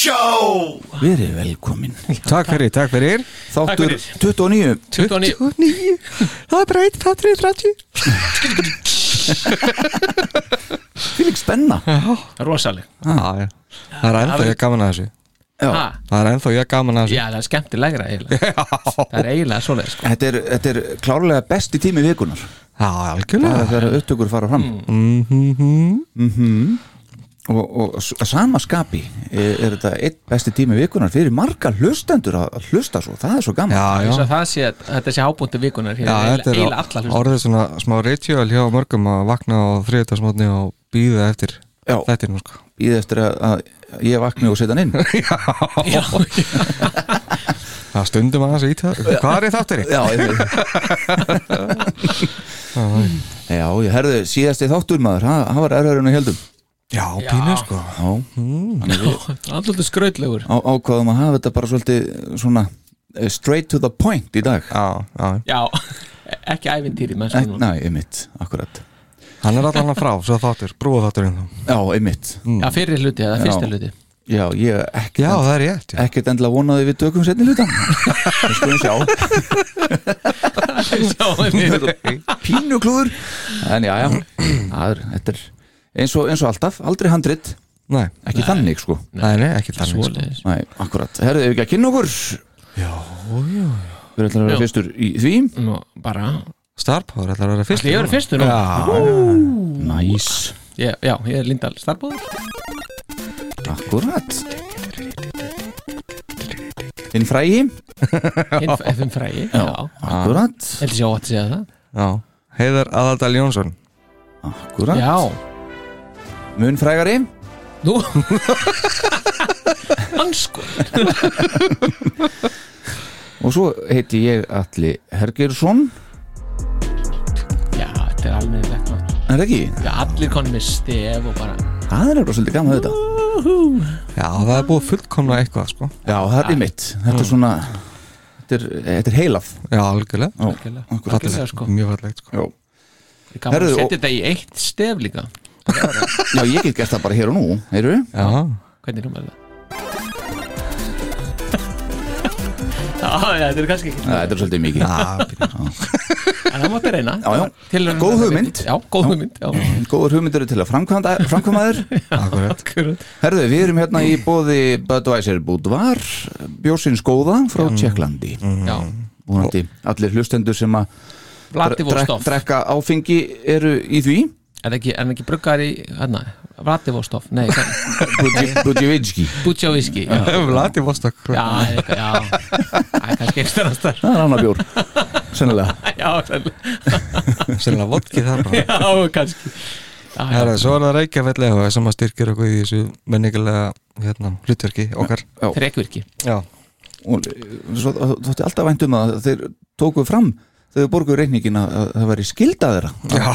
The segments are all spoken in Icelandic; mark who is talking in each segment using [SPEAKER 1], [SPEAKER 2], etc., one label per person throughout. [SPEAKER 1] Verið velkomin
[SPEAKER 2] Takk fyrir, takk fyrir
[SPEAKER 1] Þáttur
[SPEAKER 3] fyrir.
[SPEAKER 1] 29
[SPEAKER 3] 29
[SPEAKER 1] 29 Það er bara eitt þáttur í 30 Fylg spenna Já,
[SPEAKER 3] Rosaleg
[SPEAKER 2] ah, Það er ennþá ég gaman að þessu
[SPEAKER 3] ha,
[SPEAKER 2] Það er ennþá ég gaman að þessu
[SPEAKER 3] Já, það er skemmtilegra eiginlega Það er eiginlega svoleið sko.
[SPEAKER 1] Þetta er, þetta er klárlega besti tími vikunar
[SPEAKER 2] Já,
[SPEAKER 1] Það
[SPEAKER 2] algjörlega
[SPEAKER 1] er þegar upptökur fara fram mm. Mm
[SPEAKER 2] Mm-hmm.
[SPEAKER 1] Og, og s- að sama skapi er, er þetta eitt besti tími vikunar fyrir marga hlustendur að að hlusta svo það er svo gaman
[SPEAKER 2] Já, já,
[SPEAKER 3] Svo það sé, þetta sé hábúndi vikunar hér,
[SPEAKER 2] já
[SPEAKER 3] eiginlega,
[SPEAKER 2] Þetta
[SPEAKER 3] eiginlega
[SPEAKER 2] er
[SPEAKER 3] alla hlusta
[SPEAKER 2] orðið svona smá ritual hjá mörgum að vakna á þriðdagsmotni og býða eftir
[SPEAKER 1] Já.
[SPEAKER 2] þetta nú sko
[SPEAKER 1] í eftir að, að ég vakni og setja hann inn
[SPEAKER 3] Já,
[SPEAKER 2] Það stundum aðeins í það Hvað er í þáttur í?
[SPEAKER 1] Já, ég Já, ég herði síðasti þáttur maður, ha- það var erður en að heldum
[SPEAKER 2] Já, pínu sko
[SPEAKER 1] Já,
[SPEAKER 3] alltaf skrautlegur
[SPEAKER 1] á, ákvaðum að hafa þetta bara svolítið svona eh, straight to the point í dag
[SPEAKER 2] Já, já
[SPEAKER 3] Já, ekki ævintýri menn
[SPEAKER 1] Nei,
[SPEAKER 3] sko nú.
[SPEAKER 1] Næ, einmitt, akkurat
[SPEAKER 2] Hann er allan frá, svo þáttur, brúa þátturinn þá
[SPEAKER 1] Já, einmitt,
[SPEAKER 3] Já, fyrri hluti, það er fyrsta
[SPEAKER 1] Já.
[SPEAKER 3] hluti
[SPEAKER 1] já, ég ekkert,
[SPEAKER 2] Já, það er ég eftir
[SPEAKER 1] ekkert endla vonaði við tökum setni hluta Við skulum sjá,
[SPEAKER 3] Já,
[SPEAKER 1] pínu klúður En já, já, það er, þetta er eins og, eins og alltaf, aldrei handrit
[SPEAKER 2] Nei,
[SPEAKER 1] Ekki þannig, sko
[SPEAKER 2] nei, nei, ekki þannig sko.
[SPEAKER 3] svoleiðis
[SPEAKER 1] Nei, akkurat, herðu ef ekki að kynna okkur Já, já, já Við ætlum að vera
[SPEAKER 3] Já.
[SPEAKER 1] fyrstur í því
[SPEAKER 3] Nú, bara
[SPEAKER 2] Star Power ætlar að vera fyrst
[SPEAKER 3] Ætli ég verið fyrstur nú?
[SPEAKER 1] Næs
[SPEAKER 3] Ég, já, ég er Lindal Starbóður
[SPEAKER 1] Akkurat Þinn frægi
[SPEAKER 3] Hinn frægi Já,
[SPEAKER 1] Akkurat
[SPEAKER 3] heldur sér ótt að segja það
[SPEAKER 2] Já, Heiðar Aðaldal Jónsson
[SPEAKER 1] Akkurat
[SPEAKER 3] Já,
[SPEAKER 1] Mun frægari
[SPEAKER 3] nú sko. Ansku
[SPEAKER 1] Og svo heiti ég Alli Hergersson
[SPEAKER 3] Já, þetta er alveg legt maður
[SPEAKER 1] Er það ekki?
[SPEAKER 3] Já, allir konum með stef og bara
[SPEAKER 1] Það er eitthvað svolítið gaman þetta
[SPEAKER 2] Já, það er búið fullkomna eitthvað sko
[SPEAKER 1] Já, það er mitt Þetta er svona Þetta er, þetta er heilaf
[SPEAKER 2] Já, algjörlega
[SPEAKER 1] Já,
[SPEAKER 3] Algjörlega.
[SPEAKER 1] akkurat.
[SPEAKER 3] Algjörlega, sko.
[SPEAKER 2] Mjög fallegt sko
[SPEAKER 1] Já.
[SPEAKER 3] Gaman
[SPEAKER 1] Herðu,
[SPEAKER 3] að
[SPEAKER 1] og-
[SPEAKER 3] setja þetta í eitt stef líka
[SPEAKER 1] Já, ég get gert það bara hér og nú Heyrðu
[SPEAKER 2] Já,
[SPEAKER 3] Hvernig númer er það? Já, já, þetta er kannski ekki
[SPEAKER 1] Æ, Þetta er svolítið mikið
[SPEAKER 3] En það mátti reyna
[SPEAKER 1] Já, já.
[SPEAKER 3] Tilraun-
[SPEAKER 1] Góð hugmynd. Mm.
[SPEAKER 3] Já, góð hugmynd Já,
[SPEAKER 1] Góður hugmyndur til að framkvæmda, framkvæma þér
[SPEAKER 2] akkurat
[SPEAKER 3] akkurat
[SPEAKER 1] Herðu, við erum hérna í bóði Budweiser Budvar Bjósins góða frá Tjekklandi
[SPEAKER 3] Já,
[SPEAKER 1] Vonandi allir hlustendur sem að
[SPEAKER 3] Vladivostok
[SPEAKER 1] drekka áfengi eru í því
[SPEAKER 3] Er ekki, er ekki bruggar í, hérna, Vladivostok Nei,
[SPEAKER 1] Budjevitski
[SPEAKER 3] Butjavíski Já,
[SPEAKER 2] Vladi Vostok sko.
[SPEAKER 3] já, eitthvað, já Það er kannski einstæðast þar
[SPEAKER 1] það er annar bjór sennilega
[SPEAKER 3] Já, sennilega.
[SPEAKER 2] Sennilega vodki þar bara
[SPEAKER 3] já, kannski Já, já.
[SPEAKER 2] Herra, svo er það Reykjavík eða sem að styrkir okkur í þessu menningilega hérna, hlutverki okkar
[SPEAKER 3] Þrekvirki
[SPEAKER 2] Já,
[SPEAKER 1] og eh, svo þótti alltaf vænt um að þeir tóku fram þegar þau borguðu reikningin að að það væri skilda þeirra
[SPEAKER 2] já.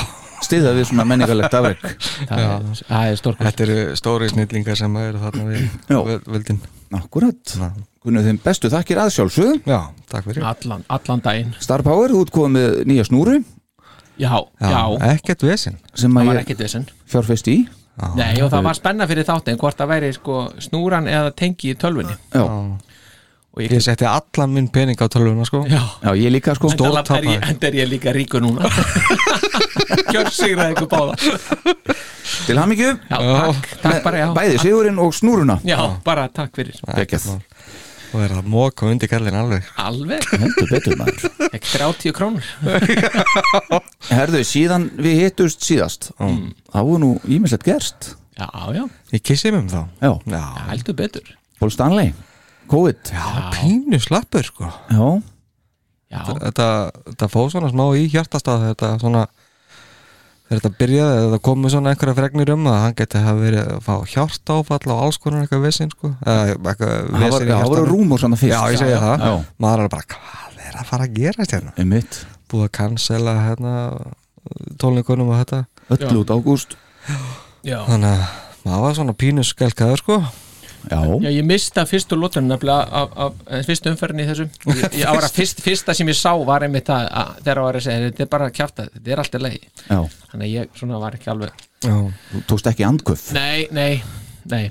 [SPEAKER 1] stiða við svona menningarlegt afreg
[SPEAKER 3] Það er, það er stórkvæmt
[SPEAKER 2] Þetta eru stóri snillingar sem eru þarna við
[SPEAKER 1] Já.
[SPEAKER 2] völ- völdin
[SPEAKER 1] akkurat,
[SPEAKER 2] Já.
[SPEAKER 1] kunnuð þeim bestu þakkir að sjálfsög
[SPEAKER 2] Já, takk fyrir
[SPEAKER 3] Allan, allan daginn
[SPEAKER 1] Star Power, þú ert komið með nýja snúru
[SPEAKER 3] Já, já,
[SPEAKER 2] Ekkert vesinn
[SPEAKER 1] sem
[SPEAKER 3] það
[SPEAKER 1] að
[SPEAKER 3] var
[SPEAKER 1] ég
[SPEAKER 3] ekkert þessin
[SPEAKER 1] fjárfest í
[SPEAKER 3] Nei, og það var spenna fyrir þáttin hvort það væri sko snúran eða tengi í tölvunni
[SPEAKER 1] já,
[SPEAKER 3] og ég,
[SPEAKER 2] Ég setti allan minn pening á tölvuna sko
[SPEAKER 3] já,
[SPEAKER 1] já ég líka sko
[SPEAKER 2] Stór-
[SPEAKER 3] enda er, ég-
[SPEAKER 2] tapari.
[SPEAKER 3] enda er ég líka ríkur núna Gjörsigraði ykkur báða
[SPEAKER 1] til hamingju
[SPEAKER 3] Já, takk, takk bara, já
[SPEAKER 1] bæði sigurinn og snúruna
[SPEAKER 3] Já, bara takk fyrir
[SPEAKER 1] Gekkjað.
[SPEAKER 2] mál. Svo er það móka undir kallin alveg
[SPEAKER 3] Alveg,
[SPEAKER 1] heldur betur maður
[SPEAKER 3] ekki 30 krónur
[SPEAKER 1] Herðu, síðan við hittust síðast þá var nú ímislegt gerst
[SPEAKER 3] Já, já,
[SPEAKER 2] Ég kissi mig um þá
[SPEAKER 1] Já,
[SPEAKER 2] Já,
[SPEAKER 3] heldur betur
[SPEAKER 1] Paul Stanley, COVID Já,
[SPEAKER 2] já pínu slappur sko
[SPEAKER 3] Já,
[SPEAKER 2] Þetta, þetta fóð svona smá í hjartastað Þetta svona Þegar þetta byrjaði, þetta komu svona einhverja fregnir um að hann geti hafa verið að fá hjartáfall og alls konar eitthvað vesinn sko eða eitthvað
[SPEAKER 1] það var,
[SPEAKER 2] vesinn
[SPEAKER 1] það
[SPEAKER 2] í
[SPEAKER 1] var
[SPEAKER 2] hjartanu.
[SPEAKER 1] rúmur svona fyrst
[SPEAKER 2] Já, ég segi það
[SPEAKER 1] Já,
[SPEAKER 2] Maður er alveg bara, hvað er að fara að gera hérna?
[SPEAKER 1] um mitt,
[SPEAKER 2] Búið að cancela hérna tólningunum og þetta
[SPEAKER 1] öll út ágúst
[SPEAKER 3] já
[SPEAKER 2] Þannig að maður var svona pínu skelkaður sko
[SPEAKER 1] Já,
[SPEAKER 3] Já, ég mista fyrstu lótunum nefnilega af, af, af fyrstu umferðin í þessu ég, ég, ára, fyrst, Fyrsta sem ég sá var einmitt það að þegar var að segja, þetta er bara að kjafta þetta er alltaf leið,
[SPEAKER 1] já,
[SPEAKER 3] þannig að ég svona var ekki alveg
[SPEAKER 2] Já,
[SPEAKER 1] þú tókst ekki andköf
[SPEAKER 3] Nei, nei, nei,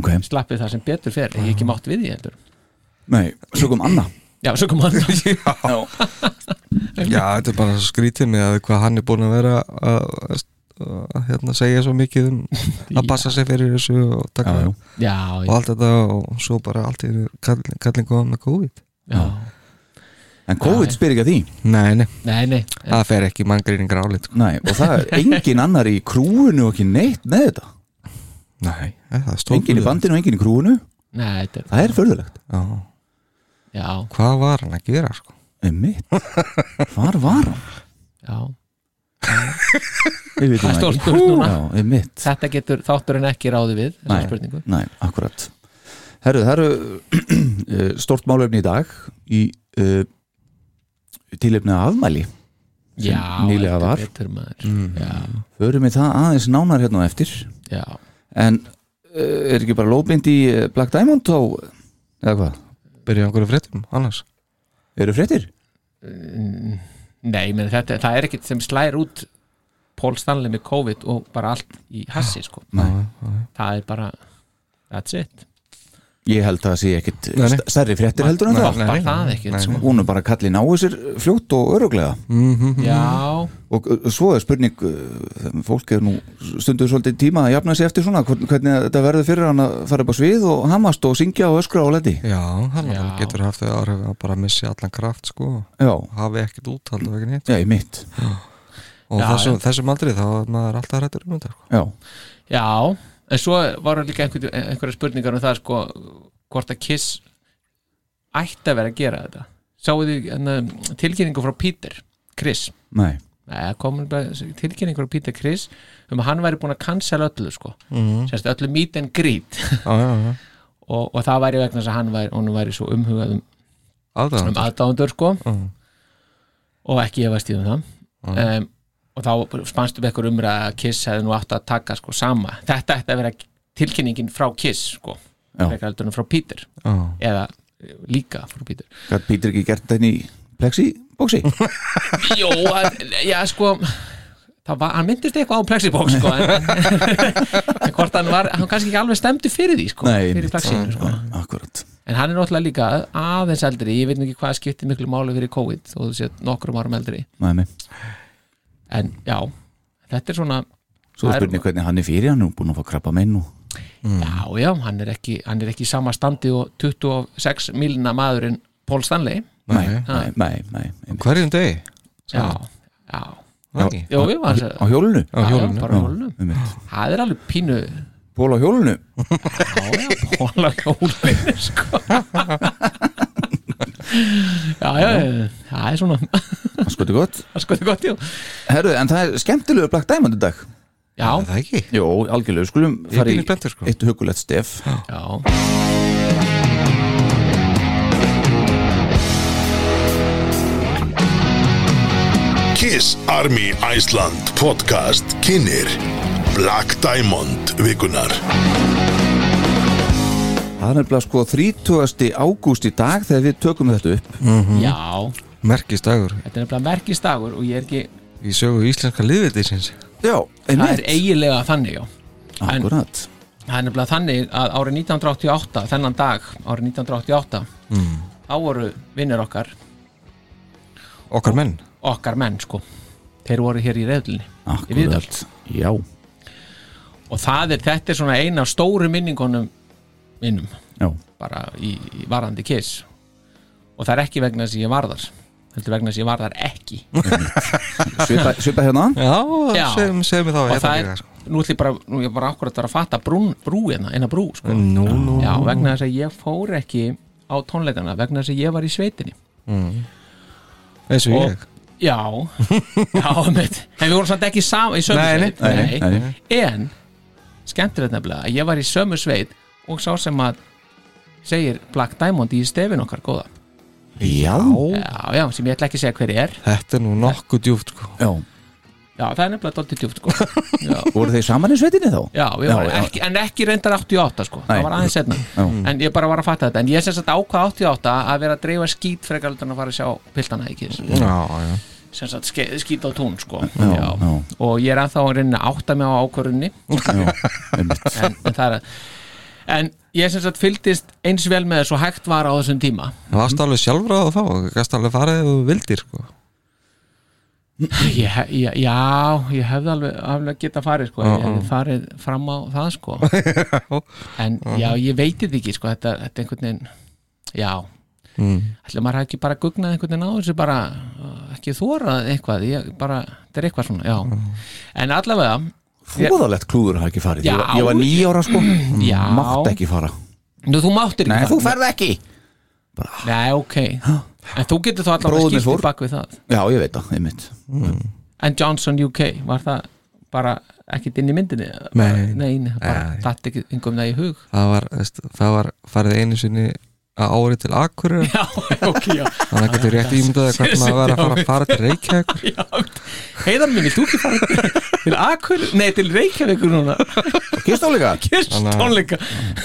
[SPEAKER 1] Ok,
[SPEAKER 3] slappið það sem betur fer ég hef ekki mátt við því heldur
[SPEAKER 1] nei, sögum Anna
[SPEAKER 3] Já, svo kom hann
[SPEAKER 1] Já,
[SPEAKER 2] Já, þetta er bara svo skrítið með að hvað hann er búin að vera að, að, að hérna, segja svo mikið um að passa sig fyrir þessu og taka
[SPEAKER 1] já, já.
[SPEAKER 3] Já,
[SPEAKER 2] og allt þetta og svo bara allt í einu kall, kallin góða með COVID
[SPEAKER 3] já,
[SPEAKER 1] En COVID spyr ekki að því
[SPEAKER 2] Nei, nei,
[SPEAKER 3] nei, nei
[SPEAKER 2] það fer ekki manngreiningar álið sko.
[SPEAKER 1] Nei, og það er engin annar í krúinu og ekki neitt með þetta
[SPEAKER 2] Nei, eh, það stóð
[SPEAKER 1] Engin í bandinu og engin í krúinu
[SPEAKER 3] Nei, þetta er,
[SPEAKER 1] Það er förðulegt
[SPEAKER 2] Já,
[SPEAKER 3] já,
[SPEAKER 2] hvað var hann að gera sko?
[SPEAKER 1] Um mitt, hvar var hann?
[SPEAKER 3] já
[SPEAKER 1] Við vitum
[SPEAKER 3] Það er
[SPEAKER 1] það
[SPEAKER 3] stór
[SPEAKER 1] ekki.
[SPEAKER 3] spurning núna.
[SPEAKER 1] Já, um mitt
[SPEAKER 3] Þetta getur þátturinn ekki ráði við þessa
[SPEAKER 1] Nei,
[SPEAKER 3] spurningu
[SPEAKER 1] nei, akkurat Herru, það eru eh, stórt málefni í dag í uh, tilefni af afmæli
[SPEAKER 3] Já,
[SPEAKER 1] nýlega
[SPEAKER 3] heldur
[SPEAKER 1] var.
[SPEAKER 3] betur maður mm.
[SPEAKER 1] Förum við það aðeins nánar hérna á eftir
[SPEAKER 3] Já, já
[SPEAKER 1] en uh, er ekki bara lóðbind í eh, Black Diamond á, eða hvað,
[SPEAKER 2] Byrja einhverju fréttum annars
[SPEAKER 1] eru fréttir?
[SPEAKER 3] Mm, Nei, menn þetta, það er ekkert sem slæðir út Pól Stanley með COVID og bara allt í hassi, sko
[SPEAKER 1] Nei.
[SPEAKER 3] Það er bara, that's it
[SPEAKER 1] Ég held að það sé ekkit
[SPEAKER 2] Nei, nei.
[SPEAKER 1] st- stærri fréttir heldur en
[SPEAKER 2] Nei,
[SPEAKER 1] það
[SPEAKER 2] nei.
[SPEAKER 3] Bara það ekkert,
[SPEAKER 2] nei.
[SPEAKER 3] sko
[SPEAKER 1] hún er bara kallið náu sér fljótt og öruglega
[SPEAKER 2] mm -hmm.
[SPEAKER 3] Já,
[SPEAKER 1] og uh, svo er spurning uh, fólk er nú stundur svolítið tíma að jafna sig eftir svona hvern- hvernig þetta verður fyrir hann að fara upp á svið og hamast og syngja og öskra og leti
[SPEAKER 2] Já, hann
[SPEAKER 3] Já.
[SPEAKER 2] getur haft þau áhrif að bara missi allan kraft sko
[SPEAKER 1] já,
[SPEAKER 2] hafi ekkert úthald og ekki neitt
[SPEAKER 1] já, í mitt
[SPEAKER 2] og
[SPEAKER 3] Já,
[SPEAKER 2] þessum, þessum aldrei þá er maður alltaf hrættur um þetta sko.
[SPEAKER 1] já,
[SPEAKER 3] Já, en svo var líka einhver, einhverja spurningar um það sko, hvort að Kiss ætti að vera að gera þetta Sáu þið hérna, tilkynningu frá Peter Chris
[SPEAKER 1] nei,
[SPEAKER 3] Nei, komin bara tilkynningu frá Peter Chris um að hann væri búin að cancela öllu sko
[SPEAKER 2] mm.
[SPEAKER 3] Sérst, öllu meet and greet
[SPEAKER 2] já, já, já.
[SPEAKER 3] og, og það væri vegna þess að hann væri, honum væri svo umhugað um,
[SPEAKER 2] Aðdáandi.
[SPEAKER 3] um aðdándur sko
[SPEAKER 2] Mm.
[SPEAKER 3] og ekki efast í um það
[SPEAKER 1] Mm.
[SPEAKER 3] um, og þá spannst um ekkur umræða að Kiss hefði nú átt að taka sko sama þetta ætti að vera tilkynningin frá Kiss sko,
[SPEAKER 1] Já.
[SPEAKER 3] frekar heldur en frá Peter
[SPEAKER 2] Já.
[SPEAKER 3] eða eh, líka frá Peter
[SPEAKER 1] gæt Pítur ekki gert þetta inn í plexi bóksi
[SPEAKER 3] Jó, að, já sko það var, hann myndist eitthvað á plexibók sko, en, en, en hvort hann var hann kannski ekki alveg stemdi fyrir því sko,
[SPEAKER 1] Nei,
[SPEAKER 3] fyrir
[SPEAKER 1] einmitt.
[SPEAKER 3] plexinu sko
[SPEAKER 1] akkurat,
[SPEAKER 3] en hann er náttúrulega líka aðeins eldri ég veit nú ekki hvað skiptir miklu máli fyrir COVID og þú sé nokkrum árum eldri
[SPEAKER 1] næmi
[SPEAKER 3] en já, þetta er svona
[SPEAKER 1] svo
[SPEAKER 3] Það
[SPEAKER 1] er
[SPEAKER 3] er-
[SPEAKER 1] spurning hvernig hann er fyrir hann er búin að fá krabba minn og Mm.
[SPEAKER 3] Já, já, hann er ekki, hann er ekki í sama standi og 26 milna maðurinn Pól Stanley
[SPEAKER 1] nei,
[SPEAKER 3] Ha.
[SPEAKER 1] nei, nei, nei, einmitt.
[SPEAKER 2] hverjum degi
[SPEAKER 3] Já, já,
[SPEAKER 2] Ekki?
[SPEAKER 3] já, við varum
[SPEAKER 1] á hjólunu
[SPEAKER 2] á hjólinu.
[SPEAKER 3] bara á hjólunum
[SPEAKER 1] einmitt.
[SPEAKER 3] Það er alveg pínu
[SPEAKER 1] Pól á hjólunu
[SPEAKER 3] Já, já, Pól á hjólunum sko Já, já, já, það er svona það
[SPEAKER 1] það skoði gott
[SPEAKER 3] er sko þetta gott, já
[SPEAKER 1] Herru, en það er skemmtilegu Black Diamond í dag
[SPEAKER 2] Er
[SPEAKER 3] Já,
[SPEAKER 2] það ekki
[SPEAKER 1] Jó, algjörlega, við skulum
[SPEAKER 2] Ég er
[SPEAKER 1] fara í
[SPEAKER 2] pínu spenntur, sko.
[SPEAKER 1] eitt hugulegt stef
[SPEAKER 3] já,
[SPEAKER 4] Kiss Army Iceland podcast kynir Black Diamond vikunar
[SPEAKER 1] Það er nefnilega sko 30. ágúst í dag þegar við tökum þetta upp
[SPEAKER 3] já
[SPEAKER 2] merkist dagur
[SPEAKER 3] Þetta er nefnilega merkistagur og ég er ekki
[SPEAKER 2] í sögu íslenska liðvitiðsins
[SPEAKER 1] Já,
[SPEAKER 3] Það er
[SPEAKER 1] einmitt,
[SPEAKER 3] eiginlega þannig, já en-
[SPEAKER 1] akkurat
[SPEAKER 3] Það er nefnilega þannig að árið 1988, þennan dag, árið 1988,
[SPEAKER 2] Mm.
[SPEAKER 3] þá voru vinnir okkar,
[SPEAKER 2] okkar menn
[SPEAKER 3] okkar menn sko, þeir voru hér í reyðlinni, í Viðdal.
[SPEAKER 1] Akkurat, já
[SPEAKER 3] Og það er, þetta er svona eina af stóru minningunum innum
[SPEAKER 1] Já,
[SPEAKER 3] bara í, í varðandi kiss og það er ekki vegna þess að ég varðar heldur vegna þess að ég varðar ekki
[SPEAKER 1] svipa, svipa hérna
[SPEAKER 2] já,
[SPEAKER 3] Já.
[SPEAKER 2] segjum segjum við þá
[SPEAKER 3] og
[SPEAKER 2] ég
[SPEAKER 3] það
[SPEAKER 2] líka,
[SPEAKER 3] er,
[SPEAKER 2] sko.
[SPEAKER 3] nú ætlum ég bara nú er ég bara akkurat að fatta brún, brú hérna, eina brú sko.
[SPEAKER 2] nú, nú,
[SPEAKER 3] já, vegna þess að ég fór ekki á tónleikana vegna þess að ég var í sveitinni
[SPEAKER 2] eins og
[SPEAKER 3] og
[SPEAKER 2] ég
[SPEAKER 3] já, já, mitt en við vorum samt ekki saman í sömu
[SPEAKER 2] Nei, nei,
[SPEAKER 3] sveit
[SPEAKER 1] nei, nei, nei.
[SPEAKER 3] en skemmtilegt nefnilega að ég var í sömu sveit og sá sem að segir Black Diamond í stefin okkar góða
[SPEAKER 2] já,
[SPEAKER 3] já, já, sem ég ætla ekki að segja hver er
[SPEAKER 2] þetta er nú nokkuð djúft sko.
[SPEAKER 1] Já,
[SPEAKER 3] já, það er nefnilega dálítið djúpt sko. já,
[SPEAKER 1] voru þeir saman í sveitinni þá?
[SPEAKER 3] já,
[SPEAKER 1] Já,
[SPEAKER 3] já, já,
[SPEAKER 1] já.
[SPEAKER 3] Ekki, en ekki reyndar 88 sko.
[SPEAKER 1] Nei.
[SPEAKER 3] það var aðeins setna
[SPEAKER 1] Já.
[SPEAKER 3] en ég bara var að fatta þetta en ég sem sagt ákvað 88 að vera að dreifa skít frekar heldur en að fara að sjá piltana ekki
[SPEAKER 2] já, já,
[SPEAKER 3] sem sagt ske- skít á tún sko.
[SPEAKER 1] Já, já.
[SPEAKER 3] og ég er ennþá að reyna að átta mig á ákvörunni
[SPEAKER 1] Já, einmitt
[SPEAKER 3] en, en það er að en ég sem sagt fylgdist eins vel með þessu hægt var á þessum tíma
[SPEAKER 2] það varst alveg sjálfráð þá og gæst alveg farið ef þú vildir sko.
[SPEAKER 3] ég, he- ég, já, ég hefði alveg, alveg geta farið sko, ég hefði farið fram á það sko en já, ég veit þetta ekki sko, þetta, þetta einhvern veginn já,
[SPEAKER 2] mm.
[SPEAKER 3] ætla maður hafi ekki bara gugnað einhvern veginn á þessu bara uh, ekki þórað eitthvað, ég bara þetta er eitthvað svona, já
[SPEAKER 1] Mm.
[SPEAKER 3] en allavega,
[SPEAKER 1] Fróðalegt klúður hafa ekki farið Ég var- Ég var nýjára sko
[SPEAKER 3] Já.
[SPEAKER 1] Mátt ekki fara
[SPEAKER 3] nú þú máttir
[SPEAKER 1] Nei,
[SPEAKER 3] ekki
[SPEAKER 1] þú
[SPEAKER 3] fara.
[SPEAKER 1] ferð ekki
[SPEAKER 3] Nei, ok, en þú getur þá allavega
[SPEAKER 1] Bróðir minn
[SPEAKER 3] skipt
[SPEAKER 1] fór.
[SPEAKER 3] í bak við það
[SPEAKER 1] Já, ég veit það, einmitt
[SPEAKER 3] en Johnson UK, var það bara ekkit inn í myndinni eða bara-
[SPEAKER 2] Nei.
[SPEAKER 3] nei, nei, bara
[SPEAKER 2] Nei.
[SPEAKER 3] datt ekki yngum það í hug
[SPEAKER 2] það, var, veist, það var farið einu sinni að ári til Akureyri
[SPEAKER 3] já, ok, já
[SPEAKER 2] Þannig að getur rétt ímyndaði hvernig maður var að fara að fara til Reykjavíkur
[SPEAKER 3] Já, heiðar minni, þú ekki fara til- til Akur, nei til Reykjavíkur núna
[SPEAKER 1] Kistóleika
[SPEAKER 3] Kirstónleika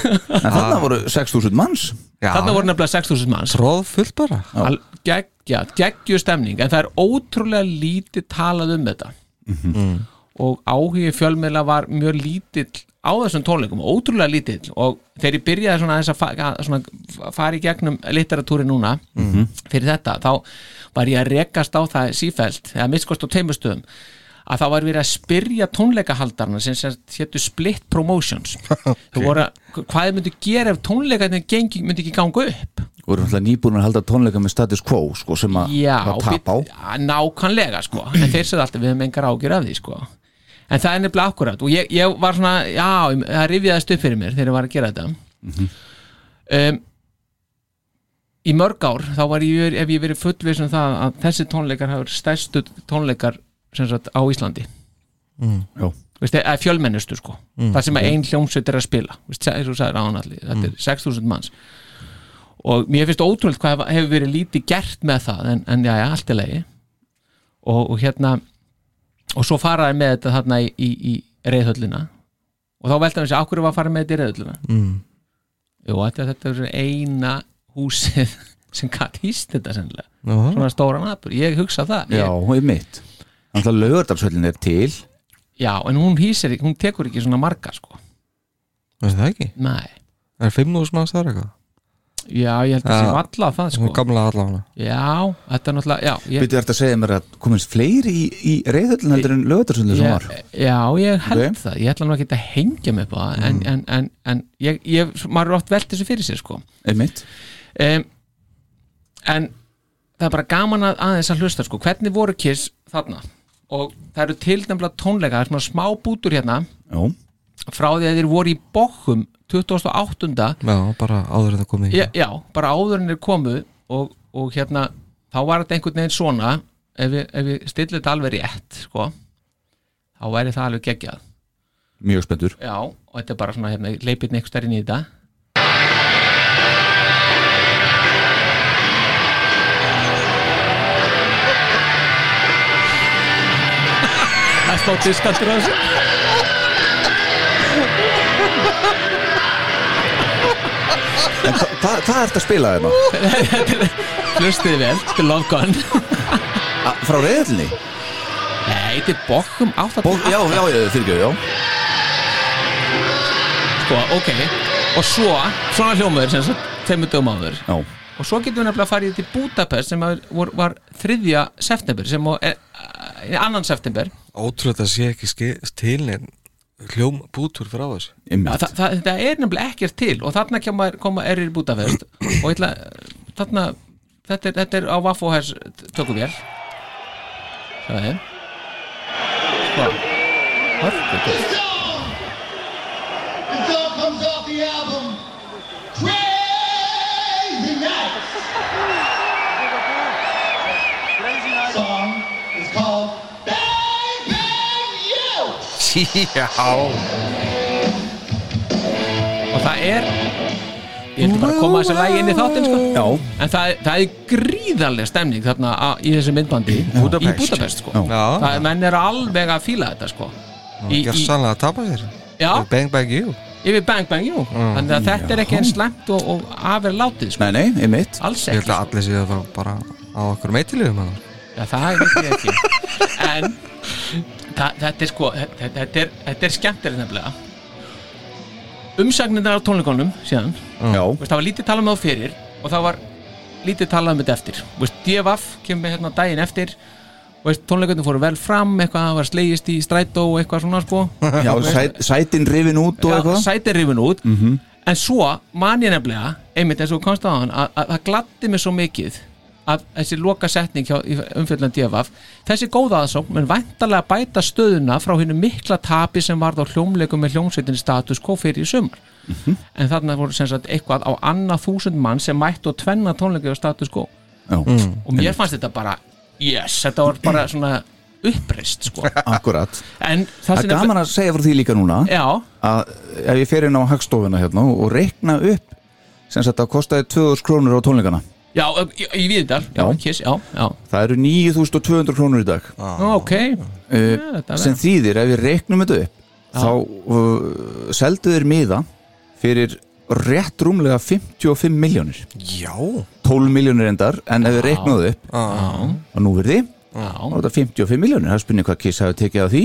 [SPEAKER 1] En þarna voru 6.000 manns
[SPEAKER 3] Þarna voru nefnilega 6.000 manns
[SPEAKER 2] tróðfullt bara
[SPEAKER 3] Al- geggja, geggju stemning en það er ótrúlega lítið talað um þetta og áhugi fjölmiðla var mjög lítill á þessum tónleikum, ótrúlega lítill og þegar ég byrjaði svona aðeins að fa að svona f- fara í gegnum literatúri núna fyrir þetta, þá var ég að rekast á það sífælt, eða mittskost á teimustöðum að þá var verið að spyrja tónleikahaldarna sem sem héttu split promotions okay. voru, að- hvað þið myndu gera ef tónleikarnir gengi, myndi ekki ganga upp
[SPEAKER 1] voru náttúrulega nýbúin að halda tónleika með status quo sko, sem að
[SPEAKER 3] Já,
[SPEAKER 1] var tap á
[SPEAKER 3] bit- ja, nákvæmlega sko en þeir sagði alltaf við hefum engar ágjur af því sko en það er nefnilega akkurat og ég, ég var svona, já, ég- það rifjaðist upp fyrir mér þegar ég var að gera þetta
[SPEAKER 1] Mhm.
[SPEAKER 3] um, í mörg ár þá var ég, ef ég verið fullvis um það að þessi tónleikar hafa verið stærstu tónleikar sem sagt á Íslandi
[SPEAKER 1] Mm, Já. Mm,
[SPEAKER 3] Veist, eða fjölmennustu sko það sem að ein hljómsveit er að spila Veist, eins og þú sagðir áðan allir, þetta
[SPEAKER 1] Mm.
[SPEAKER 3] er 6000 manns og mér finnst ótrúlega hvað hef- hefur verið lítið gert með það en, en já, já, allt er leiði og, og hérna og svo faraði með þetta þarna í, í, í reyðhöllina og þá veltaði hann sér, okkur var að fara með þetta í reyðhöllina mm. jú, þetta, þetta er eina húsið sem gatt hýst þetta sennilega
[SPEAKER 2] Nú,
[SPEAKER 3] svona stóran aðbúr, ég hugsa það
[SPEAKER 1] Já,
[SPEAKER 3] ég,
[SPEAKER 1] einmitt Þannig að lögurdarsöllin er til
[SPEAKER 3] já, en hún hýsir, hún tekur ekki svona marga sko,
[SPEAKER 2] veist það ekki?
[SPEAKER 3] nei
[SPEAKER 2] Það er 5.000 manns þar eitthvað
[SPEAKER 3] já, ég held að
[SPEAKER 2] Já.
[SPEAKER 3] það sé valla það
[SPEAKER 2] Sko.
[SPEAKER 3] sko
[SPEAKER 2] Gamla allána
[SPEAKER 3] já, þetta er náttúrulega, já ég,
[SPEAKER 1] Býttu þetta að segja mér að komist fleiri í, í reyðhöllin heldur en lögurdarsöllin sem var
[SPEAKER 3] ég, já, ég held
[SPEAKER 1] Ok.
[SPEAKER 3] það, ég ætla nú ekki að hengja mig upp á það, en, en, en, en ég, ég, maður er oft velt þessu fyrir sér sko
[SPEAKER 1] Einmitt
[SPEAKER 3] um, en það er bara gaman að aðeins að hlusta sko, hvernig voru Kiss þarna og það eru til nefnilega tónleika það er svona smá bútur hérna
[SPEAKER 1] Já,
[SPEAKER 3] frá því að þeir voru í Bochum 2008.
[SPEAKER 2] Já, bara áður en það komið
[SPEAKER 3] Já, já, bara áður en þeir komu og, og hérna þá var þetta einhvern veginn svona ef við, ef við stillum þetta alveg rétt sko, þá væri það alveg geggjað
[SPEAKER 1] mjög spenntur
[SPEAKER 3] já, og þetta er bara svona hérna, leipirni einhver stærinn í þetta Það er smá diskantur á þessu
[SPEAKER 1] En hva, hva, hvað ertu að spila hérna? þeirna?
[SPEAKER 3] Hlustið vel, til Love Gun
[SPEAKER 1] Frá reyðhöllinni?
[SPEAKER 3] Nei, þetta er bókum átt
[SPEAKER 1] Bó, já, já, já, fyrirgjöðu, já
[SPEAKER 3] sko, ok Og svo, svona hljómaður sem sagt, tveimur dögum áður
[SPEAKER 1] Já,
[SPEAKER 3] Og svo getum við nefnilega farið til Budapest sem var, var, var þriðja september sem var, er, eh, annan september
[SPEAKER 2] Ótrúlega það sé ekki skil, til neinn hljóm bútur frá þessu
[SPEAKER 3] Þa,
[SPEAKER 1] einmitt,
[SPEAKER 3] það, það, þetta er nefnilega ekkert til og þarna kemur koma erir bútafest og ég ætla, þarna þetta er, þetta er á Vaffo hers tökum vél það er sko hörku
[SPEAKER 5] The song comes off the album Crazy Nights. Song is called Baby You.
[SPEAKER 3] og það er ég ætla bara að koma þessu lagi inn í þáttinn sko
[SPEAKER 1] já,
[SPEAKER 3] en það, það er gríðarlega stemning þarna á- í þessu myndbandi í
[SPEAKER 2] Búdapest.
[SPEAKER 3] Budapest sko
[SPEAKER 1] Já.
[SPEAKER 2] Já,
[SPEAKER 3] það, menn er alveg að fíla þetta sko í, í,
[SPEAKER 2] gjörsanlega að tapa sér
[SPEAKER 3] já,
[SPEAKER 2] Bang bang you
[SPEAKER 3] yfir Bang Bang Jú
[SPEAKER 2] Mm.
[SPEAKER 3] þannig að þetta er ekki eins slæmt og, og afir látið sko.
[SPEAKER 1] nei, nei, einmitt
[SPEAKER 3] alls
[SPEAKER 2] Ég
[SPEAKER 3] ekki
[SPEAKER 2] held að allir séu að fara bara á okkur meitilegum hann
[SPEAKER 3] Já, það veit ég ekki En það, þetta er sko þetta, þetta, er, þetta er skemmtir nefnilega Umsagnirnar á tónleikonum síðan,
[SPEAKER 1] já,
[SPEAKER 3] veist, það var lítið talað með þá fyrir og það var lítið talað með þetta eftir veist, DFF kemur hérna daginn eftir veist, tónleikonum fóru vel fram eitthvað, það var slegist í strætó og eitthvað svona sko
[SPEAKER 1] já sæt, sætin rifin út og
[SPEAKER 3] Já,
[SPEAKER 1] eitthvað Mhm.
[SPEAKER 3] sæti rifin út en svo man ég nefnilega einmitt eins og þú komst á hann að að það gladdi mig svo mikið að þessi loka setning hjá umfjöldan DFF þessi góða aðsókn menn væntalega bæta stöðuna frá hennu mikla tapi sem varð á hljómleikum með hljómsveitin status quo fyrir í sumar
[SPEAKER 1] Mhm.
[SPEAKER 3] en þarna voru sem sagt eitthvað á annað þúsund mann sem mættu að tvenna tónleikið á status quo
[SPEAKER 1] já,
[SPEAKER 3] og mér fannst þetta bara yes, þetta var bara svona uppreist sko
[SPEAKER 1] akkurat
[SPEAKER 3] en það
[SPEAKER 1] það
[SPEAKER 3] sem
[SPEAKER 1] er gaman að segja frá því líka núna
[SPEAKER 3] já,
[SPEAKER 1] að ef ég fer inn á hagstofuna hérna og reikna upp sem sagt að kostaði 2000 krónur á tónleikana
[SPEAKER 3] já, í, í Víðindal já,
[SPEAKER 1] Já.
[SPEAKER 3] kiss, já, já
[SPEAKER 1] það eru 9200 krónur í dag
[SPEAKER 3] Nú, ok
[SPEAKER 1] uh,
[SPEAKER 3] þetta er
[SPEAKER 1] Ah. sem
[SPEAKER 3] vel.
[SPEAKER 1] þýðir ef við reiknum þetta upp þá uh, seldu þeir miða fyrir rétt rúmlega 55 miljónir
[SPEAKER 2] Já
[SPEAKER 1] 12 miljónir endar en ef við reiknum það upp og nú verði þá
[SPEAKER 3] Já,
[SPEAKER 1] er þetta 55 miljónir, það er spynni hvað Kiss hafi tekið af því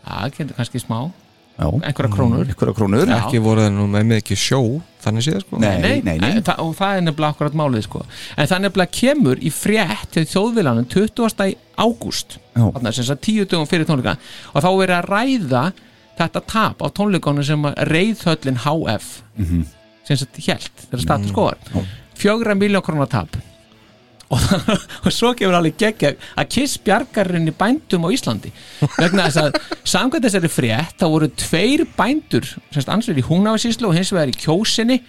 [SPEAKER 3] það getur kannski smá
[SPEAKER 1] já,
[SPEAKER 3] einhverja krónur
[SPEAKER 1] einhverja krónur
[SPEAKER 3] Já.
[SPEAKER 2] Ekki voru þeir nú með mikið sjó Þannig séð sko
[SPEAKER 1] Mm, Nei.
[SPEAKER 3] Nei,
[SPEAKER 1] nei.
[SPEAKER 3] það, og það er nefnilega akkurat málið sko. en það nefnilega kemur í frétt til þjóðvilanum 20. í ágúst
[SPEAKER 1] Já.
[SPEAKER 3] þarna sem þess að tíu dögum fyrir tónleika og þá er verið að ræða þetta tap á tónleikonum sem að reyðhöllin HF
[SPEAKER 1] Mhm.
[SPEAKER 3] sem þetta hjælt þegar
[SPEAKER 1] Mm.
[SPEAKER 3] status quo var fjögra miljón krónar tap og, það, og svo kemur alveg geggja að Kiss bjargarinn í bændum á Íslandi vegna þess að samkvæmt þessari frétt þá voru tveir bændur sem ansverði í Húnafisíslu og hins vegar í Kjósinni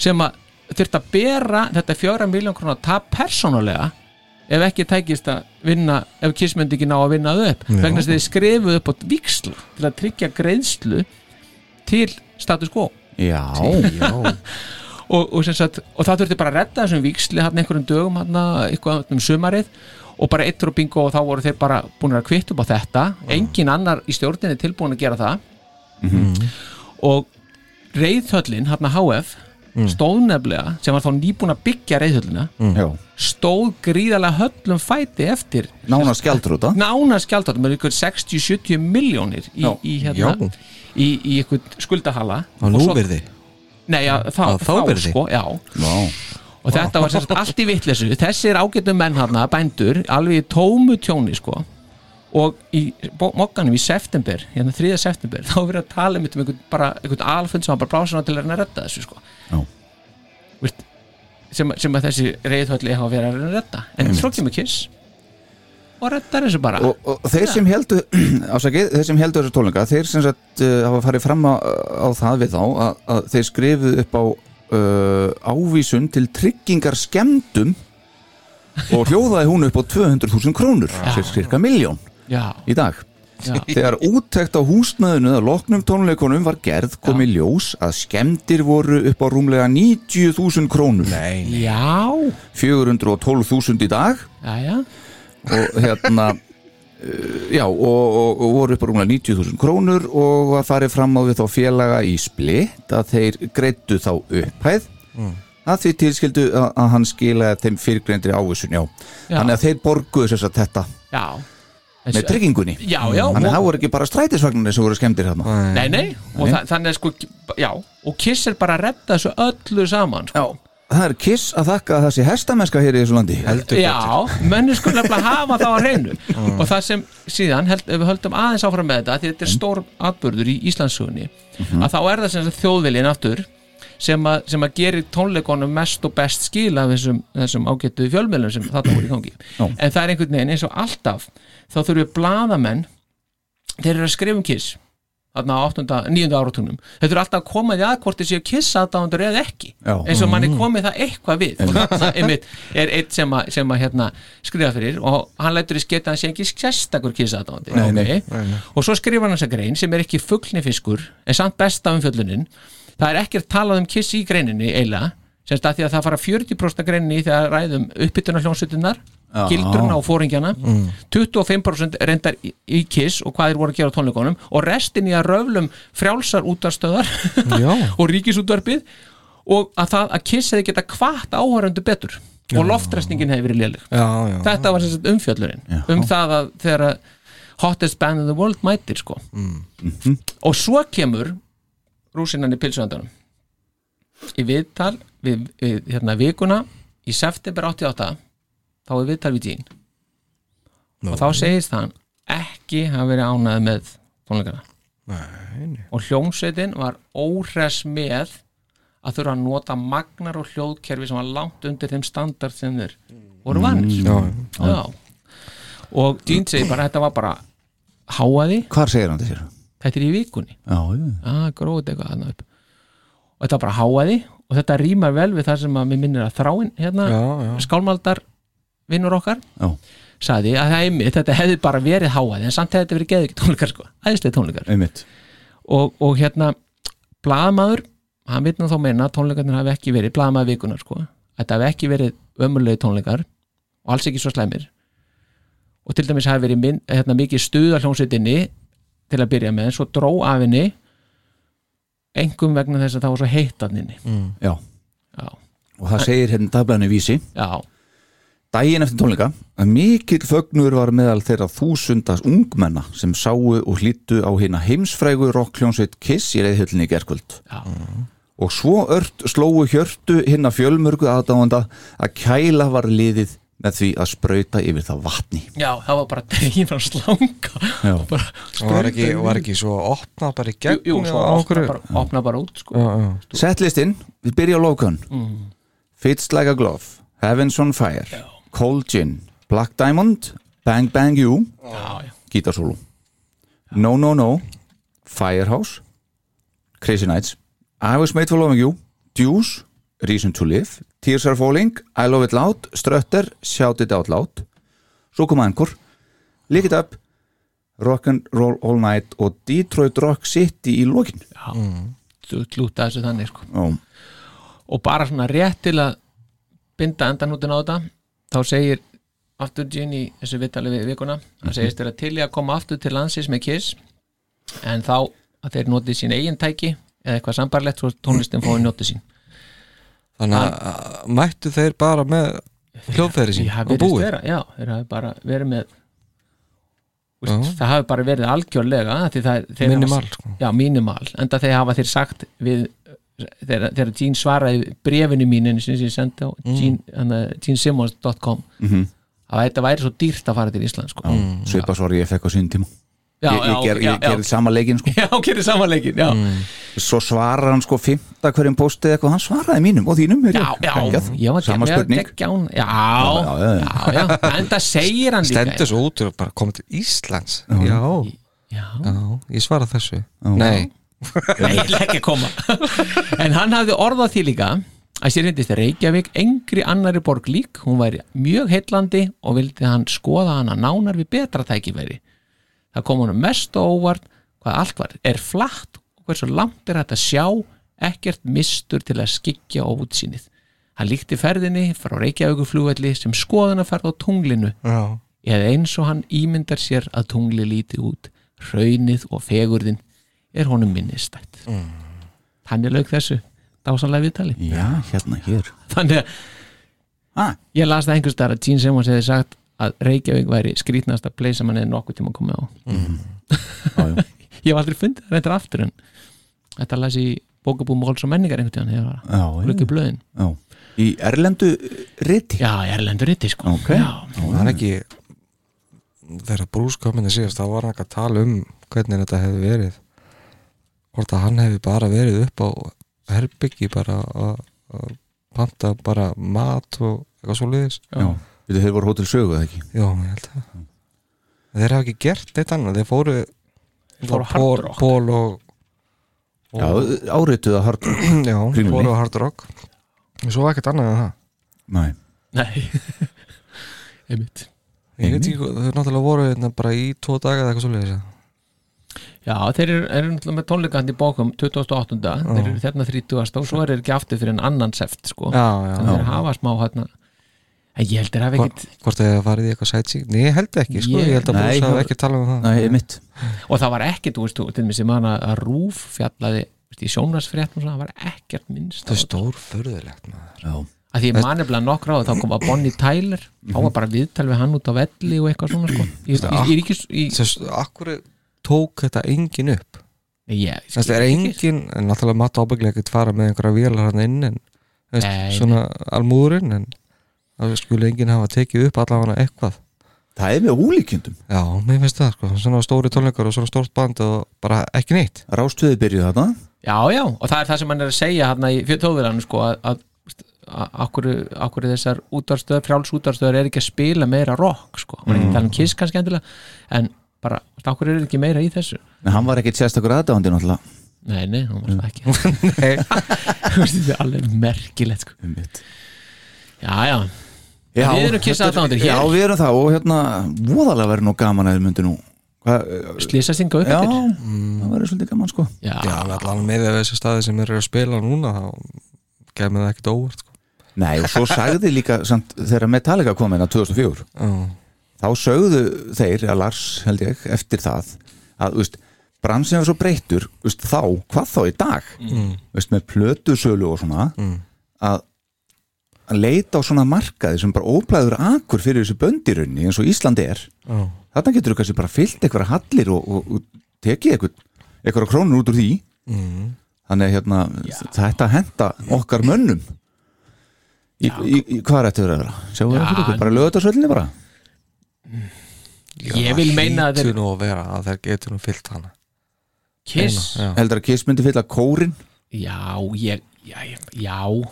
[SPEAKER 3] sem að þurft að bera þetta fjögra miljón krónar tap persónulega ef ekki tækist að vinna ef Kiss myndi ekki ná að vinna þau upp vegna þess að þeir skrifu upp á vikslu til að tryggja greiðslu til status quo
[SPEAKER 1] já,
[SPEAKER 3] og, og, sem sagt, og það þurfti bara að redda þessum víksli hann einhverjum dögum hann eitthvað um sumarið og bara eittur og bingo og þá voru þeir bara búin að kvitt upp á þetta engin annar í stjórninni tilbúin að gera það
[SPEAKER 2] Mhm.
[SPEAKER 3] og reyðhöllin hann HF
[SPEAKER 2] Mm.
[SPEAKER 3] stóð nefnilega sem var þá nýbúin að byggja reyðhöllina
[SPEAKER 1] já.
[SPEAKER 3] stóð gríðarlega höllum fæti eftir
[SPEAKER 1] nána skjaldrúta
[SPEAKER 3] nána skjaldar með ykkur 60-70 miljónir í,
[SPEAKER 1] Já.
[SPEAKER 3] í, hérna, í, í ykkur skuldahala
[SPEAKER 2] Á núvirði
[SPEAKER 3] Nei, já, þá,
[SPEAKER 2] Á
[SPEAKER 3] þá,
[SPEAKER 2] þá virði.
[SPEAKER 3] sko, já
[SPEAKER 1] já,
[SPEAKER 3] og þetta var sérst allt í vitleysu þessir ágætum menn hana, bændur alveg í tómu tjóni sko og í bó- mokkanum í september hérna 3. september, þá er verið að tala um þetta um einhvern, bara, einhvern alfund sem var bara brásin á til að reyna að redda þessu sko
[SPEAKER 1] Já.
[SPEAKER 3] Vist, sem, sem að þessi reyðhölli hafa verið að reyna að redda en svo kemur kiss og reddar þessu bara
[SPEAKER 1] og, og þeir sem heldu ásakið, þeir sem heldu þessu tónleika þeir sem sagt uh, hafa farið fram á, á það við þá að, að þeir skrifuð upp á uh, ávísun til tryggingar skemmdum og hljóðaði hún upp á 200.000 krónur sér cirka miljón
[SPEAKER 3] já,
[SPEAKER 1] í dag
[SPEAKER 3] já,
[SPEAKER 1] Þegar úttekt á húsnaðinu að loknum tónleikunum var gerð komi ljós að skemmdir voru upp á rúmlega 90.000 krónur Nei.
[SPEAKER 3] já
[SPEAKER 1] 412.000 í dag
[SPEAKER 3] já, já,
[SPEAKER 1] og hérna uh, já og, og, og voru upp á rúmlega 90.000 krónur og var farið fram á við þá félaga í splitt að þeir greittu þá upphæð
[SPEAKER 3] Mm.
[SPEAKER 1] að því tilskildu að, að hann skilaði þeim fyrirgrindri ávísun já.
[SPEAKER 3] Já.
[SPEAKER 1] þannig að þeir borguðu þess að þetta
[SPEAKER 3] já.
[SPEAKER 1] með tryggingunni
[SPEAKER 3] já, já,
[SPEAKER 1] þannig að það voru ekki bara strætisvagnarnir sem voru skemmtir hérna
[SPEAKER 3] Nei, nei, og þa þannig að sko, já, og Kiss er bara að redda þessu öllu saman sko.
[SPEAKER 1] já það er kiss að þakka að það sé hestamennska hér í þessu landi
[SPEAKER 2] heldur betur. Ah.
[SPEAKER 3] Já, mönnur skulle nefnilega hafa það á hreinu og það sem síðan, held, ef við höldum aðeins áfram með þetta, því þetta er stór atbörður í Íslandsugunni,
[SPEAKER 2] Mhm.
[SPEAKER 3] að þá er það sem sagt þjóðviljin aftur sem að, sem að gerir tónleikonum mest og best skil af þessum, þessum ágættu fjölmiðlum sem þarna voru í gangi en það er einhvern veginn eins og alltaf þá þurfum bladamenn þeir eru að skrifa um kiss þarna á 8. 9. áratunum þeir eru alltaf að koma því að hvort þeir séu kiss aðdándur eða ekki
[SPEAKER 1] Já.
[SPEAKER 3] eins og manni
[SPEAKER 1] Mm.
[SPEAKER 3] komið það eitthvað við og þarna einmitt er eitt sem að, sem að hérna, skrifa fyrir og hann lætur í sketa að hann sé ekki sérstakur kiss aðdándi
[SPEAKER 1] Nei, nei.
[SPEAKER 3] og svo skrifa hann þessa grein sem er ekki fuggnifiskur en samt besta um fjöllunin það er ekkert talað um kiss í greininni eiginlega sem sagt að því að það fara 40% af greininni í þegar um ræðum uppbytuna hljónsutinnar
[SPEAKER 1] Já. Mm.
[SPEAKER 3] gildruna og fóringjana 25% reyndar í, í kiss og hvað þeir voru að gera á tónleikonum og restin í að röflum frjálsar útarstöðar
[SPEAKER 2] Já.
[SPEAKER 3] og ríkisútvarpið og að það að kiss hefði geta kvart áhörundu betur og loftresningin hefði verið léleg
[SPEAKER 2] Já, já.
[SPEAKER 3] þetta var sem sagt umfjöllurinn
[SPEAKER 1] Já.
[SPEAKER 3] um það að þegar að hottest band in the world mætir sko og svo kemur rúsinan í pilsuðandanum í viðtal við, við hérna vikuna í september 88 þá er viðtal við Jean og þá segist hann ekki hafa verið ánæði með tónleikana og hljómsveitin var óhress með að þurfa að nota magnar og hljóðkerfi sem var langt undir þeim standard sem þeir voru vannir Já. og Dean segir bara þetta var bara háaði,
[SPEAKER 1] Hvar segir hann þessir?
[SPEAKER 3] þetta er í vikunni
[SPEAKER 1] Já, já.
[SPEAKER 3] ah, gróði eitthvað þarna upp og þetta var bara háaði og þetta rýmar vel við það sem að mér minnir að þráin hérna,
[SPEAKER 2] Já, já.
[SPEAKER 3] skálmaldar vinnur okkar
[SPEAKER 1] Já.
[SPEAKER 3] sagði að það er mitt, þetta hefði bara verið háaði en samt hefði þetta verið geðið tónleikar sko æðislega tónleikar
[SPEAKER 1] Einmitt
[SPEAKER 3] og, og hérna blaðamaður, hann vitna þá meina að tónleikarnir hafi ekki verið, blaðamaður vikunar sko að þetta hafi ekki verið ömurlegi tónleikar og alls ekki svo slæmir og til dæmis hafi verið minn, hérna, mikið stuða hljómsveitinni til að byrja með, en svo dró af henni engum vegna þess að það var svo heitt af henni
[SPEAKER 1] Já.
[SPEAKER 3] Já.
[SPEAKER 1] Og það segir hérna dagblæðinu vísi
[SPEAKER 3] Já,
[SPEAKER 1] Dægin eftir tónleika að mikill fögnur var meðal þeirra þúsundas ungmenna sem sáu og hlýttu á hina heimsfrægu rockljónsveit Kiss í reyðhjöllni í gerkvöld
[SPEAKER 3] já,
[SPEAKER 1] og svo ört slóu hjörtu hinna fjölmörgu aðdáanda að kæla var liðið með því að sprauta yfir það vatni
[SPEAKER 3] já, það var bara dregin frá slanga
[SPEAKER 1] Já.
[SPEAKER 3] og bara
[SPEAKER 2] og var ekki, var ekki svo opnað bara í
[SPEAKER 3] jú,
[SPEAKER 2] gegn
[SPEAKER 3] jú,
[SPEAKER 2] og á
[SPEAKER 3] svo opna
[SPEAKER 2] okkur
[SPEAKER 3] bara, opna bara út sko.
[SPEAKER 2] Já, já.
[SPEAKER 1] Settlistinn, við byrja á lofkön
[SPEAKER 3] Mm.
[SPEAKER 1] Fits Like a Glove Heavens on Fire, Cold Gin Black Diamond, Bang Bang You
[SPEAKER 3] já, já,
[SPEAKER 1] Gítarsólu No No No, Firehouse Crazy Nights I Was Made for Loving You, Deuce Reason to Live, Tears Are Falling I Love It Loud, Strutter, Shout It Out Loud Svo koma einhver Lick It Up Rock'n'Roll All Night og Detroit Rock City í lokin
[SPEAKER 3] þú klúta þessu þannig sko.
[SPEAKER 1] Já,
[SPEAKER 3] og bara svona rétt til að binda endanútin á þetta þá segir aftur Gene í þessu vitali við vikuna hann segist þeirra til í að koma aftur til landsins með Kiss en þá að þeir notið sín eigin tæki eða eitthvað sambarlegt svo tónlistin fóði notið sín
[SPEAKER 2] þannig að að mættu þeir bara með hljóðferði sín
[SPEAKER 3] Ég hafi
[SPEAKER 2] og
[SPEAKER 3] verið
[SPEAKER 2] búið
[SPEAKER 3] stera, já, þeir hafi bara verið með úst, það hafi bara verið algjörlega af því það, þeir hafa-
[SPEAKER 2] Minimal, sko.
[SPEAKER 3] já, minimal, enda þeir hafa þeir sagt við, þegar, þegar Gene svaraði brefinu mínu sem ég sendi á mm. genesimmons.com
[SPEAKER 1] Mhm.
[SPEAKER 3] að þetta væri svo dýrt að fara til Ísland sko.
[SPEAKER 1] svipa svar ég fekk á sín tíma
[SPEAKER 3] já,
[SPEAKER 1] ég, ég, ger,
[SPEAKER 3] já,
[SPEAKER 1] ég gerði sama leikin sko.
[SPEAKER 3] já, gerir samanleikin já.
[SPEAKER 2] Mm.
[SPEAKER 1] svo svarar hann sko fymta hverjum postið eitthvað, hann svaraði mínum og þínum er ég.
[SPEAKER 3] já, já,
[SPEAKER 1] Geggjað.
[SPEAKER 3] ég var
[SPEAKER 1] sama spurning
[SPEAKER 3] geggján, já, já,
[SPEAKER 1] já, já.
[SPEAKER 3] já, já, enda segir hann líka
[SPEAKER 2] stendur svo út og bara komið til Íslands já,
[SPEAKER 3] já,
[SPEAKER 2] já, ég svara þessu nei,
[SPEAKER 3] Nei, ég ætla ekki að koma En hann hafði orðað því líka að sér hendist Reykjavík engri annari borg lík hún væri mjög heillandi og vildi hann skoða hana nánar við betra tækifæri Það kom honum mest á óvart hvað allt var, er flatt og hversu langt er hægt að sjá ekkert mistur til að skikja á útsýnið Hann líkti ferðinni frá Reykjavíkurflugvelli sem skoðunarferð á tunglinu
[SPEAKER 2] já,
[SPEAKER 3] eða eins og hann ímyndar sér að tungli líti út raunnið og fegurðin er honum minnistætt mm. þannig lauk þessu dásanlega viðtali
[SPEAKER 1] já, hérna hér
[SPEAKER 3] þannig að
[SPEAKER 1] ah,
[SPEAKER 3] ég las það einhvers þar að Gene Simmons hefði sagt að Reykjavík væri skrýtnasta play sem hann hefði nokkuð tíma komið á
[SPEAKER 1] á, jú.
[SPEAKER 3] ég hef aldrei fundið það reyndar aftur en þetta las ég í bókabú Máls og menningar einhvern tíðan
[SPEAKER 1] Já, já.
[SPEAKER 3] þegar lukkið blöðin
[SPEAKER 1] já. í erlendu eh, riti
[SPEAKER 3] Já, erlendur riti sko
[SPEAKER 1] Ok.
[SPEAKER 3] Já,
[SPEAKER 2] það er ekki þegar Bruce kom inn í síðast þá var hann ekki að tala um hvernig þetta hefði verið hvort að hann hefði bara verið upp á herbyggi bara að að panta bara mat og eitthvað svo liðis
[SPEAKER 1] já, við þau voru hótel sögu eða ekki
[SPEAKER 2] já, ég held að þeir hafa ekki gert neitt annað, þeir fóru
[SPEAKER 3] fóru á Hard Rock.
[SPEAKER 2] Pól og
[SPEAKER 1] já, árituð að hart
[SPEAKER 2] já,
[SPEAKER 1] Kringlunni.
[SPEAKER 2] fóru á Hard Rock svo ekkert annað en það
[SPEAKER 1] nei,
[SPEAKER 3] nei Einmitt
[SPEAKER 2] ég veit ekki, hvað- þau náttúrulega voru hérna bara í tvo daga eða eitthvað svo liðis
[SPEAKER 3] Já, þeir eru, eru náttúrulega með tónleikandi bókum 28. Þeir eru þérna 30. og svo er þeir ekki aftur fyrir en annan seft sko
[SPEAKER 2] já, já,
[SPEAKER 3] Þannig þeir hafa smá hérna En ég held þeir hafa
[SPEAKER 2] Hvort,
[SPEAKER 3] ekkit
[SPEAKER 2] hvort þið hefur farið í eitthvað sightseeing Nei, ég held ekki, sko,
[SPEAKER 3] Ég-
[SPEAKER 2] ég held að
[SPEAKER 1] Nei,
[SPEAKER 2] Brúsa
[SPEAKER 1] það-
[SPEAKER 2] hafi ekki talað um það
[SPEAKER 1] nei, mitt
[SPEAKER 3] Og það var ekkit, þú veist, þú- til mér sem hana að Rúf fjallaði veist, í sjónarsfréttum og svona, það var ekkert minnst
[SPEAKER 2] Það er stór förðulegt maður
[SPEAKER 1] já,
[SPEAKER 3] að því ég mani bara nokkra á það, þá kom að Bonnie Tyler þá
[SPEAKER 2] Mhm.
[SPEAKER 3] var bara viðtal við hann út á velli og eitthvað svona sko í, í, í, í, í,
[SPEAKER 2] Þess, akkur tók þetta engin upp
[SPEAKER 3] í, ég, skil
[SPEAKER 2] Þess, það er
[SPEAKER 3] ekki.
[SPEAKER 2] engin, en náttúrulega maður ábygglega ekkert fara með einhverja vélar hann inn en, þess,
[SPEAKER 3] Nei, nei.
[SPEAKER 2] svona almúðurinn en það skulle enginn hafa tekið upp allavega eitthvað
[SPEAKER 1] það er með ólíkjöndum
[SPEAKER 2] Já, mér finnst það, sko, svona stóri tónleikar og svona stórt band og bara ekki neitt
[SPEAKER 1] rástuði byrjuð þarna
[SPEAKER 3] já, já, og það er það sem hann er að segja hann í fjöldtóðverðan sko að, að akkur, akkur þessar útarstöðar fráls útarstöðar er ekki að spila meira rock sko, hann er ekki að tala um kiss kannski endilega en bara, akkur er ekki meira í þessu
[SPEAKER 1] en hann var ekkit sérstakur aðdándi náttúrulega
[SPEAKER 3] nei, nei, hann var það ekki nei, þetta er alveg merkilegt sko.
[SPEAKER 1] Einmitt.
[SPEAKER 3] já, já, við erum
[SPEAKER 1] þetta
[SPEAKER 3] Kiss
[SPEAKER 1] er-
[SPEAKER 3] aðdáendur hér.
[SPEAKER 1] já, við erum það og hérna, voðalega verður nú gaman að þið myndu nú eh, Hva,
[SPEAKER 3] slýsa synga upp
[SPEAKER 1] já, Mm.
[SPEAKER 3] eftir.
[SPEAKER 1] það verður svolítið gaman sko
[SPEAKER 3] já,
[SPEAKER 2] Já, allavega með þessi staði sem eru að spila núna þá gefur mér það ekkert óvart, sko
[SPEAKER 1] Nei, og svo sagði líka samt, þegar Metallica kom inn á 2004
[SPEAKER 2] Já,
[SPEAKER 1] þá sögðu þeir, að Lars held ég, eftir það að, þú veist, bransin var svo breyttur þú veist, þá, hvað þá í dag þú veist, með plötusölu og svona að, að leita á svona markaði sem bara óblæður akur fyrir þessu böndirunni eins og Ísland er
[SPEAKER 2] já
[SPEAKER 1] þarna getur þú kannski bara fyllt einhverja hallir og, og, og tekið einhver, einhverja krónur út úr því þannig að hérna, þetta henda okkar mönnum í, í, í, hvað er þetta verið að vera? sjáum við
[SPEAKER 3] Já,
[SPEAKER 1] það fyrir ykkur, bara lögðu þetta svolítið bara
[SPEAKER 2] Já,
[SPEAKER 3] Ég vil
[SPEAKER 2] það
[SPEAKER 3] meina að
[SPEAKER 2] hlýtur
[SPEAKER 3] þeir-
[SPEAKER 2] nú að vera að þeir getur nú fyllt hana
[SPEAKER 3] kiss
[SPEAKER 2] Eina, já.
[SPEAKER 1] heldur að Kiss myndi fylla kórin
[SPEAKER 3] Já, ég, já, ég- já,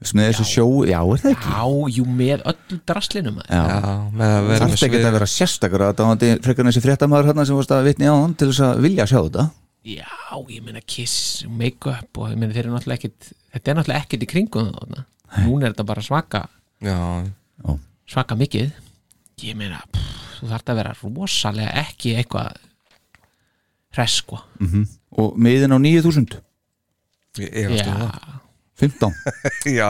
[SPEAKER 1] með þessu sjó, já er það ekki
[SPEAKER 3] já, jú með öllu draslinum maður.
[SPEAKER 1] já,
[SPEAKER 2] já, með að vera
[SPEAKER 1] þarf
[SPEAKER 2] með
[SPEAKER 1] ekki að vera sérstakur að dáandi frekar en þessi fréttamaður hérna sem vorst að vitni á hann til þess að vilja sjá þetta
[SPEAKER 3] Já, ég meina kiss, make-up og ég meina þeir eru náttúrulega ekkit, þetta er náttúrulega ekkit í kringum þarna. Núna er þetta bara svaka,
[SPEAKER 2] já,
[SPEAKER 1] já,
[SPEAKER 3] svaka mikið. Ég meina, pff, þú þarf að vera rosalega ekki eitthvað hress, sko.
[SPEAKER 1] og miðin á 9000
[SPEAKER 2] ég efast um það.
[SPEAKER 3] Já,
[SPEAKER 1] 15,
[SPEAKER 2] já,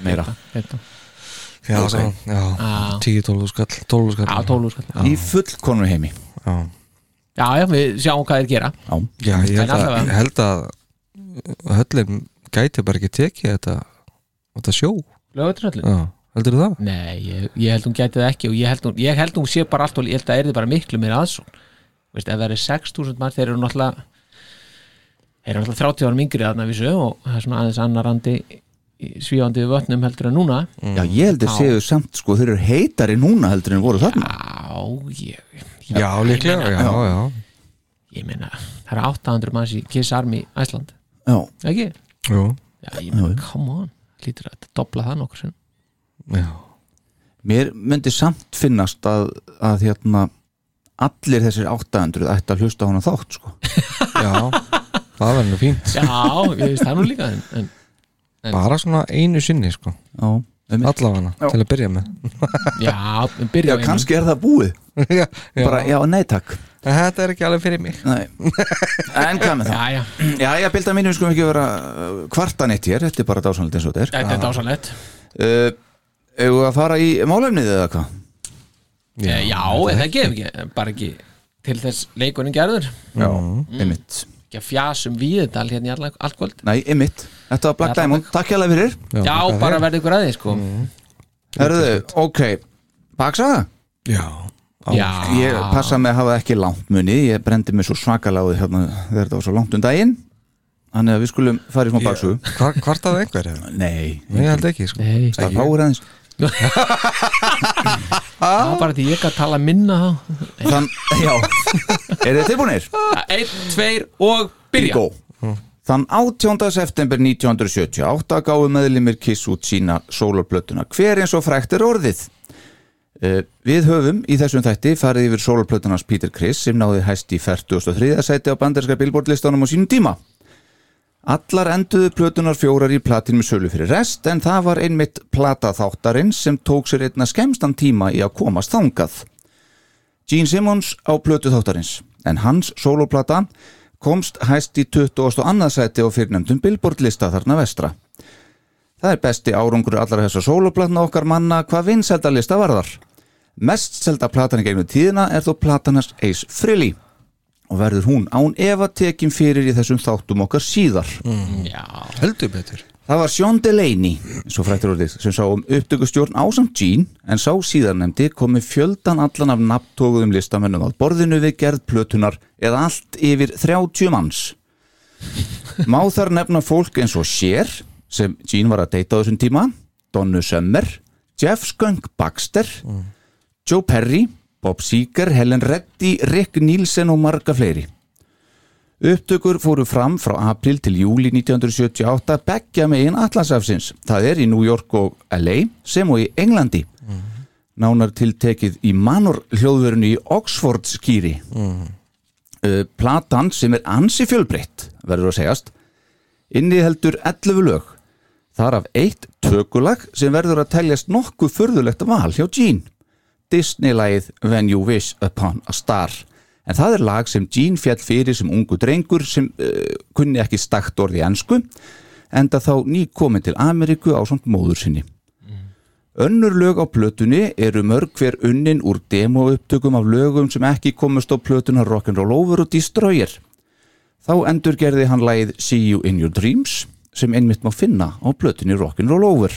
[SPEAKER 1] meira
[SPEAKER 3] þetta.
[SPEAKER 2] já, okay. já,
[SPEAKER 3] Já.
[SPEAKER 2] tíu tólu skall tólu skall
[SPEAKER 3] Já, tólu, sko.
[SPEAKER 1] í fullkonu heimi
[SPEAKER 2] já,
[SPEAKER 3] Já, já, við sjáum hvað þeir gera.
[SPEAKER 1] já,
[SPEAKER 2] já ég held
[SPEAKER 3] En
[SPEAKER 2] að,
[SPEAKER 3] allavega.
[SPEAKER 2] ég held að höllin gæti bara ekki tekið þetta þetta sjó
[SPEAKER 3] Lögutröllin.
[SPEAKER 2] já, heldur það?
[SPEAKER 3] Nei, ég, ég held hún gæti það ekki og ég held hún, ég held hún sé bara allt og ég held að erði bara miklu meira aðsón Veist, ef það eru 6.000 mann þeir eru náttúrulega þeir eru náttúrulega 30 árum yngri þarna vissu og það er svona aðeins annar andi í- svífandi við vötnum heldur en núna
[SPEAKER 1] já ég heldur
[SPEAKER 3] Já.
[SPEAKER 1] séu samt sko þeir eru heitari núna heldur en voru þarna
[SPEAKER 3] Já, ég
[SPEAKER 2] já, líklega, já, já,
[SPEAKER 3] ég meina, það eru 800 manns í Kiss Army Æsland,
[SPEAKER 1] já,
[SPEAKER 3] ekki?
[SPEAKER 2] já,
[SPEAKER 3] Já, ég meina, come on, lítur að þetta dobla það nokkur sinn
[SPEAKER 2] já.
[SPEAKER 1] mér myndi samt finnast að, að hérna allir þessir 800 ætti að hlusta á hana þátt sko.
[SPEAKER 2] já. það verður nú fínt
[SPEAKER 3] Já, ég veist það nú líka en, en
[SPEAKER 2] bara svona einu sinni, sko,
[SPEAKER 1] já, um,
[SPEAKER 2] allafana til að byrja með
[SPEAKER 3] já, en
[SPEAKER 1] já,
[SPEAKER 3] byrja á einum.
[SPEAKER 1] kannski er það búið
[SPEAKER 2] já, já.
[SPEAKER 1] bara, já, nei takk
[SPEAKER 2] En þetta er ekki alveg fyrir mig
[SPEAKER 1] nei. en hvað með það?
[SPEAKER 3] Já, já,
[SPEAKER 1] já, já, bilda mínum við skulum ekki vera uh, kvartan eitt hér, þetta er bara dásanlít eins og þetta
[SPEAKER 3] þetta er dásanlegt
[SPEAKER 1] er uh, eigum við að fara í málefnið eða hvað?
[SPEAKER 3] Já, Eh, já eða ekki, ekki, bara ekki til þess leikurinn gerður
[SPEAKER 1] já, einmitt
[SPEAKER 3] ekki að fjasum við þetta hérna í all, allt kvöld
[SPEAKER 1] nei, einmitt, þetta var Black
[SPEAKER 3] Já,
[SPEAKER 1] Diamond takk hérlega fyrir
[SPEAKER 3] Já, bara verði ykkur aðeins sko
[SPEAKER 1] Herðu, ok, baksaða
[SPEAKER 2] Já,
[SPEAKER 3] Já,
[SPEAKER 1] Ég passa mig að hafa ekki langt muni Ég brendi mig svo svakaláði hérna, þegar þetta var svo langt um daginn Þannig að við skulum fara í smá baksu
[SPEAKER 2] Hvar, Hvartaði einhver hefur?
[SPEAKER 1] Nei,
[SPEAKER 2] Nei, ég held ekki sko.
[SPEAKER 3] Nei,
[SPEAKER 1] það fáir aðeins
[SPEAKER 3] það var bara því ég gæti tala minna þá
[SPEAKER 1] Þann, Já, er þið tilbúinir?
[SPEAKER 3] Ja, Einn, tveir og byrja
[SPEAKER 1] Bingo Þann 18. september 1978 gáðu meðlimir Kiss út sína sólarplötuna hver eins og frækt er orðið Eh, Við höfum í þessum þætti farið yfir sólarplötunars Peter Criss sem náði hæst í 43. sæti á banderska billboardlistanum á sínum tíma Allar enduðu plötunar fjórar í platin með sölu fyrir rest en það var einmitt plataþáttarinn sem tók sér einna skemstan tíma í að komast þangað Gene Simmons á plötu þáttarins en hans sóloplata komst hæst í 22. sæti á fyrrnefndum billboardlista þarna vestra. Það er besti árangur allra þessar sóloplatna okkar manna hvað vinsældalista varðar. Mest selda platan í gegnum tíðina er þó platanars Ace Frehley og verður hún án efa tekin fyrir í þessum þáttum okkar síðar.
[SPEAKER 2] Heldur betur
[SPEAKER 1] Það var Sean Delaney, svo frættur orðið, sem sá um upptökustjórn ásamt Gene en sá síðarnemdi komið fjöldan allan af nafntóguðum listamennum að borðinu við gerð plötunar eða allt yfir 30 manns. Má þar nefna fólk eins og Cher, sem Gene var að deyta á þessum tíma, Donnu Summer, Jeff Skunk Baxter, Joe Perry, Bob Seger, Helen Reddy, Rick Nielsen og marga fleiri. Upptökur fóru fram frá april til júli 1978 beggja megin Atlasafsins. Það er í New York og LA sem og í Englandi. Nánar tiltekið í manor hljóðverunni í Oxford skýri. Uh, platan sem er ansi fjölbreytt, verður að segjast, inniheldur 11 lög. Þar af eitt tökulag sem verður að teljast nokkuð furðulegt val hjá Gene. Disney-lagið When You Wish Upon a Star en það er lag sem Gene fjall fyrir sem ungu drengur sem uh, kunni ekki stakt orði ennsku enda þá ný komin til Ameríku á samt móður sinni Önnur lög á plötunni eru mörg hver unnin úr demoupptökum af lögum sem ekki komust á plötuna Rock'n'Roll Over og Destroyer Þá endurgerði hann lagið See You In Your Dreams sem einmitt má finna á plötunni Rock'n'Roll Over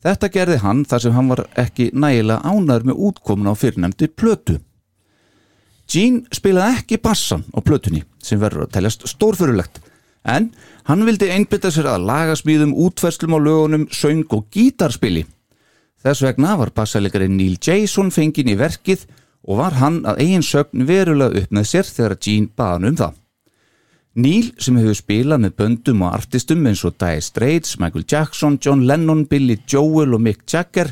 [SPEAKER 1] Þetta gerði hann þar sem hann var ekki nægilega ánæður með útkomin á fyrirnefndi plötu. Gene spilaði ekki bassan á plötunni sem verður að teljast stórfyrulegt en hann vildi einbytta sér að lagasmíðum, útferslum á lögunum, söng og gítarspili. Þess vegna var bassalegarinn Neil Jason fenginn í verkið og var hann að eigin sögn verulega upp með sér þegar Gene baði hann um það. Neil sem hefur spilað með böndum og artistum eins og Dire Straits, Michael Jackson, John Lennon, Billy Joel og Mick Jagger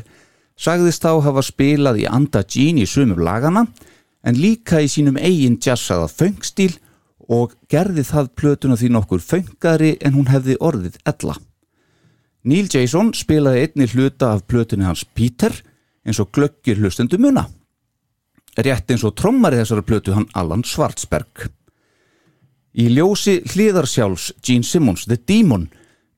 [SPEAKER 1] sagðist þá hafa spilað í anda Gene í sumum lagana en líka í sínum eigin jazzaða föngstíl og gerði það plötuna því nokkur föngari en hún hefði orðið ella. Neil Jason spilaði einni hluta af plötunni hans Peter eins og glöggir hlustendu muna. Rétt eins og trommari þessara plötu hann Alan Schwarzberg. Í ljósi hliðarsjáls Gene Simmons, The Demon,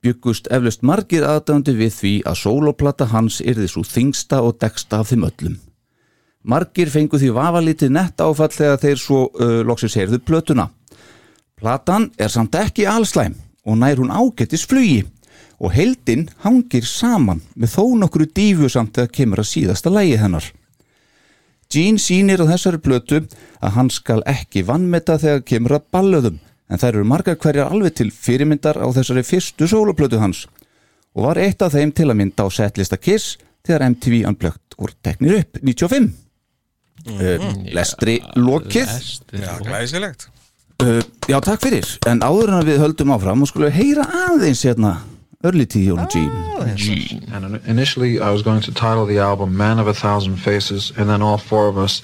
[SPEAKER 1] byggust eflaust margir aðdæmandi við því að sóloplata hans yrði svo þingsta og deksta af þeim öllum. Margir fengu því vafalítið nett áfall þegar þeir svo uh, loksins heyrðu plötuna. Platan er samt ekki allslæm og nær hún ágættis flugi og heldinn hangir saman með þó nokkru dífu samt þegar kemur að síðasta lægi hennar. Gene sýnir á þessari plötu að hann skal ekki vannmeta þegar kemur að ballöðum en þær eru margar hverjar alveg til fyrirmyndar á þessari fyrstu sóloplötu hans og var eitt af þeim til að mynda á setlista Kiss þegar MTV Unplugged voru teknir upp 95 uh, Lestri lokið
[SPEAKER 2] Já, glæsilegt
[SPEAKER 1] uh, Já, takk fyrir En áður en að við höldum áfram og skulum heyra aðeins hérna örlítið Jón Gene
[SPEAKER 6] And in- initially, I was going to title the album Man of a Thousand Faces, and then all four of us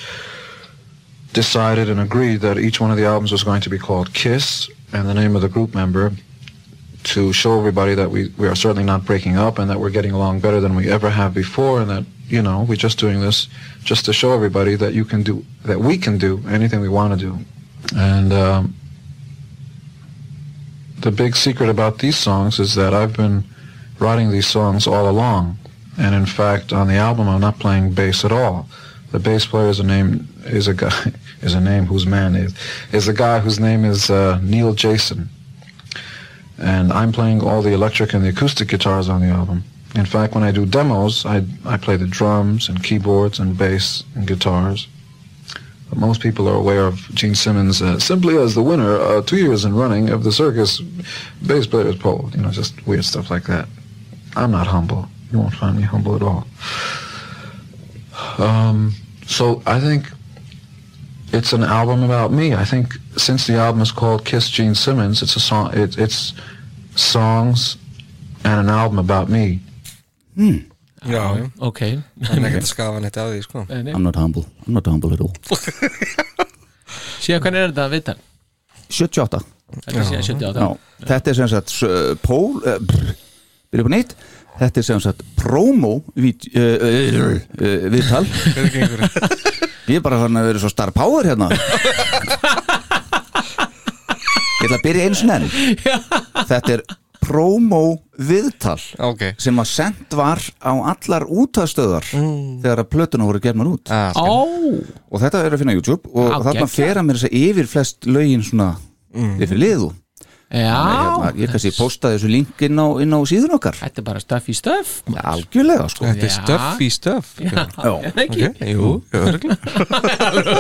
[SPEAKER 6] decided and agreed that each one of the albums was going to be called Kiss and the name of the group member to show everybody that we, we are certainly not breaking up and that we're getting along better than we ever have before and that, you know, we're just doing this just to show everybody that you can do, that we can do anything we want to do. And, um, the big secret about these songs is that I've been writing these songs all along. And in fact, on the album, I'm not playing bass at all. The bass player is a name is a guy is a name whose man is is a guy whose name is uh, Neil Jason. And I'm playing all the electric and the acoustic guitars on the album. In fact, when I do demos, I I play the drums and keyboards and bass and guitars. But most people are aware of Gene Simmons uh, simply as the winner uh, two years in running of the circus bass players poll. You know, just weird stuff like that. I'm not humble. You won't find me humble at all. Um, so I think it's an album about me. I think since the album is called Kiss Gene Simmons, it's a song. It, it's songs and an album about me.
[SPEAKER 2] já, já.
[SPEAKER 3] ok
[SPEAKER 2] hann er ekkert að skafa neitt af því sko.
[SPEAKER 1] I'm not humble, I'm not humble at all
[SPEAKER 3] síðan hvernig er þetta að vita
[SPEAKER 1] 78
[SPEAKER 3] þetta er síðan 70 á
[SPEAKER 1] Já, þetta er sem sagt s- pól, uh, brr, byrja upp á neitt þetta er sem sagt promo vít, uh, uh, uh, uh, viðtal ég er bara hann að vera svo star power hérna ég ætla að byrja eins og enn þetta er promo viðtal
[SPEAKER 2] ok
[SPEAKER 1] sem að sendt var á allar útastöðar þegar að plötuna voru gefnar út
[SPEAKER 2] Ah,
[SPEAKER 3] Ó,
[SPEAKER 1] og þetta er að finna á Mm. YouTube og
[SPEAKER 3] Já,
[SPEAKER 1] þarna
[SPEAKER 3] geggjað.
[SPEAKER 1] fer að mér þess að yfir flest lögin svona yfir liðu
[SPEAKER 3] já
[SPEAKER 1] hérna, ég kannski postaði þessu link inn á, inn á síðun okkar
[SPEAKER 3] Þetta er bara stöff í stöff maður.
[SPEAKER 1] algjörlega sko
[SPEAKER 2] þetta er
[SPEAKER 3] Já.
[SPEAKER 2] stöff í stöff
[SPEAKER 3] Já, en ekki
[SPEAKER 2] Ok, jú, örugglega.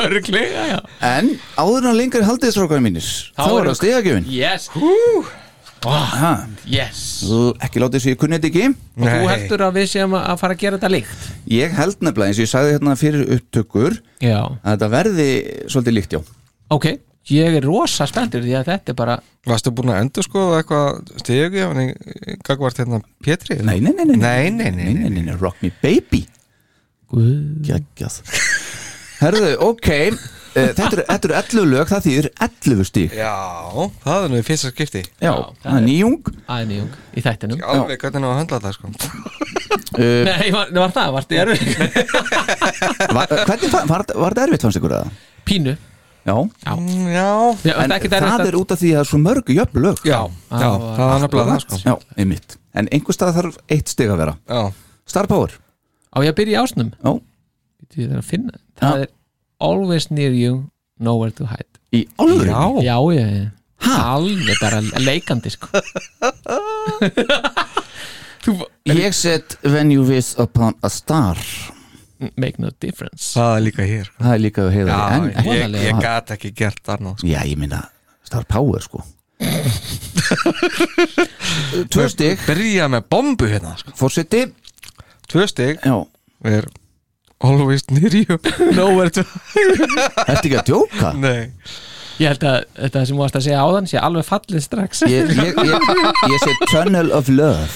[SPEAKER 3] Örglega, já
[SPEAKER 1] en áður en lengur haldið strákaði mínir þá
[SPEAKER 3] Þá
[SPEAKER 1] er
[SPEAKER 3] erum-
[SPEAKER 1] það stegagjöfin
[SPEAKER 3] Yes, Ah, yes
[SPEAKER 1] ekki látið þessu ég kunni þetta ekki
[SPEAKER 3] Og þú
[SPEAKER 2] Nei.
[SPEAKER 3] heldur að við séum að að fara að gera þetta líkt
[SPEAKER 1] ég held nefnilega eins og ég sagði hérna fyrir upptökur
[SPEAKER 3] Já
[SPEAKER 1] að þetta verði svolítið líkt já
[SPEAKER 3] Ok, ég er rosa spenntur því að þetta er bara
[SPEAKER 2] Varstu búin að endur skoða eitthvað stegjöfni gagvart hérna Pétri?
[SPEAKER 1] nei nei nei nei
[SPEAKER 2] Nei, nei, nei,
[SPEAKER 1] nei, nei, nei, nei. rock me baby
[SPEAKER 3] Guð
[SPEAKER 1] geggjað herðu ok eh, þetta eru- þetta eru 11 lög það þýðir 11 stík
[SPEAKER 2] Já, það er nú í fyrsta skipti
[SPEAKER 1] já það er nýjung
[SPEAKER 3] aðnýjung í þættinum
[SPEAKER 2] Alveg hvernig á að höndla það sko
[SPEAKER 3] Nei, var, var það, var það erfið
[SPEAKER 1] var, eh, hvernig fa- var, var þetta erfitt fannst ykkur að það
[SPEAKER 3] Pínu
[SPEAKER 1] já
[SPEAKER 2] Mm, Já,
[SPEAKER 1] en
[SPEAKER 3] Já, það er ekki
[SPEAKER 1] það,
[SPEAKER 3] erfitt að-
[SPEAKER 1] er út af því að það er svo mörg jöfn lög
[SPEAKER 2] já, já, það er nefnilega það sko
[SPEAKER 1] já, einmitt en einhver stað þarf eitt stig að vera
[SPEAKER 2] Já,
[SPEAKER 1] Star Power
[SPEAKER 3] Á ég að byrja í ásnum
[SPEAKER 1] já,
[SPEAKER 3] Bíddu, Ég þarf að finna Það
[SPEAKER 1] Já.
[SPEAKER 3] er always near you, nowhere to hide
[SPEAKER 1] í alvöru
[SPEAKER 2] já,
[SPEAKER 3] Já, já, já Alveg bara leikandi sko
[SPEAKER 1] ég set When You Wish Upon a Star
[SPEAKER 3] Make no difference
[SPEAKER 2] það er líka hér sko.
[SPEAKER 1] það er líka að heiða
[SPEAKER 2] Já,
[SPEAKER 1] en
[SPEAKER 2] ég,
[SPEAKER 3] vonalega.
[SPEAKER 2] ég gat ekki gert annað sko.
[SPEAKER 1] já, ég minna Star Power sko tvö stig
[SPEAKER 2] Byrja með bombu hérna sko.
[SPEAKER 1] fórseti
[SPEAKER 2] Tvö stig
[SPEAKER 1] já,
[SPEAKER 2] er always near you Nowhere to
[SPEAKER 1] ertu ekki að djóka
[SPEAKER 2] Nei
[SPEAKER 3] Ég held að þetta sem þú varst að segja áðan sé alveg fallið strax
[SPEAKER 1] ég, ég, ég, ég set Tunnel of Love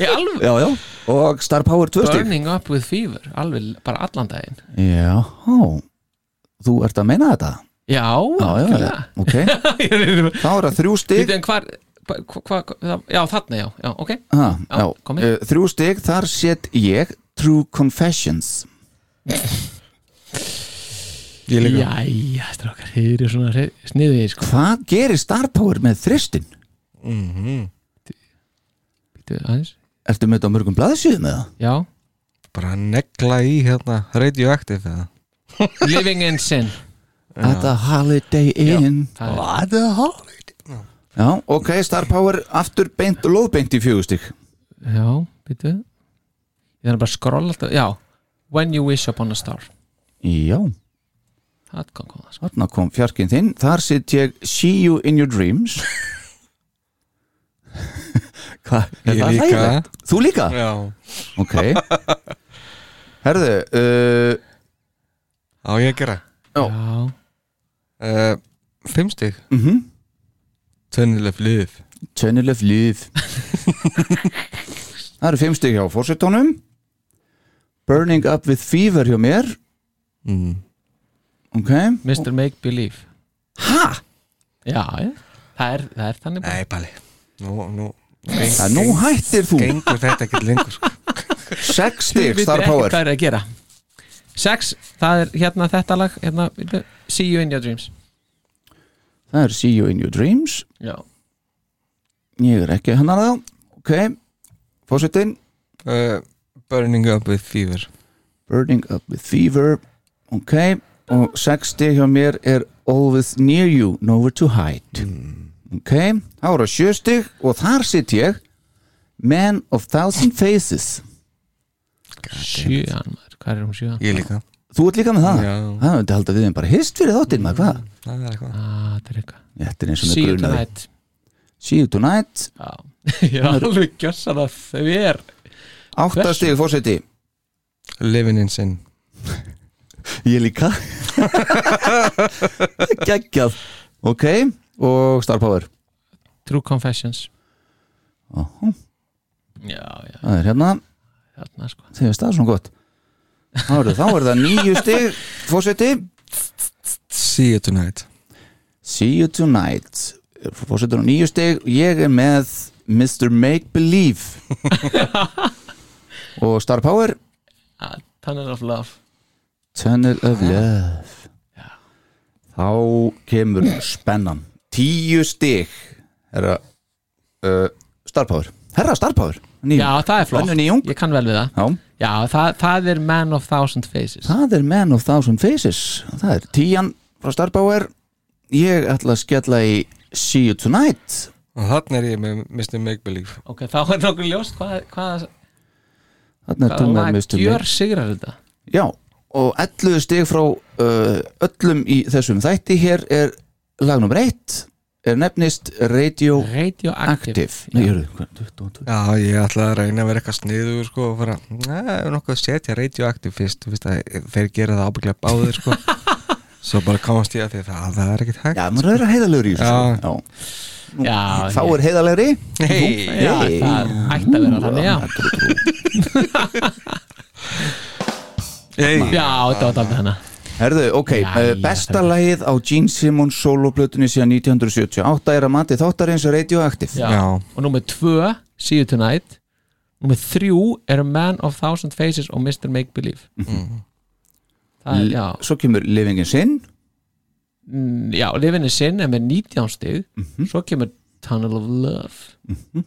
[SPEAKER 3] Ég alveg
[SPEAKER 1] já, já og Star Power tvö stig
[SPEAKER 3] Burning up with fever, alveg bara allan daginn
[SPEAKER 1] já, þú ert að meina þetta
[SPEAKER 3] Já,
[SPEAKER 1] já, já, já, ok
[SPEAKER 3] algjörlega.
[SPEAKER 1] Þá er það þrjú stig
[SPEAKER 3] Bíddu, en hvar- hva- hva- hva- Já, þarna já, já, ok
[SPEAKER 1] ha,
[SPEAKER 3] Já,
[SPEAKER 1] já,
[SPEAKER 3] komi.
[SPEAKER 1] eh, Þrjú stig, þar set ég True Confessions
[SPEAKER 2] Ég líka
[SPEAKER 3] Jæja, strákar, þið eru svona sniðið sko.
[SPEAKER 1] Hvað gerir Star Power með þristin?
[SPEAKER 3] Bíddu, aðeins.
[SPEAKER 1] Ertu með þetta á mörgum blaðsjöðum eða?
[SPEAKER 3] Já,
[SPEAKER 2] Bara negla í hérna Radioactive eða
[SPEAKER 3] Living in Sin
[SPEAKER 1] At a Holiday Inn
[SPEAKER 3] það er-
[SPEAKER 1] At a Holiday Já, ok, Star Power aftur beint, lóðbeint í fjögur stig
[SPEAKER 3] Já, býtu Ég þarf bara að skrolla alltaf Já, When You Wish Upon a Star
[SPEAKER 1] Já,
[SPEAKER 3] Það kann koma sko.
[SPEAKER 1] þarna kom fjarkinn þinn Þar set ég See You In Your Dreams Hvað? er
[SPEAKER 2] Ég
[SPEAKER 1] það
[SPEAKER 2] líka.
[SPEAKER 1] hræðilegt? Þú líka?
[SPEAKER 2] Já
[SPEAKER 1] Ok Herðu uh,
[SPEAKER 2] Á ég að gera
[SPEAKER 3] Já,
[SPEAKER 2] uh, Fimm stig
[SPEAKER 1] mm
[SPEAKER 2] Tönnileg flýð
[SPEAKER 1] Tönnileg flýð Það eru fimm stig hjá fórsetónum Burning up with fever hjá mér
[SPEAKER 2] mm.
[SPEAKER 1] Ok
[SPEAKER 3] Mr. Make Believe
[SPEAKER 1] Ha?
[SPEAKER 3] Já, já Það er, það er þannig bara
[SPEAKER 2] Nei, Palli Nú, nú
[SPEAKER 1] Það er nú hættir þú
[SPEAKER 2] Gengur þetta ekkert lengur sko.
[SPEAKER 1] Sex
[SPEAKER 3] Þið
[SPEAKER 1] stig
[SPEAKER 3] vitið
[SPEAKER 1] star
[SPEAKER 3] ekki
[SPEAKER 1] power
[SPEAKER 3] Hvað er að gera Sex, það er hérna þetta lag hérna, býtu, See You In Your Dreams
[SPEAKER 1] Það er see you in your dreams
[SPEAKER 3] Já
[SPEAKER 1] Ég er ekki hennar þá Ok Fórsetin
[SPEAKER 2] uh, Burning up with fever
[SPEAKER 1] Burning up with fever Ok Og sex stig hjá mér er Always near you, nowhere to hide Ok Það voru sjö stig og þar sitt ég Man of thousand faces
[SPEAKER 3] Sjöan maður hvað er hún síðan?
[SPEAKER 2] Ég líka
[SPEAKER 1] Þú ert líka með það?
[SPEAKER 2] Já.
[SPEAKER 1] Það myndi halda við þeim bara hist fyrir þáttinn maður, hvað?
[SPEAKER 2] Það er eitthvað
[SPEAKER 3] Ah, þetta er eitthvað
[SPEAKER 1] Þetta er eins og með
[SPEAKER 3] See you
[SPEAKER 1] grunaði
[SPEAKER 3] tonight
[SPEAKER 1] See you tonight
[SPEAKER 3] Já, ég er alveg gjössan að þau er Hversu?
[SPEAKER 1] Áttastig fórseti
[SPEAKER 2] Living in sin
[SPEAKER 1] Ég líka Gægjað Ok, og Star Power
[SPEAKER 3] True Confessions
[SPEAKER 1] Aha,
[SPEAKER 3] Já, já,
[SPEAKER 1] Það er hérna,
[SPEAKER 3] þarna sko
[SPEAKER 1] þið veist það svona gott Þá er það, þá er það nýju stig Fórseti
[SPEAKER 2] See you tonight
[SPEAKER 1] See you tonight Fórsetur á nýju stig Ég er með Mr. Make Believe Og Star Power
[SPEAKER 3] Ah, Tunnel of Love
[SPEAKER 1] Tunnel of Love Þá kemur spennan Tíu stig Herra uh, Star Power Herra Star Power Nýjum.
[SPEAKER 3] Já, það er flott,
[SPEAKER 1] Önnur nýjung.
[SPEAKER 3] ég kann vel við það
[SPEAKER 1] Já,
[SPEAKER 3] Já, það, það er Man of Thousand Faces
[SPEAKER 1] það er Man of Thousand Faces Það er tíjan frá Star Power Ég ætla að skella í See You Tonight
[SPEAKER 2] Og þannig er ég með Mr. Make Believe
[SPEAKER 3] Ok, þá er nokkuð ljóst hvað, hvað,
[SPEAKER 1] Þarna er
[SPEAKER 3] hvað
[SPEAKER 1] þú með
[SPEAKER 3] lag
[SPEAKER 1] Mr.
[SPEAKER 3] gjör
[SPEAKER 1] Make
[SPEAKER 3] sigrar þetta
[SPEAKER 1] Já, og 11 stig frá uh, öllum í þessum þætti Hér er lag nummer 1 Er nefnist Radio
[SPEAKER 3] Radioactive
[SPEAKER 1] Active Nei, jörðu, hvað, 22
[SPEAKER 2] Já, ég ætla að reyna að vera eitthvað sniður sko og fara, neða, nokkuð að setja radioaktiv fyrst, þú veist að þeir gera það ábygglega báðir sko Svo bara komast ég að því það, það er ekkert hægt
[SPEAKER 1] Já, maður er að heiðalegur í þessu
[SPEAKER 2] Já.
[SPEAKER 1] Já.
[SPEAKER 3] Já,
[SPEAKER 1] Þá er heiðalegri
[SPEAKER 2] Hey,
[SPEAKER 3] já, það ætti að vera þannig, já.
[SPEAKER 2] hey.
[SPEAKER 3] Já, þetta var daldið hana
[SPEAKER 1] Herðu, ok,
[SPEAKER 3] Já,
[SPEAKER 1] eh,
[SPEAKER 3] já,
[SPEAKER 1] besta
[SPEAKER 3] það er-
[SPEAKER 1] lagið á Gene Simmons soloplötunni síðan 1978 er að mati þáttarins Radioactive
[SPEAKER 3] já.
[SPEAKER 2] Já.
[SPEAKER 3] Og númer tvö, See You Tonight Númer þrjú er A Man of Thousand Faces og Mr. Make Believe Það er, já
[SPEAKER 1] Svo kemur Living in Sin
[SPEAKER 3] Mm, Já, Livin er sinn er með 19 stig Svo kemur Tunnel of Love Mhm.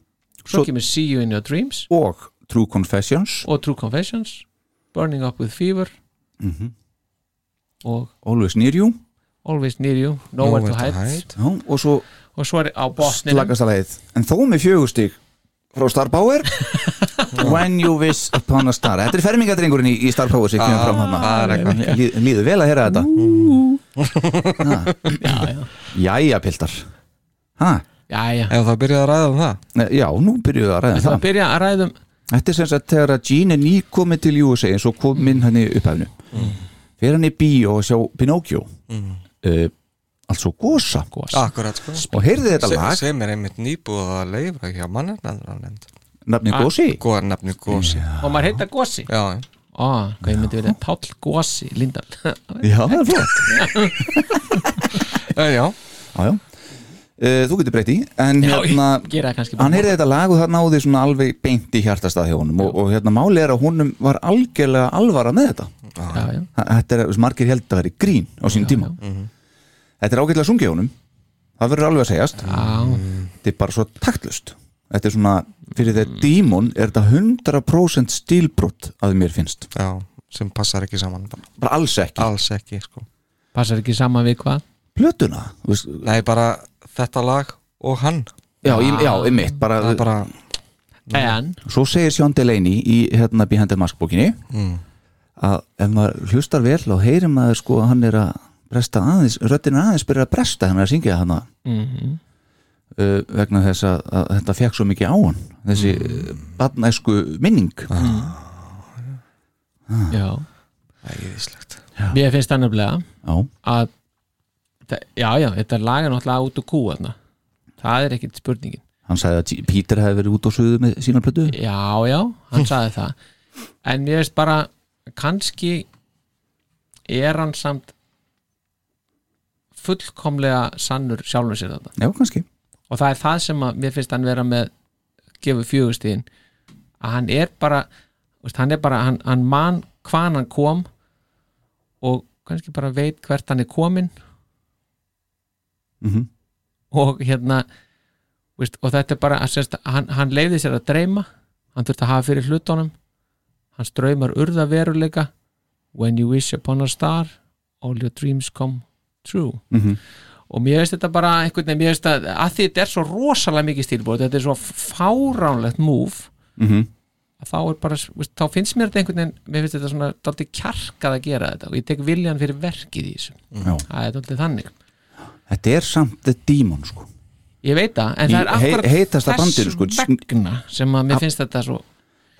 [SPEAKER 3] Svo
[SPEAKER 1] Svo-
[SPEAKER 3] kemur See You in Your Dreams
[SPEAKER 1] og True Confessions
[SPEAKER 3] og True Confessions Burning Up with Fever Mhm. og
[SPEAKER 1] Always Near You
[SPEAKER 3] Always Near You Nowhere, to, hide.
[SPEAKER 1] Já, og svo
[SPEAKER 3] og svo er á botninum
[SPEAKER 1] slagast að lagið en þó með fjögustig frá Star Power When You Wish Upon a Star Þetta er fermingadrengurinn í, í Star Power sem kemur fram
[SPEAKER 2] það er
[SPEAKER 1] hann
[SPEAKER 2] eitthvað.
[SPEAKER 1] Líð, Líður vel að heyra þetta Ha. Jæja, piltar Ha,
[SPEAKER 3] Jæja,
[SPEAKER 2] Ef það byrjaði að ræða um það
[SPEAKER 1] Nei, Já, nú byrjuðu að ræða
[SPEAKER 3] það
[SPEAKER 1] það
[SPEAKER 3] byrja að um- ræðum
[SPEAKER 1] Þetta er sem sagt þegar að Gene er nýkomið til USA eins og kom inn hann í upphæfnu fyrir hann í bíó og sjá Pinocchio mm. uh, altså Gosa Ah,
[SPEAKER 2] Akkurat sko
[SPEAKER 1] og heyrði þetta
[SPEAKER 2] Se-
[SPEAKER 1] lag,
[SPEAKER 2] Sem er einmitt nýbúið að leifa hjá mannarnarnarnefnd
[SPEAKER 1] nafni
[SPEAKER 3] Ah.
[SPEAKER 1] Gosi
[SPEAKER 2] Góða nafni gósi Já,
[SPEAKER 3] og maður heita Gossi
[SPEAKER 2] já.
[SPEAKER 3] Ó, hvað ég myndi verið Páll Gossi Lindal
[SPEAKER 1] Já, það er flott
[SPEAKER 2] En, Eh, já.
[SPEAKER 1] já, já. Uh, Þú getur breytt í en hérna,
[SPEAKER 3] gera það kannski bara.
[SPEAKER 1] hann heyrði þetta lag og það náði svona alveg beint í hjartastað hjá honum og, og hérna máli er að honum var algjörlega alvara með þetta
[SPEAKER 3] já, já.
[SPEAKER 1] Þa- Þetta er, þessi margir held að vera í grín á sín tíma Þetta er ágætlega sungið honum það verður alveg að segjast
[SPEAKER 3] Já,
[SPEAKER 1] þetta er bara svo taktlust þetta er svona, fyrir þegar dímon er þetta 100% stílbrot að mér finnst,
[SPEAKER 2] já, sem passar ekki saman bara.
[SPEAKER 1] bara alls ekki
[SPEAKER 2] Alls ekki sko
[SPEAKER 3] passar ekki saman við hvað
[SPEAKER 1] plötuna, þú veist,
[SPEAKER 2] Nei, bara þetta lag og hann
[SPEAKER 1] já, í, já, í mitt ah, bara,
[SPEAKER 2] Það er bara
[SPEAKER 3] En,
[SPEAKER 1] svo segir Sjón Delaney í hérna Behind the Mask bókinni að ef maður hlustar vel og heyrir maður sko að hann er að bresta aðeins, röddinn er aðeins byrja að bresta hann er að syngja hann uh, vegna þess að, að þetta fekk svo mikið á hann þessi mm. badnæsku minning
[SPEAKER 3] já
[SPEAKER 2] æðislegt
[SPEAKER 3] Mér finnst það nefnilega
[SPEAKER 1] já,
[SPEAKER 3] að það- Já, já, þetta lag er náttúrulega út og kú þarna. Það er ekkit spurningin
[SPEAKER 1] hann sagði að G- Peter hefði verið út á suðu með sína plötu
[SPEAKER 3] Já, já, hann sagði það En mér finnst bara kannski er hann samt fullkomlega sannur sjálfum sér þetta
[SPEAKER 1] já, kannski
[SPEAKER 3] og það er það sem að mér finnst hann vera með gefur fjögustíðin að hann er bara þú veist, hann er bara, hann, hann man hvaðan hann kom og kannski bara veit hvert hann er komin
[SPEAKER 1] Mhm.
[SPEAKER 3] og hérna þú veist, og þetta er bara að sérst, hann, hann leiði sér að dreyma hann þurfti að hafa fyrir hlutunum hans draumar urða veruleika when you wish upon a star all your dreams come true
[SPEAKER 1] Mhm.
[SPEAKER 3] og mér veist þetta bara einhvern veginn, mér veist að, að því þetta er svo rosalega mikið stílbúið, þetta er svo fáránlegt múf
[SPEAKER 1] Mhm.
[SPEAKER 3] að þá er bara, veist, þá finnst mér þetta einhvern veginn, mér finnst þetta svona dálítið kjarkað að gera þetta og ég tek viljan fyrir verkið í þessu
[SPEAKER 1] Já.
[SPEAKER 3] það er dálítið þannig
[SPEAKER 1] Þetta er samt The Demon sko
[SPEAKER 3] ég veit það, en
[SPEAKER 1] Í
[SPEAKER 3] það er
[SPEAKER 1] hei-
[SPEAKER 3] akkurat
[SPEAKER 1] heitasta bandinu, sko.
[SPEAKER 3] vegna sem að mér finnst þetta svo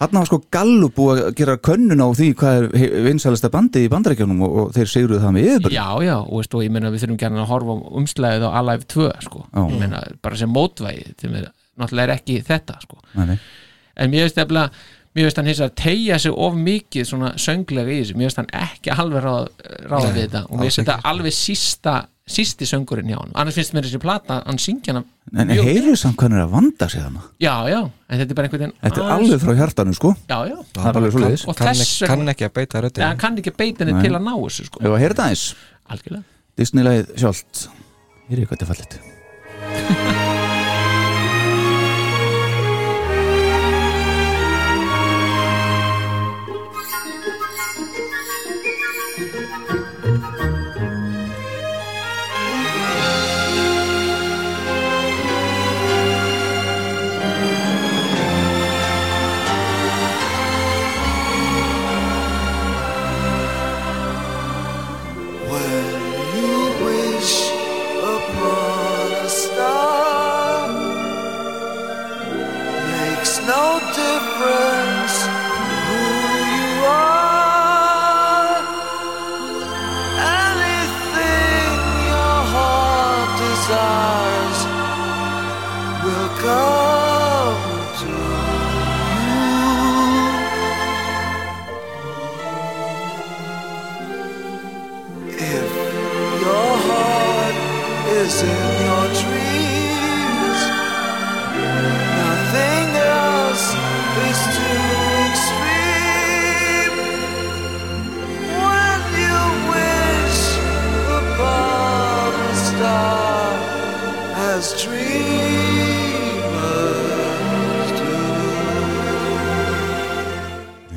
[SPEAKER 1] Þarna var sko Gallup búið að gera könnun á því hvað er he- vinsælasta bandið í bandarækjunum og, og þeir sigruðu það með yfirbörn
[SPEAKER 3] já, já, og, veist, og ég meina við þurfum gæna að horfa á umslæðið á Alive 2 sko.
[SPEAKER 1] Já.
[SPEAKER 3] Ég meina, bara sem mótvæði þeim er, náttúrulega er ekki þetta sko.
[SPEAKER 1] Nei, nei.
[SPEAKER 3] en mér finnst nefnilega mér finnst hann hins að tegja sig of mikið svona sönglega í þessu, mér finnst hann ekki alveg ráð, ráða við þetta og mér finnst
[SPEAKER 1] sko.
[SPEAKER 3] þetta alveg sísta, sísti söngurinn hjá hann annars finnst mér þessi plata, hann syngja hann
[SPEAKER 1] En heyrðu samt hvernig er að vanda sig hana
[SPEAKER 3] já, já, en þetta er bara einhvern veginn
[SPEAKER 1] Þetta er
[SPEAKER 3] aðeins-
[SPEAKER 1] alveg frá hjartanu sko
[SPEAKER 3] já, já,
[SPEAKER 1] Það er alveg svo leiðis
[SPEAKER 3] og
[SPEAKER 2] kann,
[SPEAKER 3] þess
[SPEAKER 2] ekki,
[SPEAKER 3] vegna
[SPEAKER 2] kann ekki að beita
[SPEAKER 3] ja,
[SPEAKER 2] röddina
[SPEAKER 3] hann kann ekki beita henni til að ná þessu sko.
[SPEAKER 1] Ef að heyrða aðeins
[SPEAKER 3] algjörlega
[SPEAKER 1] Disney-lagið sjálft Heyrðu hvað þetta er fallit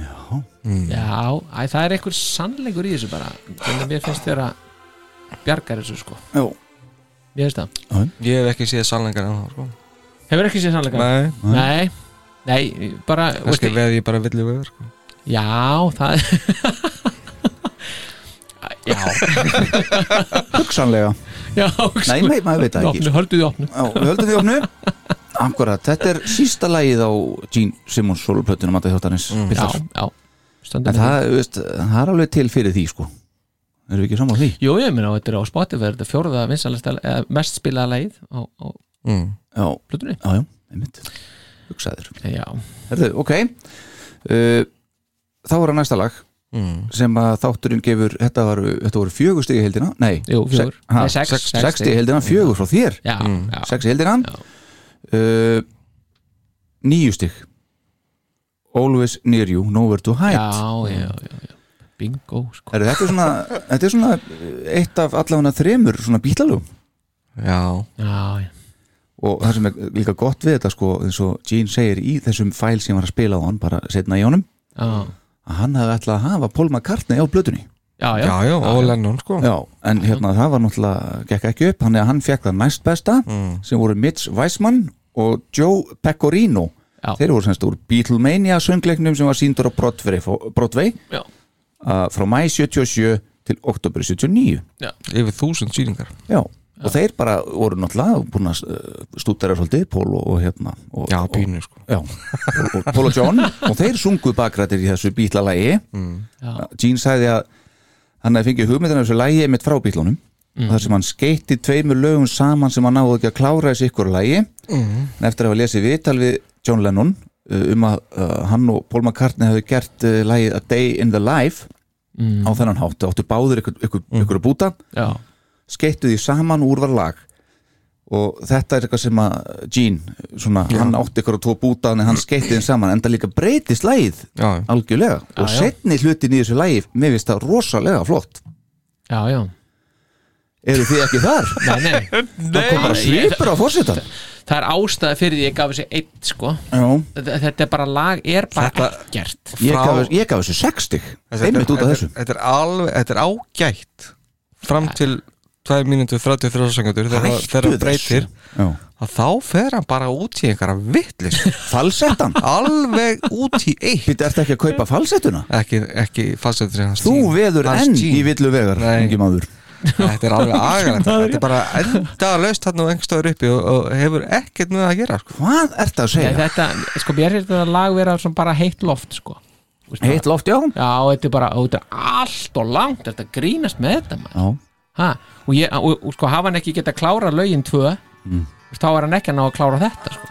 [SPEAKER 3] já, æ, það er einhver sannleikur í þessu bara þannig að mér finnst þér að bjargar þessu sko,
[SPEAKER 1] Já,
[SPEAKER 3] mér finnst það
[SPEAKER 2] ég hef ekki séð sannleikar ennþá sko.
[SPEAKER 3] hefur ekki séð sannleikur?
[SPEAKER 2] nei,
[SPEAKER 3] nei, nei, bara
[SPEAKER 2] kannski
[SPEAKER 3] veistu,
[SPEAKER 2] veð ég bara villi veður sko.
[SPEAKER 3] já, það já,
[SPEAKER 1] hugsanlega
[SPEAKER 3] já
[SPEAKER 1] Nei, nei, maður veit það ekki sko.
[SPEAKER 3] opnu, höldu því opnu
[SPEAKER 1] Já, við höldum því opnu Akkurat, þetta er sísta lagið á Gene Simmons soloplötunum að þjóttanins mm.
[SPEAKER 3] já, já,
[SPEAKER 1] En
[SPEAKER 3] stöndum
[SPEAKER 1] það, veist, það er alveg til fyrir því sko Erum við ekki saman því?
[SPEAKER 3] Jú, ég meina, þetta er á Spotify, þetta er fjóruða vinsalasta, eða mest spilaða lagið á, á
[SPEAKER 2] mm.
[SPEAKER 1] Já,
[SPEAKER 3] plötunni.
[SPEAKER 1] já, já, einmitt Hugsaður
[SPEAKER 3] Já,
[SPEAKER 1] Herðu, ok uh, Þá er að næsta lag
[SPEAKER 2] Mm.
[SPEAKER 3] Hmm.
[SPEAKER 1] sem að þátturinn gefur Þetta, var, þetta voru fjögur stig í heildina Nei,
[SPEAKER 3] jú, fjór.
[SPEAKER 1] Se- ha,
[SPEAKER 3] Nei, sex.
[SPEAKER 2] sex-
[SPEAKER 3] sex
[SPEAKER 1] sex stig
[SPEAKER 3] stig.
[SPEAKER 1] í heildina, fjögur frá þér
[SPEAKER 3] Já, já.
[SPEAKER 1] Mm. Sex í heildina
[SPEAKER 3] Já.
[SPEAKER 1] uh, Níu stig Always near you, nowhere to hide
[SPEAKER 3] já, já, já, já. Bingo, sko.
[SPEAKER 1] Er, þetta, er svona, þetta er svona eh, eitt af allavega þremur svona bílalugum
[SPEAKER 2] já,
[SPEAKER 3] Já, já.
[SPEAKER 1] og það sem er líka gott við þetta sko eins og Gene segir í þessum fæl sem var að spila á hann bara setna í honum
[SPEAKER 3] Já,
[SPEAKER 1] að hann hafði ætlað að hafa Paul McCartney á blötunni
[SPEAKER 3] já, já.
[SPEAKER 2] já, já, og Lennon sko.
[SPEAKER 1] Já, en hérna það var náttúrulega gekk ekki upp, hann, hann fekk það næst besta sem voru Mitch Weissman og Joe Pecorino
[SPEAKER 3] Já.
[SPEAKER 1] þeir voru semst úr Beatlemania söngleiknum sem var síndur á Broadway, Broadway
[SPEAKER 3] Já.
[SPEAKER 1] uh, frá mæ 77 til oktober 79
[SPEAKER 2] yfir þúsund sýningar
[SPEAKER 1] Já, og þeir bara voru náttúrulega búin að stúttara svolítið Pól og, og hérna og,
[SPEAKER 2] já,
[SPEAKER 1] og,
[SPEAKER 2] pínu sko.
[SPEAKER 1] já, og, og Pól og John og þeir sungu bakrættir í þessu bítlalagi mm.
[SPEAKER 3] Já.
[SPEAKER 1] Gene sagði að hann hefði fengið hugmyndina af þessu lagi mitt frá bítlunum mm. þar sem hann skeitti tveimur lögum saman sem hann náði ekki að klára þessu ykkur lagi mm. en eftir að hafa lesið vital við John Lennon uh, um að uh, hann og Paul McCartney hefðu gert uh, lagið A Day in the Life á þennan hátt, áttu báður ykkur, ykkur, ykkur að búta
[SPEAKER 3] Já,
[SPEAKER 1] skeittu því saman úr var lag og þetta er eitthvað sem að Gene, svona, hann átti ykkur og tvo búta en hann skeitti þeim saman, en það líka breytist lagið
[SPEAKER 2] já,
[SPEAKER 1] algjörlega og
[SPEAKER 3] já.
[SPEAKER 1] setni hlutin í þessu lagi, mér finnst það rosalega flott
[SPEAKER 3] já, já.
[SPEAKER 1] eru þið ekki þar?
[SPEAKER 3] Nei, nei.
[SPEAKER 1] það kom bara svipur á fórsetan
[SPEAKER 3] Það er ástæði fyrir því ég gaf þessi eitt, sko.
[SPEAKER 1] ég
[SPEAKER 3] Þetta þetta er bara lag, er bara
[SPEAKER 2] Þetta-
[SPEAKER 3] ekkert.
[SPEAKER 1] gaf, ég gaf þessu 60
[SPEAKER 2] Þetta er-
[SPEAKER 1] einmitt út af
[SPEAKER 2] þetta er-
[SPEAKER 1] þessu
[SPEAKER 2] þetta er alveg, þetta er ágætt fram til 2 mínútur 33 sekundur þegar
[SPEAKER 1] Hættu
[SPEAKER 2] þegar hann
[SPEAKER 1] þessu.
[SPEAKER 2] breytir
[SPEAKER 1] Já.
[SPEAKER 2] að þá fer hann bara út í einhverja vittlis
[SPEAKER 1] Falsettan?
[SPEAKER 2] alveg út í eitt
[SPEAKER 1] Býttu, ertu ekki að kaupa falsettuna?
[SPEAKER 2] ekki, ekki falsettur hans
[SPEAKER 1] Þú
[SPEAKER 2] jean-
[SPEAKER 1] veður
[SPEAKER 2] hans
[SPEAKER 1] enn
[SPEAKER 2] jean.
[SPEAKER 1] í villu vegar
[SPEAKER 2] Nei.
[SPEAKER 1] ungi maður.
[SPEAKER 2] þetta er alveg agalegt þetta er bara enda löst hann og engstöður uppi og, og hefur ekkert með það að gera sko.
[SPEAKER 1] Hvað ertu að
[SPEAKER 3] Nei,
[SPEAKER 1] segja?
[SPEAKER 3] þetta, sko, mér er þetta lag vera svona bara heitt loft, sko Þú veist,
[SPEAKER 1] Heitt loft, já
[SPEAKER 3] Já, og þetta er bara, og þetta er allt og langt Þetta grínast með þetta, maður
[SPEAKER 1] Já,
[SPEAKER 3] ha, og, ég, og, og sko, hafa hann ekki geta klára lögin tvö mm. þá er hann ekki að ná að klára þetta sko.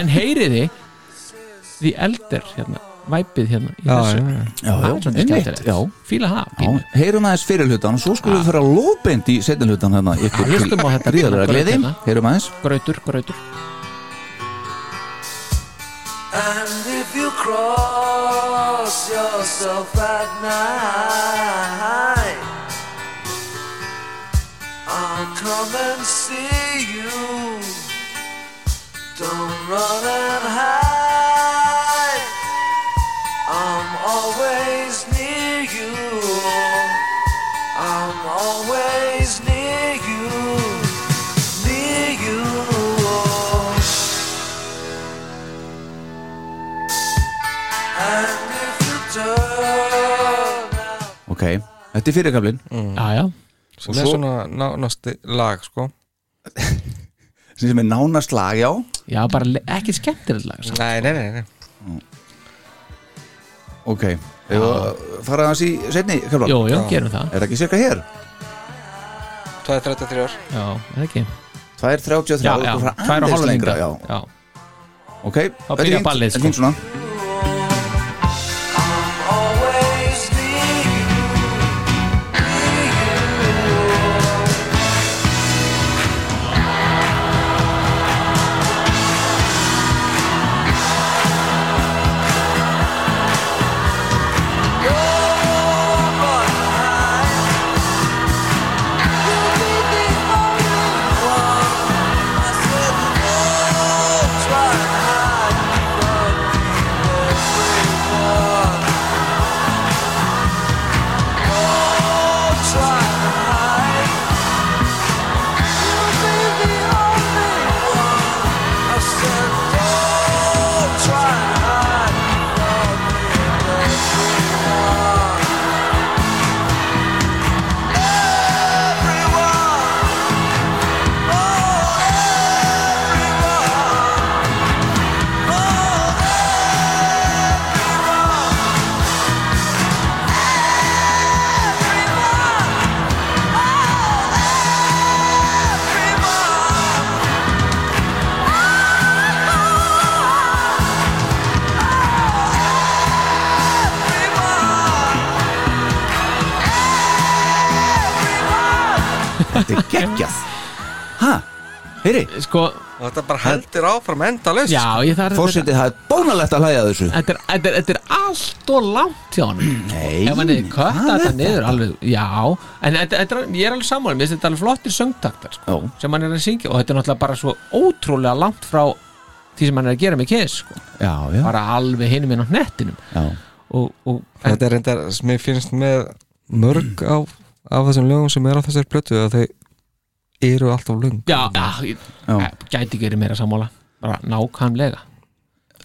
[SPEAKER 3] En heyriði Því eldir hérna, væpið hérna í
[SPEAKER 2] Já,
[SPEAKER 3] þessu
[SPEAKER 2] já, já.
[SPEAKER 1] já, já,
[SPEAKER 3] Það er svolítið
[SPEAKER 1] einmitt,
[SPEAKER 3] skemmtilegt.
[SPEAKER 1] já.
[SPEAKER 3] Fíla það
[SPEAKER 1] já
[SPEAKER 3] pínu.
[SPEAKER 1] Heyrum aðeins fyrir hlutan og svo skulum við fara lóðbind í setin hlutan hérna ykkur
[SPEAKER 3] Já, hlustum á þetta.
[SPEAKER 1] ríðalega gleði
[SPEAKER 3] Hérna.
[SPEAKER 1] Heyrum aðeins
[SPEAKER 3] Grautur, grautur
[SPEAKER 7] And if you cross yourself at night, I'll come and see you. Don't run and hide. I'm always near you. I'm always near you. Near you. And if you turn out
[SPEAKER 1] Ok, þetta er fyrirkaflin
[SPEAKER 3] Já, já,
[SPEAKER 2] og með svona nánasti lag sko.
[SPEAKER 1] sem er nánast lag, já
[SPEAKER 3] já, bara le- ekki skemmtilegt lag sko.
[SPEAKER 2] nei, nei, nei, nei.
[SPEAKER 1] Ok, hefur að fara aðeins í setni kaflan
[SPEAKER 3] Jó, já, gerum það
[SPEAKER 1] Er það ekki cirka hér?
[SPEAKER 2] 2.33 ár
[SPEAKER 3] Já, eða ekki
[SPEAKER 1] 2.33
[SPEAKER 3] Já,
[SPEAKER 1] og
[SPEAKER 3] já,
[SPEAKER 1] fara
[SPEAKER 3] tvær og
[SPEAKER 1] aðeins
[SPEAKER 3] hálfa
[SPEAKER 1] lengra,
[SPEAKER 3] lengda
[SPEAKER 1] já.
[SPEAKER 3] Já,
[SPEAKER 1] Ok, þetta er
[SPEAKER 3] byrjar
[SPEAKER 1] fínt, þetta
[SPEAKER 3] ballið,
[SPEAKER 1] er
[SPEAKER 3] sko.
[SPEAKER 1] fínt svona
[SPEAKER 7] always near you.
[SPEAKER 1] Þetta er geggjað Ha, heyri,
[SPEAKER 3] sko,
[SPEAKER 2] og þetta bara heldur áfram enda löst
[SPEAKER 3] já, ég þarf
[SPEAKER 1] fórsetið það er bónalegt að hlæja að þessu
[SPEAKER 3] Þetta er, þetta, er, þetta er allt og langt hjá hann
[SPEAKER 1] Mm, Nei,
[SPEAKER 3] ef hann er kött
[SPEAKER 1] hvað
[SPEAKER 3] þetta
[SPEAKER 1] er
[SPEAKER 3] niður alveg, já en þetta, þetta, er- ég er alveg sammála, mér finnst þetta alveg flottir söngtaktar sko,
[SPEAKER 1] Já.
[SPEAKER 3] sem hann er að syngja og þetta er náttúrulega bara svo ótrúlega langt frá því sem hann er að gera með kiss sko.
[SPEAKER 1] Já, já,
[SPEAKER 3] bara alveg hinum inn á hnettinum
[SPEAKER 1] já
[SPEAKER 3] og, og en,
[SPEAKER 2] þetta er reyndar, sem mér finnst með mörg á, af þessum lögum sem er á þessari plötu að þau eru alltaf löng
[SPEAKER 3] já, já, ég,
[SPEAKER 1] Já.
[SPEAKER 3] já. gæti ekki verið meira sammála bara nákvæmlega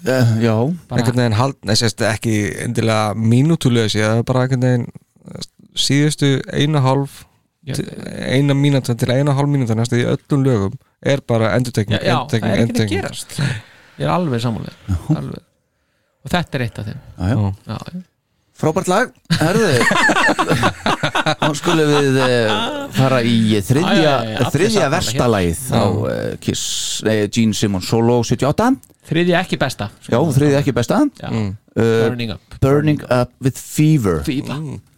[SPEAKER 1] Eh, Já,
[SPEAKER 3] bara,
[SPEAKER 2] einhvern veginn hald, nei, sérst, ekki endilega mínútulösi, það er bara einhvern veginn síðustu eina hálf
[SPEAKER 3] Já.
[SPEAKER 2] til- eina mínútu til eina hálf mínútu næstu í öllum lögum er bara
[SPEAKER 3] já,
[SPEAKER 2] endurtekning,
[SPEAKER 3] já, það er
[SPEAKER 2] endurtekning,
[SPEAKER 3] ekki að
[SPEAKER 2] endurtekning
[SPEAKER 3] gerast ég er alveg sammála alveg. og þetta er eitt af þeim
[SPEAKER 1] já, já
[SPEAKER 3] já, já.
[SPEAKER 1] Frábært lag, herðu Þá skulum við eh, fara í
[SPEAKER 3] Já,
[SPEAKER 1] þriðja,
[SPEAKER 3] já, já, já, allir
[SPEAKER 1] þriðja
[SPEAKER 3] sammála
[SPEAKER 1] versta
[SPEAKER 3] hér.
[SPEAKER 1] lagið á eh, Kiss, nei, Gene Simmons Solo 78,
[SPEAKER 3] þriðja ekki besta sko.
[SPEAKER 1] já, þriðja ekki besta
[SPEAKER 3] já.
[SPEAKER 1] uh,
[SPEAKER 3] Burning Up
[SPEAKER 1] Burning Up With Fever
[SPEAKER 3] Fýla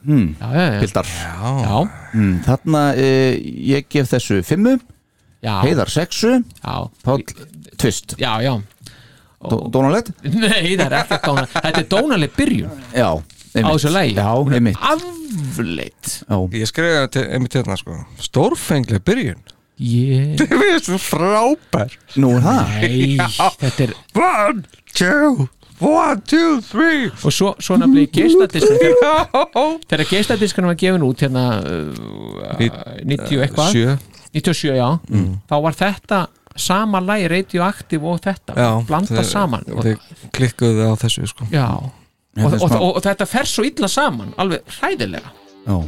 [SPEAKER 2] Mm.
[SPEAKER 3] já, já, já.
[SPEAKER 1] Pildar,
[SPEAKER 3] já,
[SPEAKER 1] mm, þarna uh, ég gef þessu fimmu,
[SPEAKER 3] já,
[SPEAKER 1] Heiðar sexu
[SPEAKER 3] já,
[SPEAKER 1] Páll tvist,
[SPEAKER 3] já, já.
[SPEAKER 1] dónalegt
[SPEAKER 3] Nei, það er ekki dóna Þetta er dónaleg byrjun
[SPEAKER 1] Já,
[SPEAKER 3] á
[SPEAKER 1] einmitt.
[SPEAKER 3] þessu lægi
[SPEAKER 1] Já, einmitt
[SPEAKER 3] Afleitt
[SPEAKER 1] Já,
[SPEAKER 2] ég skrifaði það til einmitt hérna sko stórfenglega byrjun
[SPEAKER 3] yeah.
[SPEAKER 2] Mér finnst það frábær
[SPEAKER 1] nú er það
[SPEAKER 3] Nei, þetta er
[SPEAKER 2] One, two, One, two, three
[SPEAKER 3] og svo, svo nafnir geisladiskur þegar geisladiskur var gefin út hérna
[SPEAKER 2] Nít-
[SPEAKER 3] uh, 90 eitthvað
[SPEAKER 2] Sjö Mm.
[SPEAKER 3] 97 já, þá var þetta sama lagi radioaktiv og þetta
[SPEAKER 2] Já,
[SPEAKER 3] blanda
[SPEAKER 2] þeir-
[SPEAKER 3] saman og,
[SPEAKER 2] Þeir klikkuðu á þessu sko
[SPEAKER 3] já, og,
[SPEAKER 1] þetta er
[SPEAKER 3] og,
[SPEAKER 1] smá-
[SPEAKER 3] og, og þetta fer svo illa saman alveg hræðilega
[SPEAKER 1] Já.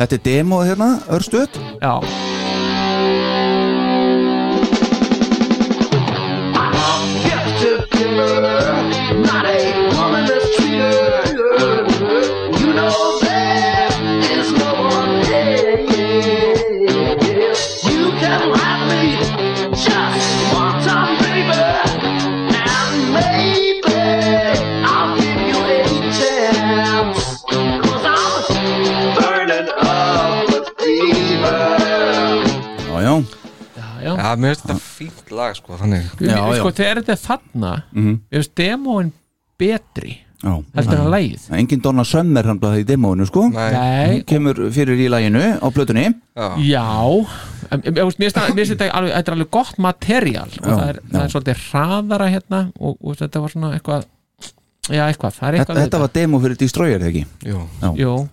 [SPEAKER 1] Þetta er demo hérna, örstuð
[SPEAKER 3] já,
[SPEAKER 1] Já, já,
[SPEAKER 3] já, já.
[SPEAKER 2] Já, mér finnst þetta fínt lag sko Þannig
[SPEAKER 3] Ég-
[SPEAKER 1] Já, já.
[SPEAKER 3] sko, þegar þetta er þarna
[SPEAKER 2] Mhm.
[SPEAKER 3] ég veist demóin betri
[SPEAKER 1] já.
[SPEAKER 3] heldur en lagið
[SPEAKER 1] Engin Donna Summer hann blaði í demóinu sko
[SPEAKER 2] Nei,
[SPEAKER 3] Nei,
[SPEAKER 1] Hún kemur fyrir í læginu á plötunni
[SPEAKER 2] já,
[SPEAKER 3] Já em- em- em- veist, Mér finnst- mér finnst þetta alveg- þetta er alveg gott material og
[SPEAKER 1] Já,
[SPEAKER 3] það er, það er svolítið hraðara hérna og, og þetta var svona eitthvað Já, eitthvað, það er
[SPEAKER 1] Þetta,
[SPEAKER 3] eitthvað við
[SPEAKER 1] þetta var demo fyrir Destroyer eða ekki
[SPEAKER 2] jú
[SPEAKER 3] Jú,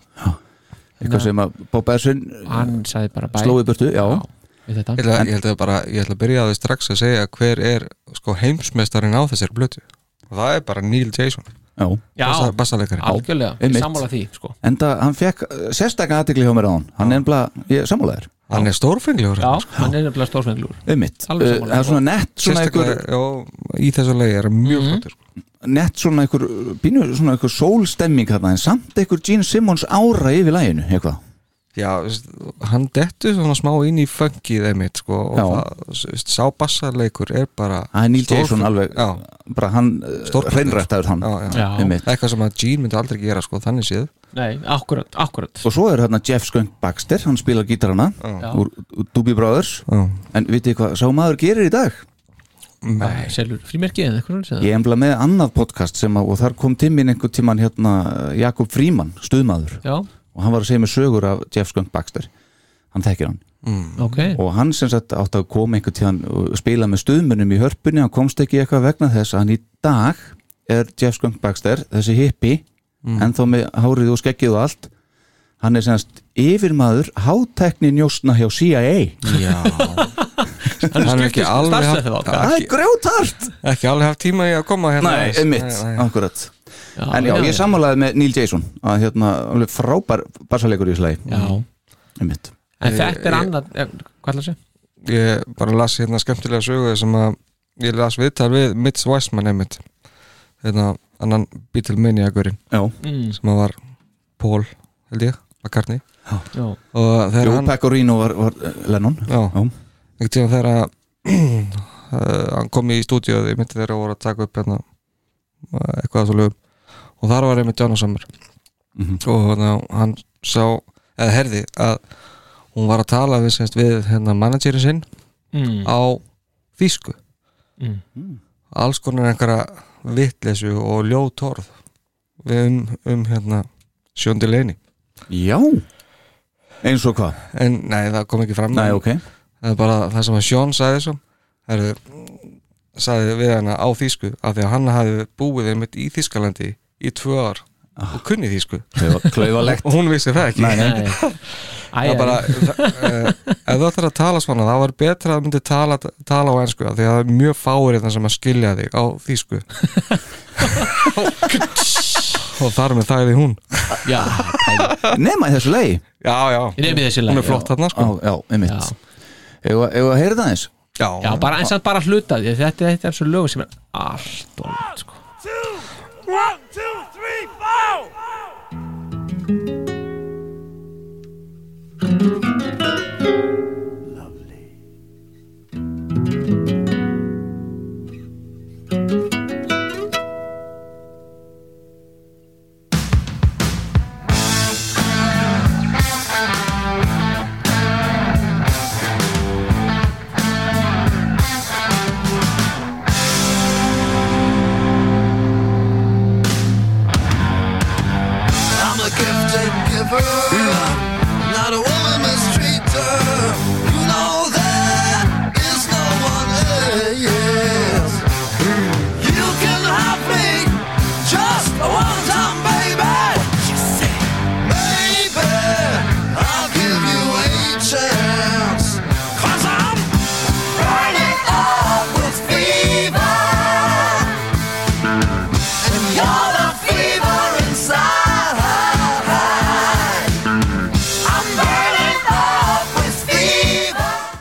[SPEAKER 1] Eitthvað
[SPEAKER 3] Nei.
[SPEAKER 1] sem að Bob Ersin
[SPEAKER 3] hann sagði bara bæ
[SPEAKER 1] slói burtu Já,
[SPEAKER 3] við
[SPEAKER 2] Ég
[SPEAKER 3] þetta
[SPEAKER 2] ætla, ég, ætla bara, ég ætla að byrja á því strax að segja hver er sko, heimsmeistarinn á þessari blötu og það er bara Neil Jason
[SPEAKER 1] já
[SPEAKER 3] Já,
[SPEAKER 2] bassa- bassaleikari.
[SPEAKER 3] algjörlega, ég
[SPEAKER 1] einmitt.
[SPEAKER 3] sammála því sko.
[SPEAKER 1] Enda hann fekk uh, sérstaka aðtikli hjá mér á hann Hann er ennbla, ég sammála þér
[SPEAKER 2] hann er stórfenglegur
[SPEAKER 1] hérna,
[SPEAKER 3] Já,
[SPEAKER 1] sko.
[SPEAKER 3] hann er nefnilega stórsvenglur
[SPEAKER 1] Um mitt Uh,
[SPEAKER 3] Alveg sammála.
[SPEAKER 1] Það er svona nett svona einhver
[SPEAKER 2] sérstaklega já, í þessu lagi er hann mjög mm flottur sko.
[SPEAKER 1] Nett svona einhver uh, Bínu svona einhver sólstemming þarna En samt einhver Gene Simmons ára yfir læginu Eitthvað
[SPEAKER 2] já, veist, hann dettu svona smá inn í funkið einmitt sko, og
[SPEAKER 1] Já.
[SPEAKER 2] það, veist, sá bassaleikur er bara
[SPEAKER 1] Það er Neil
[SPEAKER 2] stórfeng-
[SPEAKER 1] Jason alveg
[SPEAKER 2] já,
[SPEAKER 1] Bara hann
[SPEAKER 2] Stórkostlegur.
[SPEAKER 1] Hreinrættaður hann
[SPEAKER 2] já, já.
[SPEAKER 3] Já,
[SPEAKER 1] Um mitt
[SPEAKER 2] eitthvað sem að Gene myndi aldrei gera sko, þannig séð
[SPEAKER 3] nei, akkurat, akkurat
[SPEAKER 1] Og svo er hérna Jeff Skunk Baxter, hann spilar gítarana
[SPEAKER 3] Já.
[SPEAKER 1] úr úr Doobie Brothers
[SPEAKER 2] Já.
[SPEAKER 1] En vitið hvað sá maður gerir í dag?
[SPEAKER 3] Nei. Selur frímerkið eða eitthvað yeah.
[SPEAKER 1] Ég emla með annað podcast sem að, og þar kom timmin einhvern tíman hérna Jakob Fríman, stuðmaður
[SPEAKER 3] Já,
[SPEAKER 1] og hann var að segja mér sögur af Jeff Skunk Baxter hann þekkir hann
[SPEAKER 3] ok
[SPEAKER 1] og hann sem sagt átti að koma einhvern tíðan og spila með stuðmunum í hörpunni hann komst ekki eitthvað vegna þess að hann í dag er Jeff Skunk Baxter, þessi hippi en þá með hárið og skeggið og allt hann er semast yfirmaður hátekni njósna hjá CIA
[SPEAKER 2] já hann er ekki alveg haft,
[SPEAKER 3] starfsæðið
[SPEAKER 1] það er
[SPEAKER 2] ekki,
[SPEAKER 1] grjótart
[SPEAKER 2] ekki alveg haft tíma í að koma hérna
[SPEAKER 1] nei, einmitt,
[SPEAKER 2] Nei, nei.
[SPEAKER 1] akkurat en já, ég sammálaði með Neil Jason að hérna, alveg frábær bassalegur í slagi,
[SPEAKER 3] Já,
[SPEAKER 1] einmitt
[SPEAKER 3] en þetta er
[SPEAKER 2] ég-
[SPEAKER 3] annað eh, Hvað ætla að segja?
[SPEAKER 2] ég bara las hérna skemmtilega sögu sem að ég las viðtal við Mitch Weissman einmitt hérna annan Beatlemaniakurinn
[SPEAKER 1] já,
[SPEAKER 3] Mm,
[SPEAKER 2] sem að var Paul held ég, McCartney
[SPEAKER 3] já,
[SPEAKER 2] og þegar
[SPEAKER 1] Joe
[SPEAKER 2] hann
[SPEAKER 1] Pecorino var, var eh, Lennon
[SPEAKER 2] já, einhvern tíma þegar að eh, hann kom í stúdíóð ég myndi þegar að voru að taka upp hérna eh, eitthvað að svo lögum og þar var einmitt Jonas Summer
[SPEAKER 1] Mhm.
[SPEAKER 2] og hérna, hann sá eða herði að hún var að tala við, semst, við hérna managerin sinn
[SPEAKER 3] mm,
[SPEAKER 2] á þýsku
[SPEAKER 3] Mm.
[SPEAKER 2] alls konar einhverja vitleysu og ljótorð um, um hérna sjöndi leini
[SPEAKER 1] já eins og hvað,
[SPEAKER 2] en nei það kom ekki fram
[SPEAKER 1] nei ok
[SPEAKER 2] það er bara það sem að Sjón sagði svo herðu, sagði við hana á þýsku af því að hann hafi búið einmitt í Þýskalandi í tvö ár og kunni þýsku
[SPEAKER 1] Klaufa- klaufalegt
[SPEAKER 2] og hún vissi það ekki
[SPEAKER 1] Nei, nei.
[SPEAKER 3] nei Æ,
[SPEAKER 2] Það
[SPEAKER 3] æ,
[SPEAKER 2] er bara, uh, ef þú ættir að tala svona þá var betra að þú myndir tala, tala á ensku af því að það er mjög fáir þannig sem að skilja þig á þýsku og þar með þæði hún
[SPEAKER 3] já, pæli.
[SPEAKER 1] nema í þessu lagi
[SPEAKER 2] Já, já,
[SPEAKER 3] Nefnið þessi
[SPEAKER 2] hún
[SPEAKER 3] lagi,
[SPEAKER 2] er flott þarna
[SPEAKER 1] á,
[SPEAKER 2] sko
[SPEAKER 1] já,
[SPEAKER 3] Já.
[SPEAKER 1] einmitt Eða að heyra það eins
[SPEAKER 2] Já,
[SPEAKER 3] Já, bara eins og bara hluta því þetta, þetta er svo lög sem er allt og langt sko.
[SPEAKER 8] One, two, three, four!
[SPEAKER 9] Hmm.
[SPEAKER 2] já,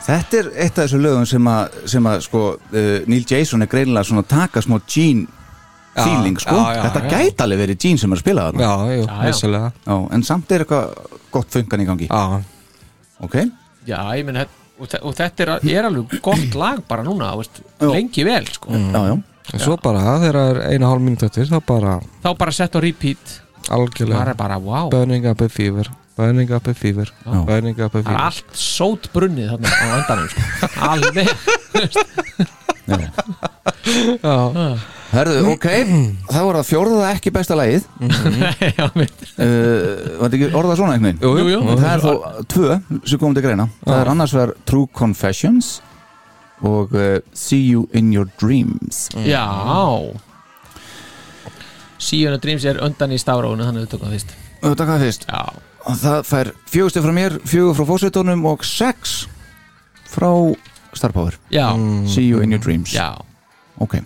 [SPEAKER 1] eitt af þessu lögum sem að, sem að sko, uh, Neil Jason er greinilega svona að taka smá Gene feeling sko.
[SPEAKER 2] já, já,
[SPEAKER 1] þetta
[SPEAKER 2] já.
[SPEAKER 1] gæti alveg verið Gene sem er að spila þarna
[SPEAKER 2] Já, jú, vissulega
[SPEAKER 1] Já, en samt er eitthvað gott funkan í gangi
[SPEAKER 2] Já,
[SPEAKER 1] ok,
[SPEAKER 3] já, ég minn og, þe- og þetta er, er alveg gott lag bara núna, þú veist, lengi vel sko.
[SPEAKER 1] já, já
[SPEAKER 2] en svo bara þegar það er eina hálf mínúti eftir þá bara
[SPEAKER 3] þá bara sett á repeat bara,
[SPEAKER 2] algjörlega
[SPEAKER 3] bara, wow,
[SPEAKER 2] Burning up a fever Burning up a fever
[SPEAKER 1] Já.
[SPEAKER 2] Burning up a
[SPEAKER 3] það er
[SPEAKER 2] fever
[SPEAKER 3] allt sót brunnið þarna á endanum sko. alveg,
[SPEAKER 1] Herðu, ok, þá var það fjórða ekki besta lagið
[SPEAKER 3] já, mitt
[SPEAKER 1] uh, Var þetta ekki orðað svona einhvern veginn?
[SPEAKER 3] jú, jú.
[SPEAKER 1] En Það er þó tvö sem komum til greina Það er annars vegar True Confessions og uh, See You In Your Dreams
[SPEAKER 3] Já Síuna Dreams er undan í stafrónu þannig að við tökum það fyrst
[SPEAKER 1] Þetta hvað fyrst
[SPEAKER 3] Já,
[SPEAKER 1] Og Það fær fjögustu frá mér, fjögur frá fósitónum og sex frá Star Power
[SPEAKER 3] já,
[SPEAKER 1] See You In Your Dreams
[SPEAKER 3] já.
[SPEAKER 1] Ok,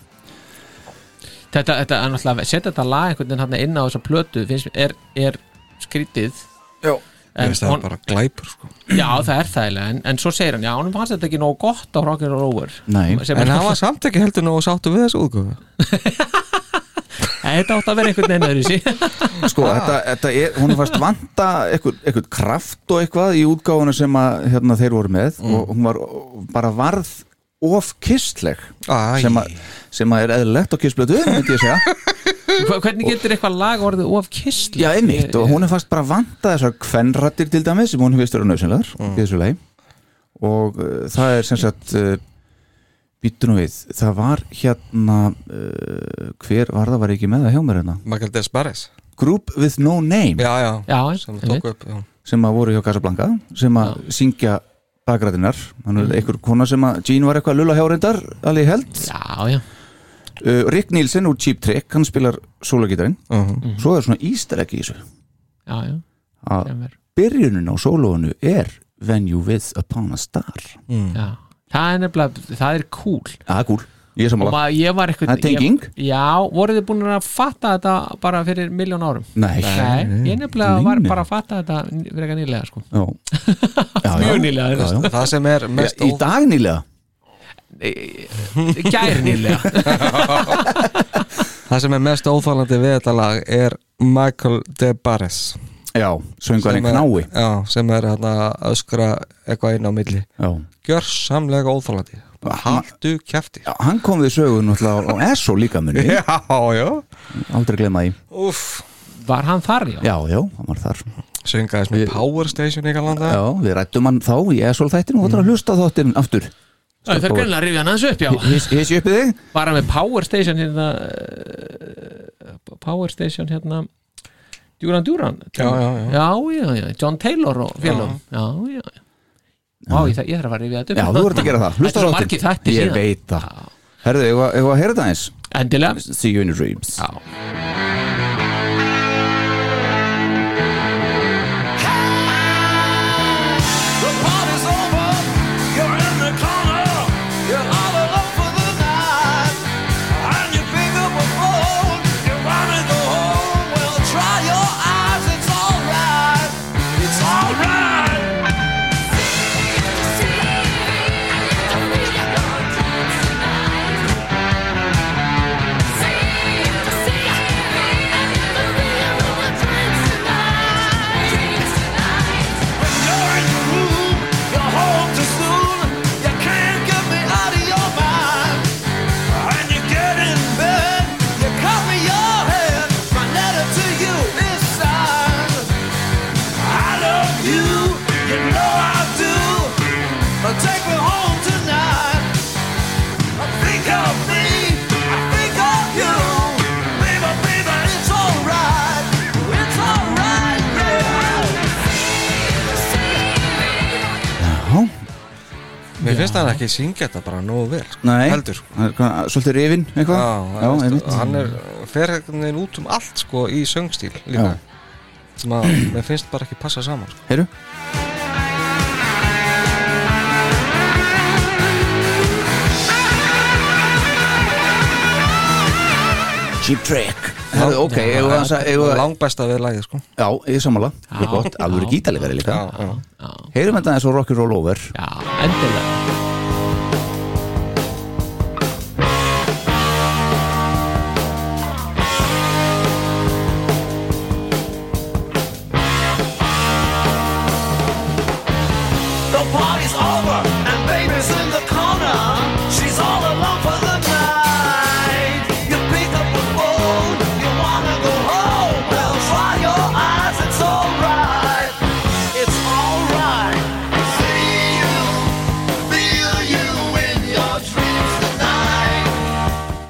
[SPEAKER 3] Þetta, þetta er náttúrulega setja þetta lag einhvern veginn þarna inn á þessa plötu finnst, mér, er, er skrítið
[SPEAKER 1] Já.
[SPEAKER 2] Ég
[SPEAKER 3] en,
[SPEAKER 2] veist það er
[SPEAKER 3] hon,
[SPEAKER 2] bara glæpur sko
[SPEAKER 3] Já, það er þægilega en, en svo segir hann, já, honum fannst þetta ekki nógu gott á Rocker og Rover
[SPEAKER 1] nei
[SPEAKER 3] Sem er
[SPEAKER 2] En hann
[SPEAKER 3] náttúrulega-
[SPEAKER 2] var samt ekki heldur nógu sáttu við þessu útgöfu
[SPEAKER 3] Nei, Þetta átti að vera einhvern veginn öðru
[SPEAKER 1] Sko, þetta, þetta er, hún er fast vanta eitthvað, eitthvað kraft og eitthvað í útgáfuna sem að, hérna, þeir voru með og hún var bara varð of kistleg
[SPEAKER 2] Æ.
[SPEAKER 1] sem, að- sem að er eðlilegt og kistblötu myndi ég segja
[SPEAKER 3] Hvernig getur eitthvað lag orðið of kistli?
[SPEAKER 1] Já, einmitt og hún er fast bara vanta þessar kvenrættir til dæmi sem hún hefist verið nöðsynlegar í þessu lei og uh, það er sem sagt uh, býttu nú við, það var hérna uh, hver var það var ekki með það hjá mér hérna
[SPEAKER 2] Michael Despares
[SPEAKER 1] Group with no name
[SPEAKER 2] Já, já,
[SPEAKER 3] Já,
[SPEAKER 2] sem
[SPEAKER 3] einmitt.
[SPEAKER 2] tók upp já.
[SPEAKER 1] sem að voru hjá Casablanca sem að syngja bakgræðinar þannig
[SPEAKER 3] Mhm.
[SPEAKER 1] að einhver kona sem að Gene var eitthvað að lulla hjá reyndar alveg ég held
[SPEAKER 3] Já, já,
[SPEAKER 1] uh, Rick Nielsen úr Cheap Trick, hann spilar sólagítarinn,
[SPEAKER 2] Mhm.
[SPEAKER 1] svo er svona easter ekki í þessu
[SPEAKER 3] já, já,
[SPEAKER 1] að
[SPEAKER 3] já,
[SPEAKER 1] byrjunin á sólóinu er When You With Upon a Star
[SPEAKER 3] já. Það er nefnilega, það er cool
[SPEAKER 1] það er kúl, Ah, ég er
[SPEAKER 3] og
[SPEAKER 1] sammála
[SPEAKER 3] maður, ég var eitthvað
[SPEAKER 1] Það er tenging.
[SPEAKER 3] ég, já, voruð þið búin að fatta þetta bara fyrir miljón árum
[SPEAKER 1] Nei,
[SPEAKER 3] nei, ég nefnilega
[SPEAKER 1] Nei,
[SPEAKER 3] var
[SPEAKER 1] nei.
[SPEAKER 3] bara að fatta þetta n- frekar nýlega sko.
[SPEAKER 1] Já. Já, já.
[SPEAKER 3] Mjög nýlega,
[SPEAKER 1] Já, já.
[SPEAKER 2] Það sem er
[SPEAKER 1] Já,
[SPEAKER 2] mest
[SPEAKER 1] Í dag nýlega
[SPEAKER 3] gær nýlega
[SPEAKER 2] Það sem er mest óþálandi við þetta lag er Michael De Barres
[SPEAKER 1] Já, söngvarinn
[SPEAKER 2] Sem er-
[SPEAKER 1] knái
[SPEAKER 2] Já, sem er hann að öskra eitthvað inn á milli
[SPEAKER 1] Já.
[SPEAKER 2] Gjörsamlega óþálandi
[SPEAKER 1] Hann,
[SPEAKER 2] Du kæfti
[SPEAKER 1] já, hann kom við sögu náttúrulega á ESO líka munni
[SPEAKER 2] Já, já
[SPEAKER 1] Aldrei glemma því
[SPEAKER 2] Úff
[SPEAKER 3] var hann þar já,
[SPEAKER 1] Já, já, hann var þar
[SPEAKER 2] Söngaðis með Power Station í landa
[SPEAKER 1] Já, við rættum hann þá í ESOL þættinu og þú ætlar að hlusta á þáttinn aftur
[SPEAKER 3] Æ, það er greinlega að rifja hann aðeins upp já
[SPEAKER 1] Hessi uppið þig?
[SPEAKER 3] var hann með Power Station hérna eh, Power Station hérna Duran Duran
[SPEAKER 2] Já, já, já.
[SPEAKER 3] já, já, John Taylor og félagum já, já, já Vá, ég, þa- ég þarf að rifja þetta upp
[SPEAKER 1] Já, þú ert að gera það
[SPEAKER 3] Þetta
[SPEAKER 1] Hlusta á
[SPEAKER 3] er svo margir
[SPEAKER 1] þáttinn
[SPEAKER 3] þættir
[SPEAKER 1] Ég
[SPEAKER 3] síðan
[SPEAKER 1] veit það Herðu, ég var að heyra þetta eins
[SPEAKER 3] Endilega
[SPEAKER 1] See you in your dreams
[SPEAKER 3] Já
[SPEAKER 7] The party's over, you're in the corner, you're all alone for the night. And you pick up a phone, you wanna go home. Well, try your eyes, it's alright, it's alright. You're in your room, you're home too soon. You can't get me out of your mind. When you get in bed, you cover your head. My letter to you is signed. I love you, you know I do. But take me home tonight. I think of me, I think of you. Baby, baby, it's alright. It's alright, yeah.
[SPEAKER 1] Já,
[SPEAKER 2] Mér finnst hann ekki syngja þetta bara nógu vel sko.
[SPEAKER 1] nei
[SPEAKER 2] Heldur sko.
[SPEAKER 1] Hann er hvað, Svolítið rifin, eitthvað
[SPEAKER 2] Já,
[SPEAKER 1] já
[SPEAKER 2] veist,
[SPEAKER 1] einmitt
[SPEAKER 2] Hann er ferðin út um allt sko í söngstíl líka
[SPEAKER 1] Já.
[SPEAKER 2] sem að mér finnst bara ekki passa saman sko.
[SPEAKER 1] Heyru Cheap trick Herðu, ok, eigum við aðeins að eigum við að-
[SPEAKER 2] Langbesta við lagið sko
[SPEAKER 1] Já, ég er sammála Það er gott, alveg gítalið verið líka
[SPEAKER 2] já.
[SPEAKER 1] Heyrum þetta eins og Rocky Roll Over
[SPEAKER 3] Já, endilega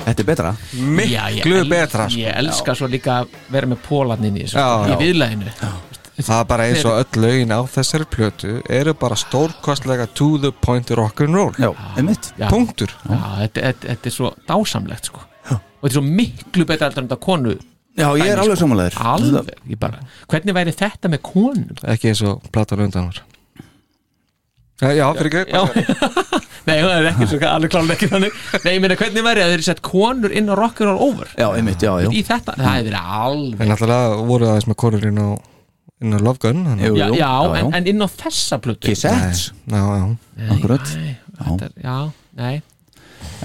[SPEAKER 1] þetta er betra
[SPEAKER 2] miklu
[SPEAKER 3] ég el-
[SPEAKER 2] betra sko.
[SPEAKER 3] Ég elska svo líka að vera með pólarnin í þessu
[SPEAKER 2] Já,
[SPEAKER 3] sko,
[SPEAKER 2] já.
[SPEAKER 3] Í viðlæðinu
[SPEAKER 2] það er bara eins og öll lögin á þessari plötu eru bara stórkostlega to the point rock'n'roll
[SPEAKER 1] Já, einmitt
[SPEAKER 3] Já.
[SPEAKER 2] punktur
[SPEAKER 3] Já, þetta, þetta, þetta er svo dásamlegt sko. og þetta er svo miklu betra heldur en þetta konu
[SPEAKER 1] Já, ég er
[SPEAKER 3] Dæmi,
[SPEAKER 1] alveg
[SPEAKER 3] sko.
[SPEAKER 1] samanlegur
[SPEAKER 3] alveg, ég bara, hvernig væri þetta með konum
[SPEAKER 2] ekki eins og platan undan var já, já fyrir greið
[SPEAKER 3] Já. Nei, það er ekki svo alveg klálega ekki þannig Nei, ég meina, hvernig væri að þeir sett konur inn á rock'n'roll over
[SPEAKER 1] Já, einmitt, já, já
[SPEAKER 3] í þetta, það hefur verið alveg
[SPEAKER 2] en náttúrulega voru aðeins með konur inn á inn á Love Gun þannig-
[SPEAKER 1] Jú,
[SPEAKER 3] Já,
[SPEAKER 1] jú,
[SPEAKER 3] já,
[SPEAKER 1] já,
[SPEAKER 3] En,
[SPEAKER 1] já.
[SPEAKER 3] en inn á þessa plötu
[SPEAKER 1] Kissets,
[SPEAKER 2] já, já
[SPEAKER 3] Nei,
[SPEAKER 1] akkurat.
[SPEAKER 3] nei,
[SPEAKER 1] Já.
[SPEAKER 3] þetta er- Já, nei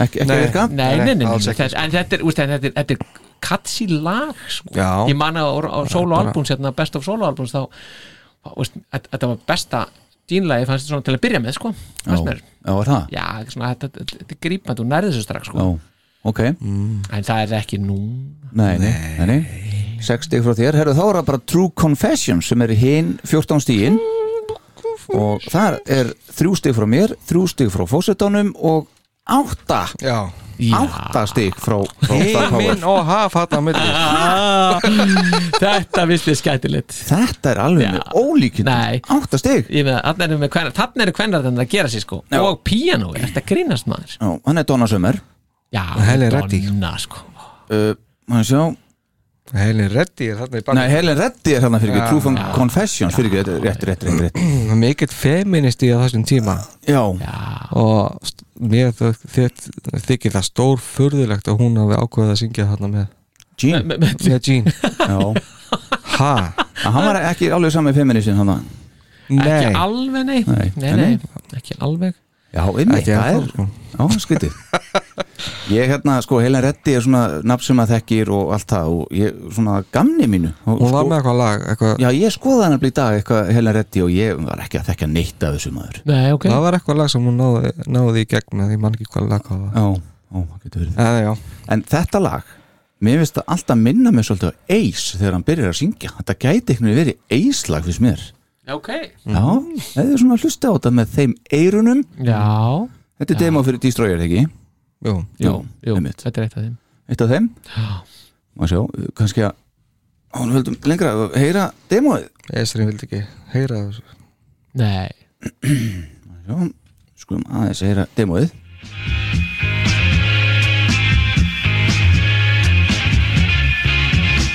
[SPEAKER 1] ekki, ekki
[SPEAKER 2] Nei.
[SPEAKER 1] virka
[SPEAKER 3] Nei,
[SPEAKER 2] Nei,
[SPEAKER 3] nei, nei, nei,
[SPEAKER 2] alls
[SPEAKER 3] nei
[SPEAKER 2] ekki,
[SPEAKER 3] þess, en þetta er, úst, en þetta er, þetta er katsi lag sko.
[SPEAKER 2] Já.
[SPEAKER 3] ég man að á, á soloalbums hérna, best of soloalbums þá úst, þetta var besta dýnlagi fannst þetta svona til að byrja með sko.
[SPEAKER 1] Já,
[SPEAKER 3] fannst mér.
[SPEAKER 1] já, er það?
[SPEAKER 3] já, svona, þetta, þetta, þetta er grípandi og nærði þessu strax
[SPEAKER 1] Já,
[SPEAKER 3] sko.
[SPEAKER 1] ok
[SPEAKER 3] en það er ekki nú
[SPEAKER 1] Nei, nei, nei, nei. 6 stík frá þér, herru þá er það bara True Confession sem er hinn 14 stígin og þar er 3 stík frá mér 3 stík frá fósetanum og 8
[SPEAKER 2] já
[SPEAKER 1] 8 stík frá, frá Star Power
[SPEAKER 2] Heimin og haf hatt á milli
[SPEAKER 3] ah, þetta vist ég skætilegt
[SPEAKER 1] Þetta er alveg
[SPEAKER 3] Já.
[SPEAKER 1] með ólíkindum
[SPEAKER 3] Nei.
[SPEAKER 1] 8 stík
[SPEAKER 3] ég með, þannig erum við kvennar, þannig eru kvennar þannig að gera sér sko,
[SPEAKER 1] Já.
[SPEAKER 3] og píanó er þetta grínast maður,
[SPEAKER 1] Já, hann er Donna Summer
[SPEAKER 3] já,
[SPEAKER 2] Helen Reddy.
[SPEAKER 3] donna, sko.
[SPEAKER 1] uh, hann sjá,
[SPEAKER 2] Heilin Reddy er þarna í
[SPEAKER 1] Nei,
[SPEAKER 2] bakgrunni
[SPEAKER 1] Helen Reddy er hérna fyrir ekki
[SPEAKER 2] Já.
[SPEAKER 1] True Fun Confessions fyrir ekki, rétt, rétt, rétt, rétt
[SPEAKER 2] mikill feminist í á þessum tíma
[SPEAKER 1] Já,
[SPEAKER 2] og st- mér þ- þykir þykir það stór furðulegt að hún hafi ákveðið að syngja þarna með
[SPEAKER 1] Jean
[SPEAKER 2] með Jean
[SPEAKER 1] Já,
[SPEAKER 2] ha,
[SPEAKER 1] En hann var ekki alveg saman með feministin hann
[SPEAKER 2] nei
[SPEAKER 3] ekki alveg nei.
[SPEAKER 1] Nei.
[SPEAKER 3] Nei, nei, ekki alveg
[SPEAKER 1] Já, ymmið,
[SPEAKER 2] Ekki
[SPEAKER 1] það er
[SPEAKER 2] ennþá, sko.
[SPEAKER 1] Já, skrítið Ég hérna, sko, Helen Reddy er svona nafn sem að þekkir og allt það og ég, svona gamni mínu og,
[SPEAKER 2] hún var
[SPEAKER 1] sko-
[SPEAKER 2] með eitthvað lag eitthvað,
[SPEAKER 1] Já, ég skoðaði hann að bli í dag eitthvað Helen Reddy og ég var ekki að þekka neitt af þessu maður
[SPEAKER 3] Nei, ok
[SPEAKER 2] það var eitthvað lag sem hún náði, náði í gegn með, ég man ekki hvað lag það var
[SPEAKER 1] Já, ó, það getur verið
[SPEAKER 2] eða já,
[SPEAKER 1] En þetta lag, mér finnst það alltaf minna mig svolítið á Ace þegar hann byrjar að syngja Þetta gæti einhvern veginn verið Ace-lag fyrst mér
[SPEAKER 3] Ok
[SPEAKER 1] Já, eða þið svona hlusta á þetta með þeim eirunum
[SPEAKER 3] Já,
[SPEAKER 1] Þetta er demo fyrir Destroyer, ekki?
[SPEAKER 2] jú
[SPEAKER 1] Jú,
[SPEAKER 3] jú,
[SPEAKER 1] einmitt.
[SPEAKER 3] þetta er eitt af þeim
[SPEAKER 1] Eitt af þeim Má sjá, kannski að Hún höldum lengra að heyra demoið
[SPEAKER 2] Esrin vildi ekki heyra þessu
[SPEAKER 3] Nei
[SPEAKER 1] Já, skulum aðeins heyra demoið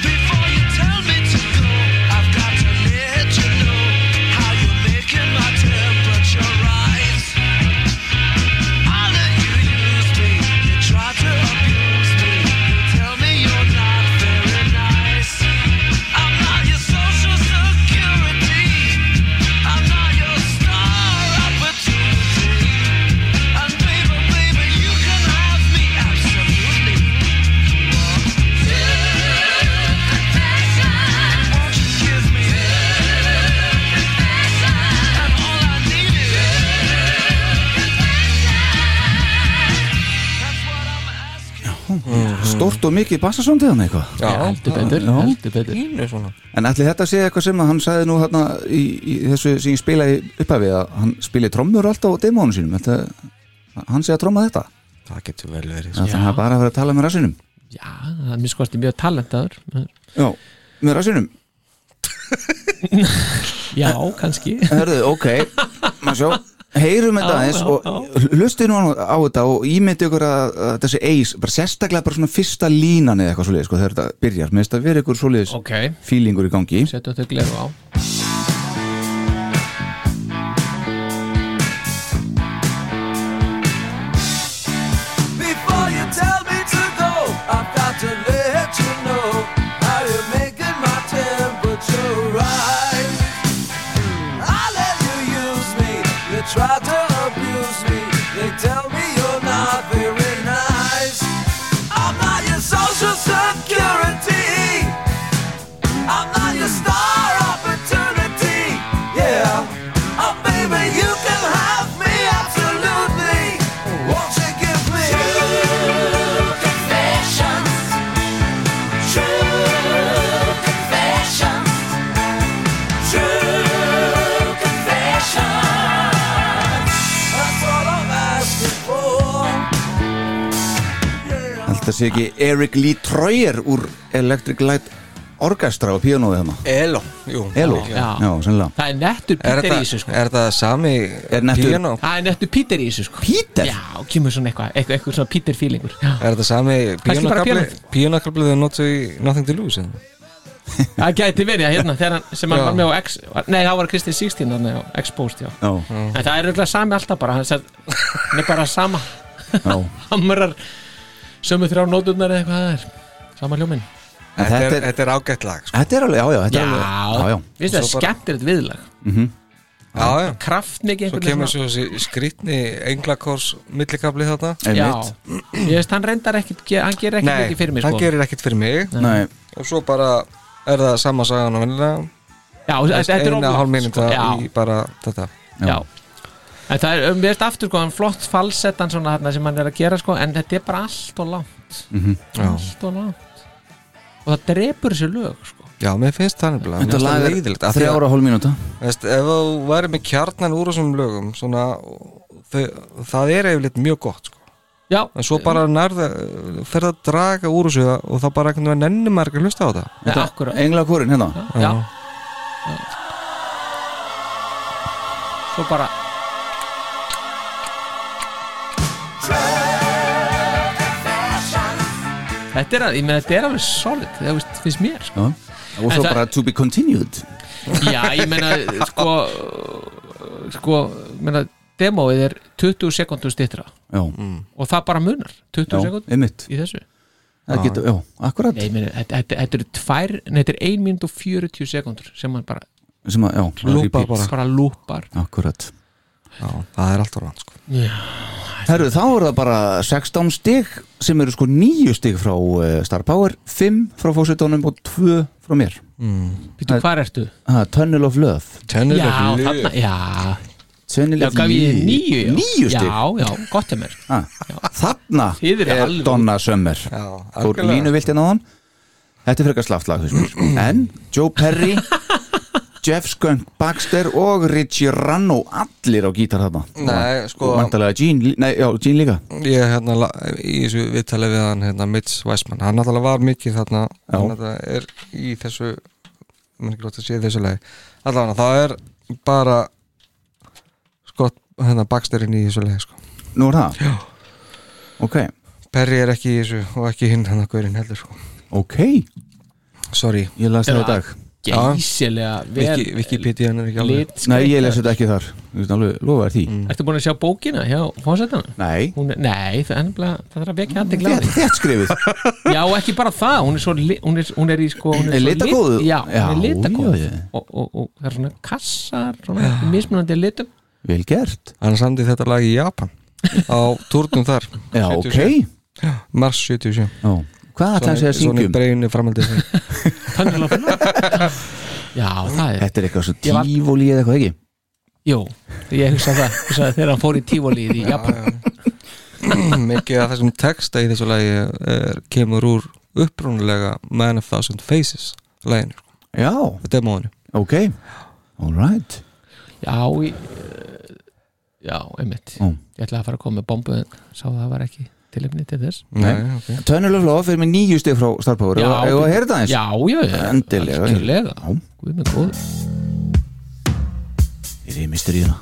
[SPEAKER 7] Before you tell me to go, I've got to let you know how you're making my temperature rise. All of you use me, you try to abuse me, you tell me you're not very nice. I'm not your social security, I'm not your star opportunity. And baby, baby, you can have me absolutely. Won't you give me and all I need That's what I'm asking.
[SPEAKER 1] Stort og mikið bassasóndið hann eitthvað
[SPEAKER 2] já,
[SPEAKER 3] Heldur betur,
[SPEAKER 1] já.
[SPEAKER 3] heldur betur
[SPEAKER 2] Pínu svona
[SPEAKER 1] En ætli þetta sé eitthvað sem að hann sagði nú hérna í, í þessu sem ég spilaði upphafið að hann spili trommur alltaf á demónum sínum þetta, Hann sé að tromma þetta
[SPEAKER 2] það getur vel verið sko.
[SPEAKER 1] Þannig að hann bara að vera að tala með rassinum
[SPEAKER 3] Já, það er mér skoðast mjög talentaður
[SPEAKER 1] Já, með rassinum
[SPEAKER 3] Já, kannski
[SPEAKER 1] Hörðu, ok, maður sjá heyrum þetta
[SPEAKER 3] Já,
[SPEAKER 1] aðeins
[SPEAKER 3] já,
[SPEAKER 1] og hlustið nú á þetta og ímyndi ykkur að, að þessi eis, bara sérstaklega bara svona fyrsta línan eða eitthvað svoleiðis, sko, þegar þetta byrjar mér finnst að vera ykkur svoleiðis
[SPEAKER 3] Ok,
[SPEAKER 1] feelingur í gangi
[SPEAKER 3] setjum þau gleru á
[SPEAKER 7] Before you tell me to go, I've got to let you know how you're making my temperature rise. I let you use me, you try to abuse me. They tell me you're not very nice. I'm not your social security. I'm not your star opportunity. Oh,
[SPEAKER 1] þetta sé ekki Eric Lee Troyer úr Electric Light Orchestra og píanóði hérna
[SPEAKER 2] Elo, jú
[SPEAKER 1] Elo,
[SPEAKER 3] Já.
[SPEAKER 1] já, sennilega
[SPEAKER 3] Það er nettur
[SPEAKER 2] Er
[SPEAKER 3] Peter í
[SPEAKER 2] þetta,
[SPEAKER 3] þessu sko
[SPEAKER 2] er þetta sami
[SPEAKER 1] Er nettur-
[SPEAKER 2] piano?
[SPEAKER 3] Það er nettur Peter í þessu sko
[SPEAKER 1] Peter?
[SPEAKER 3] Já, kemur svona eitthvað, eitthvað, eitthvað svona Peter feelingur Já.
[SPEAKER 2] Er þetta sami
[SPEAKER 3] bara
[SPEAKER 2] píanokabli
[SPEAKER 3] píanóið.
[SPEAKER 2] Píanokabli þau notu í Nothing to Lose eða?
[SPEAKER 3] Það gæti verið að hérna þegar hann sem hann
[SPEAKER 2] Já.
[SPEAKER 3] var með á X Nei, það var Kristín 16 hann á Exposed, já
[SPEAKER 1] Já,
[SPEAKER 3] En það er auðvitað sami alltaf bara Hann sagði, hann er bara sama
[SPEAKER 1] já
[SPEAKER 3] Hamrar sömu þrjá nóturnar eða eitthvað það er Sama hljóminn
[SPEAKER 2] En
[SPEAKER 1] þetta
[SPEAKER 2] Þetta er,
[SPEAKER 1] er-
[SPEAKER 2] þetta er ágætt lag sko.
[SPEAKER 1] Þetta er alveg, já, já, þetta
[SPEAKER 3] Já,
[SPEAKER 1] er alveg Já, Mhm, já
[SPEAKER 3] Vistu, það er
[SPEAKER 2] Svo bara-
[SPEAKER 3] skemmtir þetta viðlag
[SPEAKER 2] Já, já
[SPEAKER 3] Kraftmikið
[SPEAKER 2] Svo
[SPEAKER 3] einhvern
[SPEAKER 2] kemur
[SPEAKER 3] svona-
[SPEAKER 2] svo þessi skrýtni englakors millikabli þarna
[SPEAKER 1] Einmitt.
[SPEAKER 3] Já, ég veist, hann reyndar ekkit ge- Hann gerir ekkit mikið fyrir mig
[SPEAKER 2] hann
[SPEAKER 3] sko
[SPEAKER 2] gerir ekkert fyrir mig
[SPEAKER 1] Nei,
[SPEAKER 2] Og svo bara er það sama sagan og vennilega
[SPEAKER 3] Já, þetta er
[SPEAKER 2] Einna
[SPEAKER 3] óvart,
[SPEAKER 2] hálf
[SPEAKER 3] sko.
[SPEAKER 2] minúta
[SPEAKER 3] Já.
[SPEAKER 2] í bara þetta
[SPEAKER 3] já En það er, um, við veist aftur sko, hann flott falsettan svona þarna sem hann er að gera sko, en þetta er bara allt og langt
[SPEAKER 2] Já,
[SPEAKER 3] allt og langt og það drepur þessu lög sko.
[SPEAKER 2] já mér finnst það nefnilega Mér
[SPEAKER 1] þetta
[SPEAKER 2] finnst
[SPEAKER 1] lag
[SPEAKER 2] það
[SPEAKER 1] er
[SPEAKER 2] leiðilegt af því að-
[SPEAKER 1] þrjára hálf mínúta
[SPEAKER 2] Veist, ef þú væri með kjarnan úr þessum lögum svona, þau, það er yfirleitt mjög gott sko.
[SPEAKER 3] Já,
[SPEAKER 2] en svo bara nærða fer það að draga úr þessu og þá bara einhvern veginn nennir maður ekki að hlusta á það
[SPEAKER 3] þetta akkur já.
[SPEAKER 1] Engla kórin hérna
[SPEAKER 3] já Svo bara Þetta er, að- ég meina, þetta er alveg solid það veist, finnst mér sko.
[SPEAKER 1] Já. Og svo
[SPEAKER 3] En það-
[SPEAKER 1] bara to be continued
[SPEAKER 3] Já, ég meina, sko sko, ég meina demóið er 20 sekundur stittra
[SPEAKER 1] Já,
[SPEAKER 3] og það bara munar 20
[SPEAKER 1] Mm. já,
[SPEAKER 3] sekúndur
[SPEAKER 1] einmitt
[SPEAKER 3] í þessu
[SPEAKER 1] Það getur, já, akkurat
[SPEAKER 3] Nei, ég meina, þetta- þetta þetta eru tvær nei, þetta er 1 mínút og 40 sekundur sem hann bara,
[SPEAKER 1] Sem að, já,
[SPEAKER 2] Lúpa
[SPEAKER 1] repeat.
[SPEAKER 2] bara.
[SPEAKER 3] bara lúpar
[SPEAKER 1] Akkurat
[SPEAKER 2] já, það er alltaf rann sko.
[SPEAKER 1] Herru, þá er það bara 16 stig sem eru sko 9 stig frá uh, Star Power 5 frá fósitónum og 2 frá mér
[SPEAKER 3] Býtu, hvað ertu?
[SPEAKER 1] ha, Tunnel of Love
[SPEAKER 2] Tennilegt
[SPEAKER 3] Já,
[SPEAKER 2] lög.
[SPEAKER 3] þarna, já
[SPEAKER 1] Tunnel
[SPEAKER 3] Já,
[SPEAKER 1] of
[SPEAKER 3] gaf ég
[SPEAKER 1] Love.
[SPEAKER 3] nýju já.
[SPEAKER 1] Níu stig?
[SPEAKER 3] Já, já, gott er mér
[SPEAKER 1] ha, Þarna
[SPEAKER 3] Þið eru
[SPEAKER 1] er
[SPEAKER 3] alveg-
[SPEAKER 1] Donna Summer
[SPEAKER 2] Já,
[SPEAKER 1] Fór
[SPEAKER 2] algjörlega.
[SPEAKER 1] línu vilt inn á hann Þetta er frekar slaftlag sko. En Joe Perry Jeff Skunk Baxter og Richie Rano allir á gítar þarna
[SPEAKER 2] Nei, sko-
[SPEAKER 1] Vandalega Gene, lí- nei, já, Gene líka
[SPEAKER 2] ég hérna la- í þessu viðtali við hann hérna, Mitch Weissmann, hann náttúrulega var mikið þarna,
[SPEAKER 1] Já.
[SPEAKER 2] hann náttúrulega er í þessu mér er ekki lótt að sé í þessu lagi allavega það er bara skott hérna baksterinn í þessu lagi sko.
[SPEAKER 1] Nú er það? Já Ok,
[SPEAKER 2] Perry er ekki í þessu og ekki hinn hann að gaurinn heldur sko.
[SPEAKER 1] ok,
[SPEAKER 2] sorry,
[SPEAKER 1] ég las það í
[SPEAKER 3] Já.
[SPEAKER 1] dag
[SPEAKER 3] Gæsilega vel
[SPEAKER 2] Viki- Wikipedia hann er ekki alveg
[SPEAKER 3] lit
[SPEAKER 1] Nei, ég lesi þetta ekki þar Ég get alveg lofa þér því
[SPEAKER 2] Mm.
[SPEAKER 3] Ertu búin að sjá bókina hjá fósetana?
[SPEAKER 1] Nei,
[SPEAKER 3] Hún er, nei, það er nefnilega, það þarf að vekja aðeins
[SPEAKER 1] þetta
[SPEAKER 3] glæði
[SPEAKER 1] er þett skrifið
[SPEAKER 3] Já, og ekki bara það, hún er svo, li, hún er, hún er í sko hún
[SPEAKER 1] Er
[SPEAKER 3] svo
[SPEAKER 1] litakóðuð?
[SPEAKER 3] lit- Já, hún er
[SPEAKER 1] Já,
[SPEAKER 3] litakóð
[SPEAKER 1] já, já.
[SPEAKER 3] og, og, og það er svona kassar, svona mismunandi litum
[SPEAKER 1] Vel gert
[SPEAKER 2] hann samdi þetta lag í Japan á turnum þar
[SPEAKER 1] Já,
[SPEAKER 2] 77.
[SPEAKER 1] ok
[SPEAKER 2] mars 77
[SPEAKER 1] Já. Hvað ætla hann segja að
[SPEAKER 2] svona
[SPEAKER 1] syngjum?
[SPEAKER 2] breyni framhaldi
[SPEAKER 3] Þannig að Já, það er,
[SPEAKER 1] Þetta er eitthvað svo
[SPEAKER 3] Ég var-
[SPEAKER 1] tífóli eða eitthvað ekki
[SPEAKER 3] jú, ég hugsa það hugsa það þegar hann fór í tífólið í Japan
[SPEAKER 2] mikið af þessum texta í þessu lagi er, kemur úr upprónulega Man of Thousand Faces laginu,
[SPEAKER 1] Já,
[SPEAKER 2] demóinu
[SPEAKER 1] ok All right
[SPEAKER 3] Já, í, eh, já, einmitt
[SPEAKER 1] Ó.
[SPEAKER 3] Ég ætlaði að fara að koma með bombu en sá það var ekki tilefni til þess
[SPEAKER 2] Nei, ok.
[SPEAKER 1] Tunnel of Love er með nýju stig frá Star Power Já, Ef að heyra það eins
[SPEAKER 3] Já, já, já
[SPEAKER 1] Endilega.
[SPEAKER 3] Endilega
[SPEAKER 1] Já.
[SPEAKER 3] Guð með góð
[SPEAKER 1] Ég er í misteríuna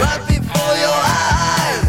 [SPEAKER 7] Right before your eyes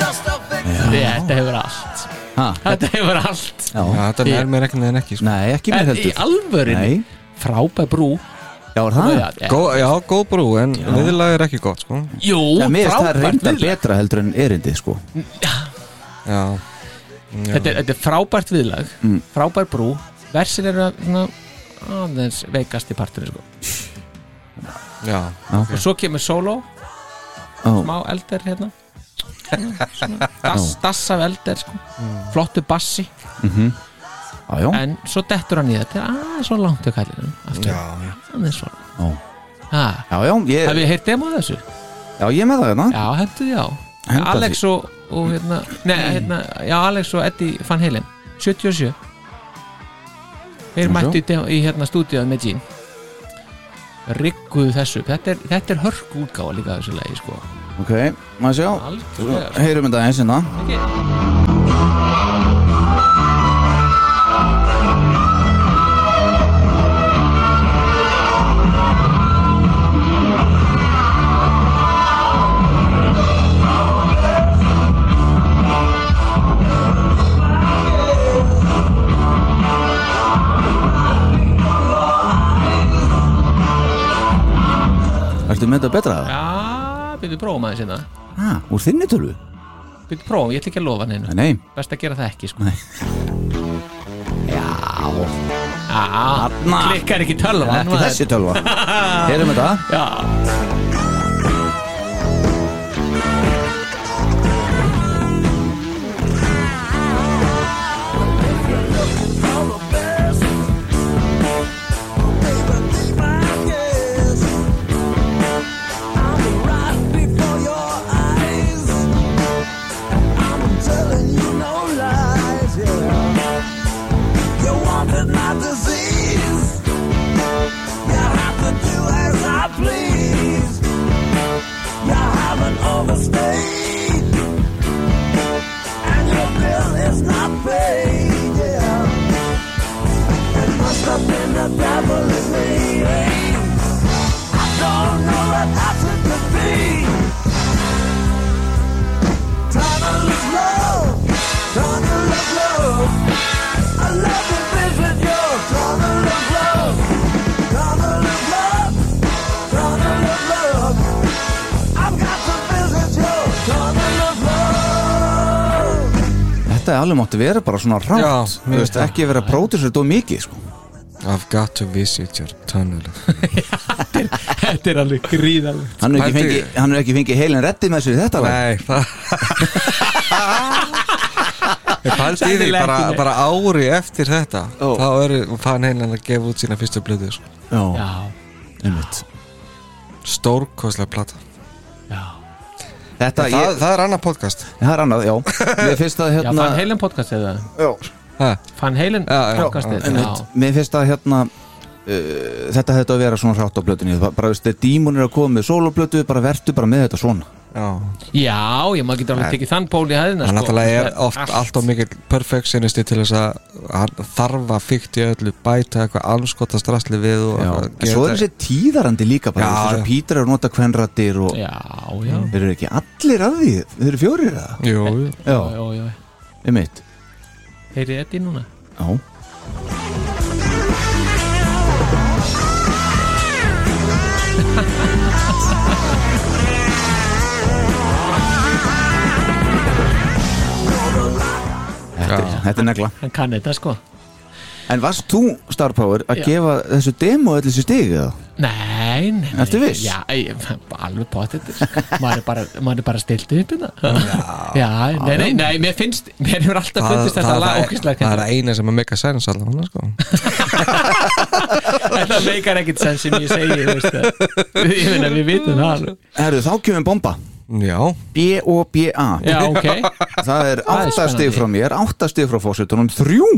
[SPEAKER 3] þetta hefur allt
[SPEAKER 1] Ha,
[SPEAKER 3] Þetta hefur allt
[SPEAKER 1] já.
[SPEAKER 2] ja, þetta
[SPEAKER 3] Ég-
[SPEAKER 2] nær mér ekki en ekki sko.
[SPEAKER 1] Nei, ekki mér
[SPEAKER 3] En í
[SPEAKER 1] heldur
[SPEAKER 3] alvörinni
[SPEAKER 1] Nei,
[SPEAKER 3] Frábær brú
[SPEAKER 1] já, er það?
[SPEAKER 3] Já,
[SPEAKER 2] Gó, já, góð brú, en viðlag er ekki gott sko.
[SPEAKER 3] Jú,
[SPEAKER 1] Já, mér finnst það
[SPEAKER 3] frábært
[SPEAKER 1] reyndar
[SPEAKER 3] viðlag
[SPEAKER 1] betra heldur en erindi, sko
[SPEAKER 2] já, já.
[SPEAKER 3] þetta, er- þetta er frábært viðlag
[SPEAKER 1] Mm.
[SPEAKER 3] Frábær brú Versin eru að- svona aðeins veikast í partinu sko.
[SPEAKER 2] já.
[SPEAKER 3] Og svo kemur solo
[SPEAKER 1] Ó,
[SPEAKER 3] Má elder hérna Svona dass, dass af elder sko.
[SPEAKER 1] Mm.
[SPEAKER 3] Flottu bassi
[SPEAKER 1] já, já,
[SPEAKER 3] En svo dettur hann í þetta Aðeins svo langt til kallinu Aðeins svo
[SPEAKER 1] Já.
[SPEAKER 3] Ha,
[SPEAKER 1] já, já,
[SPEAKER 3] Hef
[SPEAKER 1] ég,
[SPEAKER 3] ég heyrt demóð þessu?
[SPEAKER 1] já, ég er með það hérna
[SPEAKER 3] Já, hendur því á
[SPEAKER 1] Henda
[SPEAKER 3] Alex og, og hérna, nei, hérna Já, Alex og Eddie Van Halen 77 Þeir
[SPEAKER 1] Nú
[SPEAKER 3] mættu í, dem- í hérna stúdíuð með Jean Rigguðu þessu upp. Þetta er, þetta er hörk útgáfa líka af þessu lagi sko
[SPEAKER 1] Ok, maður sjá
[SPEAKER 3] Algjörlega.
[SPEAKER 1] Heyrum þetta eins hérna Ertu með þetta betra það?
[SPEAKER 3] Já, byrjuðu prófum aðeins hérna
[SPEAKER 1] Ha, úr þinni tölvu?
[SPEAKER 3] Byrjuðu prófum, ég ætla ekki að lofa neinu
[SPEAKER 1] Nei, nei,
[SPEAKER 3] Best að gera það ekki sko
[SPEAKER 1] Nei.
[SPEAKER 3] Já
[SPEAKER 1] Þarna.
[SPEAKER 3] Klikkar ekki tölvan
[SPEAKER 1] ekki
[SPEAKER 3] maður.
[SPEAKER 1] þessi tölva Heyrum þetta
[SPEAKER 3] Já
[SPEAKER 7] Disease. You have to do as I please. You haven't overstayed, and your bill is not paid. Yeah, it must have been the devil in me. I don't know what happened to me. Time to lose love, time to lose love. I love the vision, yo. Time to lose love, time to lose love, time to lose love. I've got to visit you. Come and love, love.
[SPEAKER 1] Þetta er alveg mátti vera bara svona
[SPEAKER 2] Já,
[SPEAKER 1] rátt
[SPEAKER 2] mér
[SPEAKER 1] Þú veist,
[SPEAKER 2] finnst það.
[SPEAKER 1] ekki vera að pródusera þetta of mikið sko.
[SPEAKER 2] I've got to visit your tunnel
[SPEAKER 3] Þetta er alveg gríðalegt
[SPEAKER 1] Hann er ekki
[SPEAKER 2] Pældi-
[SPEAKER 1] fengið- hann er ekki fengið heilin reddi með sér í þetta lag.
[SPEAKER 2] Nei, það Ég pældi í því
[SPEAKER 3] Sennilega
[SPEAKER 2] bara,
[SPEAKER 3] ekki, nei.
[SPEAKER 2] bara ári eftir þetta
[SPEAKER 1] Ó.
[SPEAKER 2] þá er fann heilin að gefa út sína fyrstu blöðu sko.
[SPEAKER 1] Já,
[SPEAKER 3] Já,
[SPEAKER 1] einmitt
[SPEAKER 2] Stórkoslega plata
[SPEAKER 3] já
[SPEAKER 1] Þetta,
[SPEAKER 2] það,
[SPEAKER 1] ég,
[SPEAKER 2] það er annað podcast
[SPEAKER 1] það er annað, já Mér finnst það
[SPEAKER 3] Já,
[SPEAKER 1] hérna
[SPEAKER 3] Van Halen podcast eða
[SPEAKER 2] ha,
[SPEAKER 3] Van Halen
[SPEAKER 2] Já, já.
[SPEAKER 3] podcast eða Já,
[SPEAKER 1] einmitt, Mér finnst það hérna Uh, þetta hefði að vera svona rátt á blötunni bara, bara veist, dímun er að koma með soloblötu bara vertu bara með þetta svona
[SPEAKER 2] Já,
[SPEAKER 3] já ég maður getur alveg tekið þann pól í hæðina
[SPEAKER 2] hann
[SPEAKER 3] sko.
[SPEAKER 2] náttúrulega er
[SPEAKER 3] Það
[SPEAKER 2] oft allt of mikill perfectionisti til þess að hann þarf að fykti öllu bæta eitthvað anskota strassli við og
[SPEAKER 1] Já,
[SPEAKER 2] eitthvað
[SPEAKER 1] en
[SPEAKER 2] gera
[SPEAKER 1] svo er
[SPEAKER 2] þetta-
[SPEAKER 1] þessi tíðarandi líka bara, já,
[SPEAKER 2] Já, já.
[SPEAKER 1] þessi Pítur er Mm. að nota kvenrættir og
[SPEAKER 3] Já, já,
[SPEAKER 1] þeir eru ekki allir að því, þeir eru fjórir að það
[SPEAKER 2] Jú, jú.
[SPEAKER 3] já,
[SPEAKER 1] Já,
[SPEAKER 3] já, já.
[SPEAKER 1] um mitt
[SPEAKER 3] Heyrið þið þetta í núna?
[SPEAKER 1] Já, þetta, er- þetta er negla
[SPEAKER 3] Hann kann þetta sko
[SPEAKER 1] En varst þú, Star Power, að
[SPEAKER 3] Já.
[SPEAKER 1] gefa þessu demo allir þessi stig eða?
[SPEAKER 3] Nei, nei, nei
[SPEAKER 1] Ertu viss?
[SPEAKER 3] Já, ég, alveg potið maður, er bara- maður er bara stilt upp hérna Já, já nei, nei, nei, mér finnst Mér hefur alltaf
[SPEAKER 2] Það,
[SPEAKER 3] fundist þetta
[SPEAKER 2] það,
[SPEAKER 3] lag
[SPEAKER 2] það,
[SPEAKER 3] ókislega
[SPEAKER 2] það er eina sem að make a sense allavega sko.
[SPEAKER 3] Þetta meikar ekkit sens sem ég segi þú veist það. Ég meina, við vitum það alveg.
[SPEAKER 1] Herru, þá kemur bomba
[SPEAKER 2] Já,
[SPEAKER 1] B-O-B-A
[SPEAKER 3] Já, ok
[SPEAKER 1] Það er
[SPEAKER 3] er
[SPEAKER 1] áttastig
[SPEAKER 3] spennandi.
[SPEAKER 1] frá mér, áttastig frá fósitunum, þrjú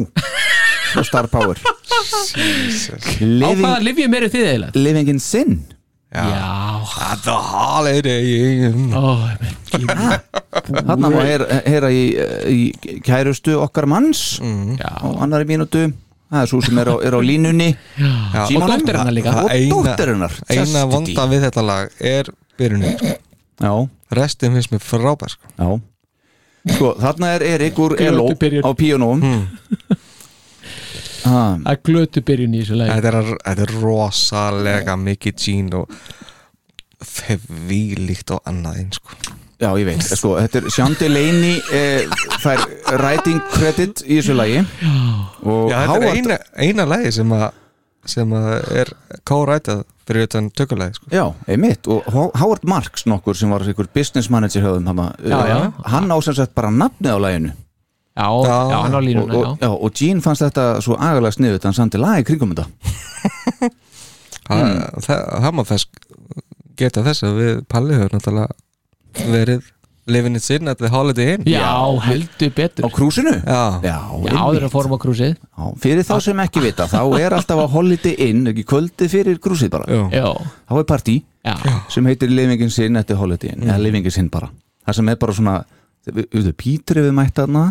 [SPEAKER 1] frá Star Power
[SPEAKER 3] Á
[SPEAKER 1] Living,
[SPEAKER 3] hvaða lifjum eru þið eiginlega?
[SPEAKER 1] living in Sin
[SPEAKER 3] Já,
[SPEAKER 2] At the holiday inn
[SPEAKER 3] ó, ég meina,
[SPEAKER 1] Þarna má heyra, heyra í, í kærustu okkar manns
[SPEAKER 2] Mm.
[SPEAKER 3] já.
[SPEAKER 1] á annari mínútu Það er svo sem er á, er á línunni
[SPEAKER 2] Já.
[SPEAKER 3] Og dóttir hennar líka
[SPEAKER 1] Og
[SPEAKER 2] Það eina-
[SPEAKER 1] dóttirinnar
[SPEAKER 2] Eina vonda við þetta lag er byrjunin
[SPEAKER 1] Já,
[SPEAKER 2] Restin finnst mér frábær sko.
[SPEAKER 1] já Sko, þarna er Erik úr
[SPEAKER 3] Glötu
[SPEAKER 1] Eló
[SPEAKER 3] byrjun.
[SPEAKER 1] á píanóum
[SPEAKER 2] Hmm.
[SPEAKER 1] ah,
[SPEAKER 3] að glötu byrjun í þessu lagi
[SPEAKER 2] þetta er, þetta er rosalega mikið gín og þvílíkt og annað eins sko.
[SPEAKER 1] Já, ég veit, sko, þetta er Shandy Laney eh, fær writing credit í þessu lagi og
[SPEAKER 2] Já, þetta er
[SPEAKER 1] Howard
[SPEAKER 2] eina, eina lagi sem að sem að er kórætað fyrir utan tökulagi sko.
[SPEAKER 1] Já, einmitt, og Ho- Howard Marks nokkur sem var ykkur business manager höfðum hana,
[SPEAKER 3] Já, já.
[SPEAKER 1] eh, hann á sem sagt bara nafnið á laginu
[SPEAKER 3] já, já,
[SPEAKER 2] Já.
[SPEAKER 3] hann á
[SPEAKER 1] og,
[SPEAKER 3] línuna
[SPEAKER 1] og, já, og Gene fannst þetta svo agalega sniðut hann samti lagi kringum þetta
[SPEAKER 2] það, það, það má þess geta þess að við Palli höfum náttúrulega verið living it in at the holiday inn
[SPEAKER 3] já, já, heldur
[SPEAKER 1] á
[SPEAKER 3] betur
[SPEAKER 1] krúsinu
[SPEAKER 2] Já.
[SPEAKER 1] já,
[SPEAKER 3] já, áður en fórum á krúsið
[SPEAKER 1] Já, fyrir þá sem ekki vita, þá er alltaf að Holiday Inn, ekki kvöldið fyrir grúsið bara
[SPEAKER 2] Já.
[SPEAKER 3] já,
[SPEAKER 1] þá er partí
[SPEAKER 3] já,
[SPEAKER 1] sem heitir Livingin sinn eftir Holiday Inn, eða
[SPEAKER 3] Mm.
[SPEAKER 1] Livingin sinn bara það sem er bara svona, við auðvitað Pítri við mætt þarna,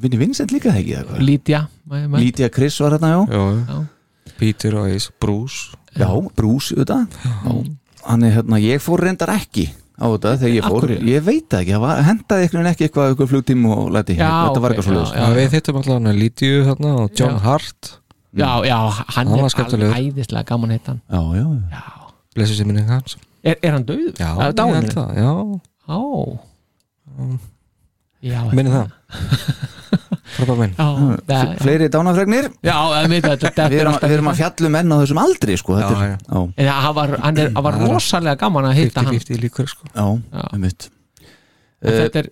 [SPEAKER 1] vinni Vincent líka það ekki eða hvað,
[SPEAKER 3] Lítja mæ- mæ-
[SPEAKER 1] Lídia Chris var þarna já,
[SPEAKER 2] Jó,
[SPEAKER 3] Já.
[SPEAKER 2] Peter og Ace, Bruce
[SPEAKER 1] já, Bruce auðvitað Já. hann er hérna, ég fór reyndar ekki á þetta þegar ég
[SPEAKER 3] Af
[SPEAKER 1] fór,
[SPEAKER 3] hverju?
[SPEAKER 1] ég veit það ekki það var- hendaði einhvern veginn ekki eitthvað, eitthvað flugtíma og læti,
[SPEAKER 3] Já,
[SPEAKER 1] þetta var
[SPEAKER 3] ok,
[SPEAKER 1] eitthvað svo
[SPEAKER 3] já,
[SPEAKER 2] Já, við hittum allavega hann að Lídiu þarna og John
[SPEAKER 3] Já.
[SPEAKER 2] Hart
[SPEAKER 3] já, já, hann
[SPEAKER 2] Hann
[SPEAKER 3] er
[SPEAKER 2] var skemmtilegur.
[SPEAKER 3] alveg æðislega gaman heitt hann
[SPEAKER 1] já, já, já.
[SPEAKER 3] já,
[SPEAKER 2] blessu sem minning hans
[SPEAKER 3] er, er hann döður?
[SPEAKER 2] Já, ég
[SPEAKER 3] er
[SPEAKER 2] held
[SPEAKER 3] dáin?
[SPEAKER 2] það, já,
[SPEAKER 3] Já, já,
[SPEAKER 2] minni það Frapa minn
[SPEAKER 3] já, það-
[SPEAKER 1] fleiri dánafregnir,
[SPEAKER 3] já, það er mitt að þetta
[SPEAKER 1] við erum, við erum að fjallum enn á þessum aldri sko, þetta
[SPEAKER 2] Já,
[SPEAKER 1] er, já.
[SPEAKER 3] En hann var, hann er, hann var
[SPEAKER 2] Það er-
[SPEAKER 3] rosalega gaman að hitta hann
[SPEAKER 2] 50-50 líkur sko
[SPEAKER 1] Já,
[SPEAKER 3] Já.
[SPEAKER 1] um mitt
[SPEAKER 3] En Þetta er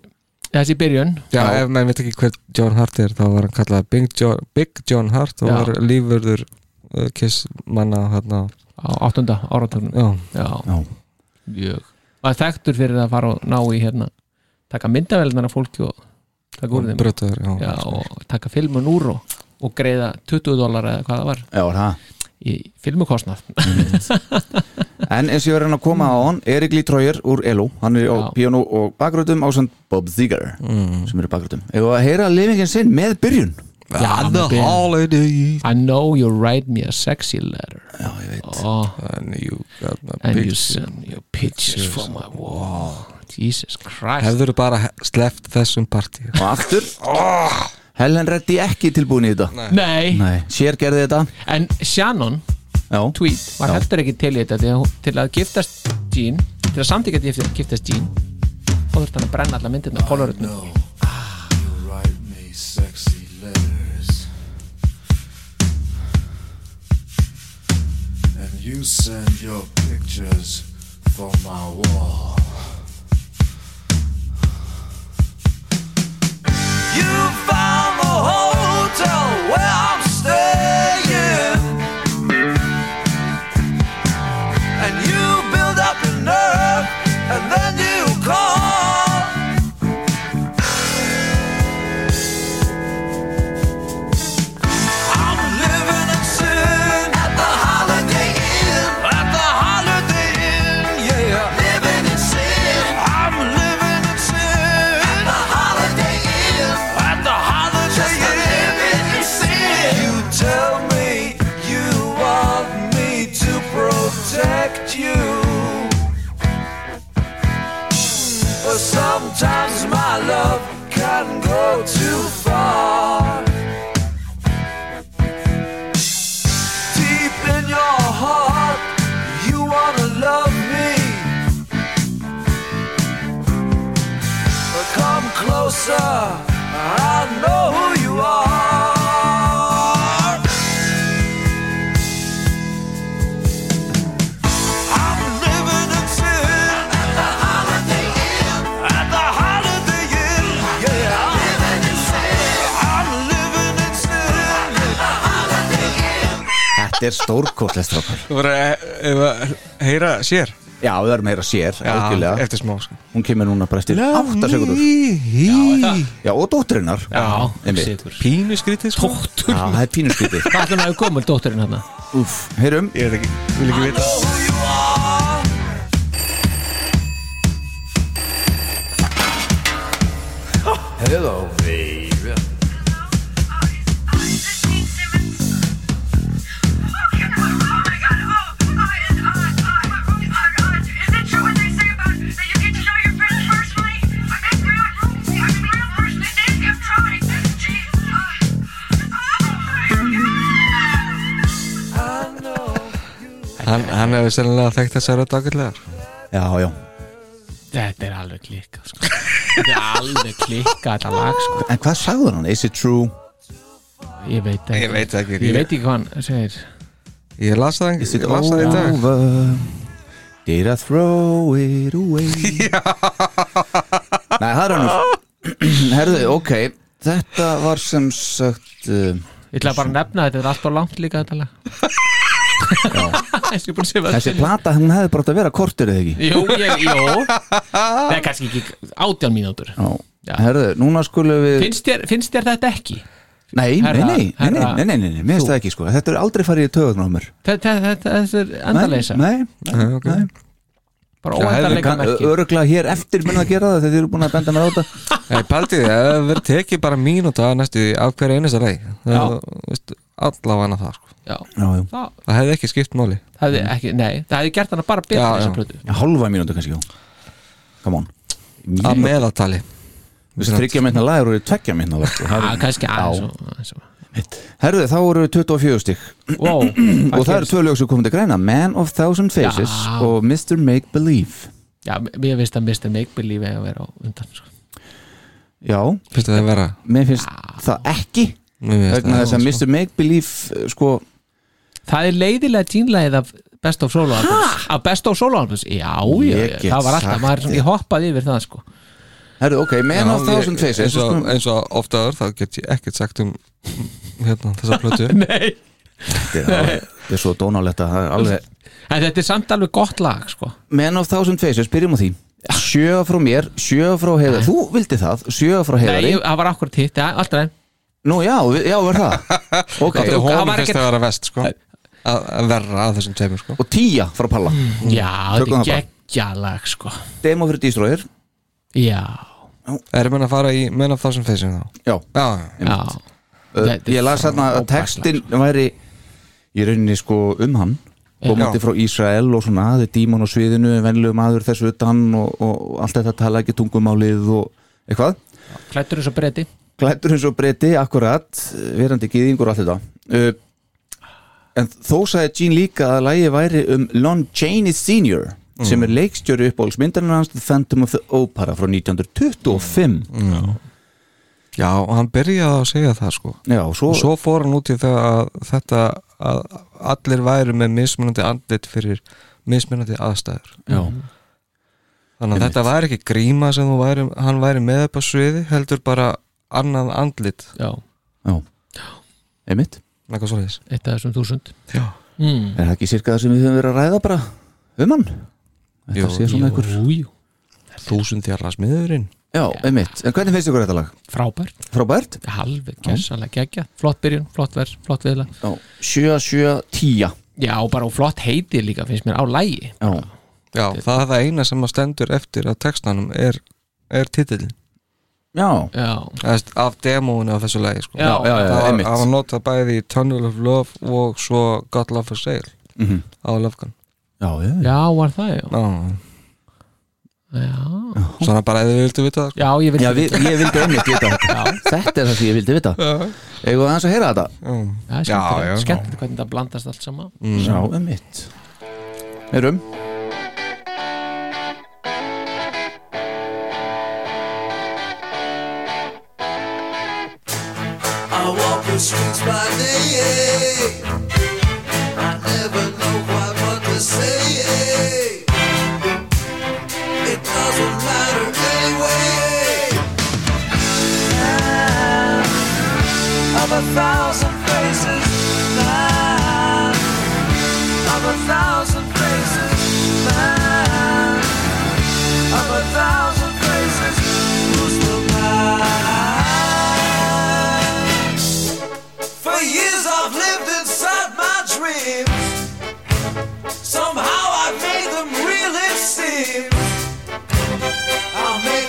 [SPEAKER 3] þessi byrjun
[SPEAKER 2] Já,
[SPEAKER 1] Já.
[SPEAKER 2] ef maður veit ekki hver John Hart er þá var hann kallað Big John, Big John Hart og
[SPEAKER 3] Já.
[SPEAKER 2] var lífurður uh, kiss manna hérna
[SPEAKER 3] á áttunda áratögnum
[SPEAKER 2] Já,
[SPEAKER 3] Já,
[SPEAKER 1] Já.
[SPEAKER 3] mjög Var þekktur fyrir að fara og ná í hérna taka myndavelinar af fólki og taka úr þeim
[SPEAKER 2] brötur, já,
[SPEAKER 3] Já, og taka filmun úr og, og greiða 20 dólar eða hvað það var
[SPEAKER 1] Já, það
[SPEAKER 3] í filmukostnað
[SPEAKER 1] En eins og ég var að reyna að koma á hann Erik Lee Troyer úr ELO Hann er á
[SPEAKER 3] Já. Mm.
[SPEAKER 1] píónu og bakröðum ásand Bob Thiegar sem eru bakröðum Eða að heyra lifingin sinn með byrjun
[SPEAKER 2] The
[SPEAKER 3] Já, með byrjun.
[SPEAKER 2] holiday
[SPEAKER 3] I know you write me a sexy letter
[SPEAKER 1] Já, ég veit
[SPEAKER 3] oh,
[SPEAKER 2] And you got my
[SPEAKER 3] and you
[SPEAKER 2] picture
[SPEAKER 3] send your pictures for my wall Jesus Christ
[SPEAKER 2] Hefður bara he- sleppt þessum partíu
[SPEAKER 1] Og aftur Helen Reddy ekki tilbúin í þetta
[SPEAKER 3] Ah. Nei,
[SPEAKER 1] Nei, sér gerði þetta
[SPEAKER 3] en Shannon
[SPEAKER 1] Já,
[SPEAKER 3] tweet var
[SPEAKER 1] Já.
[SPEAKER 3] heldur ekki til í þetta til að, til að giftast Jean til að samtíkja til að giftast Jean þá þurfti hann að brenna alla myndirna á kolorutnum
[SPEAKER 7] Write me sexy letters. And you send your pictures for my wall. You found the hotel where I'm staying. And you build up your nerve, and then you call. I'm living in sin at the Holiday Inn. At the Holiday Inn, yeah. Living in sin. I'm living in sin at the Holiday Inn. At the Holiday Inn, living in sin. You tell me you want me to protect you, but sometimes my love can go too far. deep in your heart you wanna love me but come closer I know who you are I'm living in sin at the Holiday Inn at the Holiday Inn yeah I'm living in sin I'm living in sin
[SPEAKER 1] þetta er stórkostlegt strókar
[SPEAKER 2] Þú verður að- ef að heyra sér
[SPEAKER 1] Já, við erum meira sér, algjörlega
[SPEAKER 2] eftir smá sko.
[SPEAKER 1] Hún kemur núna bara eftir 8 sekundur Já, og dótturinnar
[SPEAKER 3] Já,
[SPEAKER 1] einmitt
[SPEAKER 3] sigur
[SPEAKER 2] Pínu skrítið sko Tóttur
[SPEAKER 1] Já, það er pínuskriti
[SPEAKER 3] Hvað ætlum að við komum dótturinn hann?
[SPEAKER 1] Úff, heyrum
[SPEAKER 2] Ég veit ekki, vil ekki vita
[SPEAKER 7] who you are. Hello, baby.
[SPEAKER 5] Is it true what they say about that you get to know your friends personally? I'm in real, I'm in real
[SPEAKER 2] Hann, hann hefur sennilega þekkt þessa rödd ágætlegar
[SPEAKER 1] já, já
[SPEAKER 3] Þetta er alveg klikka sko. Þetta er alveg klikka þetta lag sko.
[SPEAKER 1] En hvað sagður hann? Is it true?
[SPEAKER 3] Ég veit ekki
[SPEAKER 2] Ég veit ekki.
[SPEAKER 3] Ég veit ekki hvað hann segir
[SPEAKER 2] Ég las það,
[SPEAKER 1] Is
[SPEAKER 2] ég
[SPEAKER 1] it
[SPEAKER 2] las það í dag
[SPEAKER 1] over? Did I throw it away? Nei, það er hann Herðu, ok Þetta var sem sagt uh,
[SPEAKER 3] Ég ætla bara að nefna þetta, þetta er alltaf langt líka þetta lag Þessi búin að segja um-
[SPEAKER 1] Þessi plata, hún hefði bara átt að vera kortur eða ekki
[SPEAKER 3] Jú, ég, jú Það er kannski ekki átján mínútur
[SPEAKER 1] Já,
[SPEAKER 3] Já.
[SPEAKER 1] herðu, núna skulum við
[SPEAKER 3] finnst þér, finnst þér þetta ekki?
[SPEAKER 1] Nei, nei,
[SPEAKER 3] Herra-
[SPEAKER 1] nei, nei, nei,
[SPEAKER 3] herra-
[SPEAKER 1] nei, nei, nei, nei, mér finnst það ekki sko Þetta er aldrei farið í töðunar á mér
[SPEAKER 3] Þetta þetta- þetta er endaleysa
[SPEAKER 1] Nei, nei, nei, nei.
[SPEAKER 3] Bara
[SPEAKER 1] Það hefði
[SPEAKER 3] óendanleika
[SPEAKER 1] kann-
[SPEAKER 3] merki
[SPEAKER 1] Örugglega hér eftir mun að gera það þegar þið eru búin að benda mér á þetta
[SPEAKER 2] Ég paldi því, það hefur tekið bara mínúta næstu því af hverju einasta leið
[SPEAKER 3] Já.
[SPEAKER 2] Allavega það sko
[SPEAKER 3] Já,
[SPEAKER 1] Já, já,
[SPEAKER 3] það
[SPEAKER 2] Það hefði ekki skipt máli
[SPEAKER 3] hefði ekki, nei Það hefði gert hana bara betra
[SPEAKER 2] Já, já.
[SPEAKER 3] þessa plötu
[SPEAKER 1] Já, hálfa mínútu kannski, já Come on
[SPEAKER 2] Að meðaltali
[SPEAKER 1] Þú veist, Þriggja minna lag eru tveggja minna lag sko.
[SPEAKER 3] Já, kannski aðeins
[SPEAKER 1] Já.
[SPEAKER 3] og- aðeins og-
[SPEAKER 1] Herðu, þá eru 24 stík
[SPEAKER 3] Wow
[SPEAKER 1] Og það eru tvö lög sem komum til greina Man of Thousand Faces
[SPEAKER 3] Já.
[SPEAKER 1] og Mr. Make Believe
[SPEAKER 3] Já, mér finnst að Mr. Make Believe eiga að vera á undan sko.
[SPEAKER 1] Já,
[SPEAKER 2] Fyrstu það vera
[SPEAKER 1] mér finnst það ekki
[SPEAKER 2] Mér finnst
[SPEAKER 1] vegna
[SPEAKER 2] það-
[SPEAKER 1] þess að Mr. Make Believe eh, sko,
[SPEAKER 3] Það er leiðilega tínlægið af Best of Solo Albums Af Best of Solo Albums, já, já,
[SPEAKER 1] Ég
[SPEAKER 3] já
[SPEAKER 1] get
[SPEAKER 3] Það var alltaf,
[SPEAKER 1] sagt
[SPEAKER 3] maður er svona, ég hoppaði yfir það sko.
[SPEAKER 1] Herðu, ok, Man of
[SPEAKER 2] Já, ég-
[SPEAKER 1] Thousand Faces
[SPEAKER 2] eins og,
[SPEAKER 1] sko,
[SPEAKER 2] eins og oftaður þá get ég ekkert sagt um hérna, þessa plötu
[SPEAKER 3] Nei
[SPEAKER 1] Þetta er alveg- þetta er svo dónalegt að það er alveg
[SPEAKER 3] En þetta er samt alveg gott lag sko.
[SPEAKER 1] Man of Thousand Faces, byrjum á því Sjö frá mér, sjö frá heiðar Þú vildi það, sjö frá
[SPEAKER 3] Nei,
[SPEAKER 1] heiðari
[SPEAKER 3] ég- það var akkurat hitt, ja, alltaf en
[SPEAKER 1] Nú já, við- já, var það Ok,
[SPEAKER 2] Þetta er
[SPEAKER 3] það
[SPEAKER 2] honum
[SPEAKER 3] var
[SPEAKER 2] fyrst
[SPEAKER 3] ekkert-
[SPEAKER 2] að vera vest sko að að verra að þessum teimur sko
[SPEAKER 1] og tíja frá Palla
[SPEAKER 3] Já,
[SPEAKER 1] Mm. Tökum
[SPEAKER 3] þetta er
[SPEAKER 1] það bara.
[SPEAKER 3] geggja lag sko.
[SPEAKER 1] Demo fyrir Destroyer
[SPEAKER 3] Já,
[SPEAKER 2] Erum við að fara í Men of Thousand Faces þá?
[SPEAKER 1] Já,
[SPEAKER 2] Já,
[SPEAKER 3] já
[SPEAKER 1] Uh,
[SPEAKER 3] Þetta er
[SPEAKER 1] ég las þarna að
[SPEAKER 3] frábært
[SPEAKER 1] textin
[SPEAKER 3] lag,
[SPEAKER 1] væri í rauninni sko um hann komandi
[SPEAKER 2] Já.
[SPEAKER 1] frá Ísrael og svona þetta er dímon á sviðinu, venlegu maður þessu utan og, og allt þetta tala ekki tungumálið og eitthvað
[SPEAKER 3] sko. Klæddur eins og breyti
[SPEAKER 1] klættur eins og breyti, akkurat verandi gýðingur og allt þetta uh, en þó sagði Gene líka að lægi væri um Lon Chaney Sr. sem er leikstjöru uppáhaldsmyndarinn hans The Phantom of the Opera frá 1925
[SPEAKER 2] já og hann byrjaði að segja það sko
[SPEAKER 1] já, svo,
[SPEAKER 2] og svo fór hann út í það að þetta að allir væru með mismunandi andlit fyrir mismunandi aðstæður
[SPEAKER 1] já,
[SPEAKER 2] þannig að þetta væri ekki gríma sem þú væri, hann væri með upp á sviði heldur bara annað andlit
[SPEAKER 3] Já,
[SPEAKER 1] já. einmitt
[SPEAKER 2] eitthvað svoleiðis
[SPEAKER 3] eitt af þessum þúsund
[SPEAKER 2] já,
[SPEAKER 3] mm.
[SPEAKER 1] Er það ekki cirka það sem við höfum verið að ræða bara um hann? Þetta
[SPEAKER 2] Jú,
[SPEAKER 1] sé svona einhver
[SPEAKER 3] Jú, jú,
[SPEAKER 2] þúsundjarla smiðurinn
[SPEAKER 1] Já, einmitt, en hvernig finnst ykkur þetta lag?
[SPEAKER 3] frábært
[SPEAKER 1] Frábært?
[SPEAKER 3] Halveg gersanlega geggja, flott byrjun, flott vers, flott viðla
[SPEAKER 1] Já, 7, 7, 10
[SPEAKER 3] Já, og bara og flott heiti líka finnst mér á lægi
[SPEAKER 1] Já,
[SPEAKER 2] já, það er það eina sem að stendur eftir að textanum er, er titillin
[SPEAKER 1] já,
[SPEAKER 3] Já,
[SPEAKER 2] af demóinu af þessu lagi sko.
[SPEAKER 3] Já, já,
[SPEAKER 1] já,
[SPEAKER 2] það var,
[SPEAKER 1] einmitt.
[SPEAKER 2] það var notað bæði í Tunnel of Love og svo God Love for Sale
[SPEAKER 1] Mhm.
[SPEAKER 2] á Love Gun
[SPEAKER 1] já, já, já.
[SPEAKER 3] já, var það já
[SPEAKER 2] já,
[SPEAKER 3] Já,
[SPEAKER 2] svona bara ef þið vildu vita það sko.
[SPEAKER 3] já ég vil
[SPEAKER 1] já við, ég vildi einmitt vita þetta Þetta er það sem ég vildi vita Eigum við aðeins að heyra þetta?
[SPEAKER 3] Það
[SPEAKER 2] Já, já.
[SPEAKER 3] er skemmtilegt, skemmtilegt hvernig það blandast allt saman
[SPEAKER 1] Mm. Já, einmitt Erum?
[SPEAKER 7] I walk the streets by day. I never know quite what to say. It doesn't matter anyway. Now, of a thousand faces, man. Of a thousand faces, man. Of a thousand faces, who's the man? For years I've lived inside my dreams. Somehow I've made them real, it seems. I'll make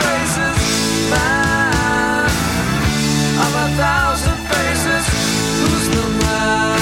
[SPEAKER 7] faces. Man. I'm a thousand faces. Who's the man?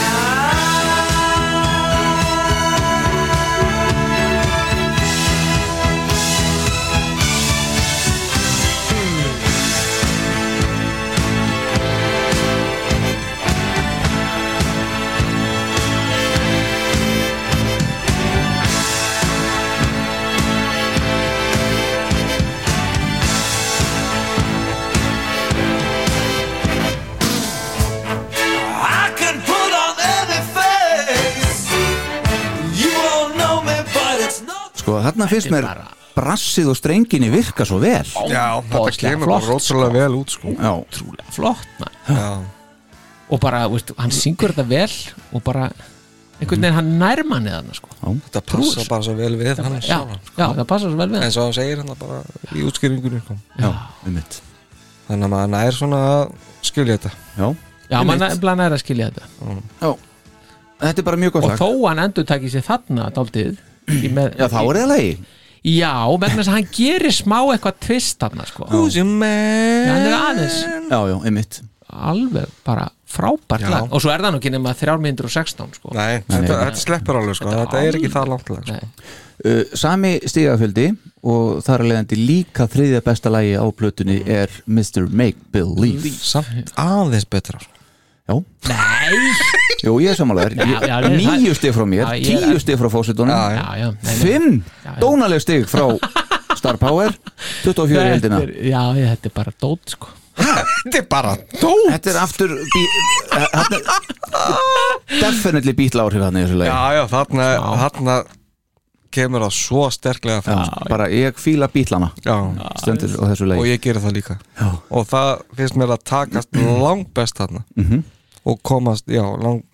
[SPEAKER 1] Sko, þarna finnst
[SPEAKER 3] Þetta er
[SPEAKER 1] mér brassið og strenginni virka svo vel
[SPEAKER 2] Já, þetta
[SPEAKER 3] Ofboðslega
[SPEAKER 2] kemur bara
[SPEAKER 3] flott,
[SPEAKER 2] rótsalega vel út sko
[SPEAKER 1] Já,
[SPEAKER 3] trúlega flott man.
[SPEAKER 2] Já,
[SPEAKER 3] og bara, veist, hann syngur þetta vel og bara, einhvern veginn hann nærmanni þarna sko
[SPEAKER 2] þetta passa bara svo vel við hann
[SPEAKER 3] já,
[SPEAKER 2] sjálfan
[SPEAKER 3] já, það passar svo vel við
[SPEAKER 2] eins og hann segir hann það bara í útskýringunni sko.
[SPEAKER 1] já, um mitt
[SPEAKER 2] þannig að maður nær svona að skilja þetta
[SPEAKER 1] Já,
[SPEAKER 3] Já, mann er blanað að skilja þetta
[SPEAKER 1] þetta er bara mjög gott
[SPEAKER 3] og
[SPEAKER 1] lag
[SPEAKER 3] þó hann endur takið sér þarna daldið
[SPEAKER 1] Já, þá er það lagi
[SPEAKER 3] Já, vegna þess að hann gerir smá eitthvað tvist þarna sko
[SPEAKER 2] Who's your man
[SPEAKER 3] Já, hann er aðeins.
[SPEAKER 1] Já, já, um mitt
[SPEAKER 3] alveg bara frábært
[SPEAKER 2] Já.
[SPEAKER 3] lag og svo er það nú ekki nema 316 sko
[SPEAKER 2] Nei, þetta, þetta sleppur alveg sko
[SPEAKER 3] Þetta er
[SPEAKER 2] Þetta er ekki
[SPEAKER 3] alveg-
[SPEAKER 2] það langt lag sko.
[SPEAKER 3] Nei.
[SPEAKER 1] uh, Sami stigafjöldi og þar að leiðandi líka þriðja besta lagi á plötunni er Mr. Make Mm. Believe
[SPEAKER 2] Samt aðeins betra sko.
[SPEAKER 1] Já Jú, ég er samanlega
[SPEAKER 3] Já, já, það-
[SPEAKER 1] Níu stig frá mér,
[SPEAKER 3] Já, ég er-
[SPEAKER 1] tíu stig frá fósitunum
[SPEAKER 3] Já, já, nei, nei.
[SPEAKER 1] Fimm
[SPEAKER 3] Já, já.
[SPEAKER 1] dónaleg stig frá Star Power 24 í
[SPEAKER 3] Þetta
[SPEAKER 1] heldina
[SPEAKER 3] er, já, ég, þetta er bara dót sko
[SPEAKER 2] Þetta er bara
[SPEAKER 1] Dót. Þetta er aftur bí, eh, þarna- Definitely bítla áhrif hann í þessu lagi
[SPEAKER 2] Já, já, þarna, þarna kemur það svo sterklega fram sko.
[SPEAKER 1] Bara ég fíla bítlana
[SPEAKER 2] já.
[SPEAKER 1] Stendur á þessu
[SPEAKER 2] og
[SPEAKER 1] lagi
[SPEAKER 2] ég gera það líka
[SPEAKER 1] Já.
[SPEAKER 2] og það finnst mér að takast langt best þarna
[SPEAKER 1] Mhm.
[SPEAKER 2] og komast, já, lang,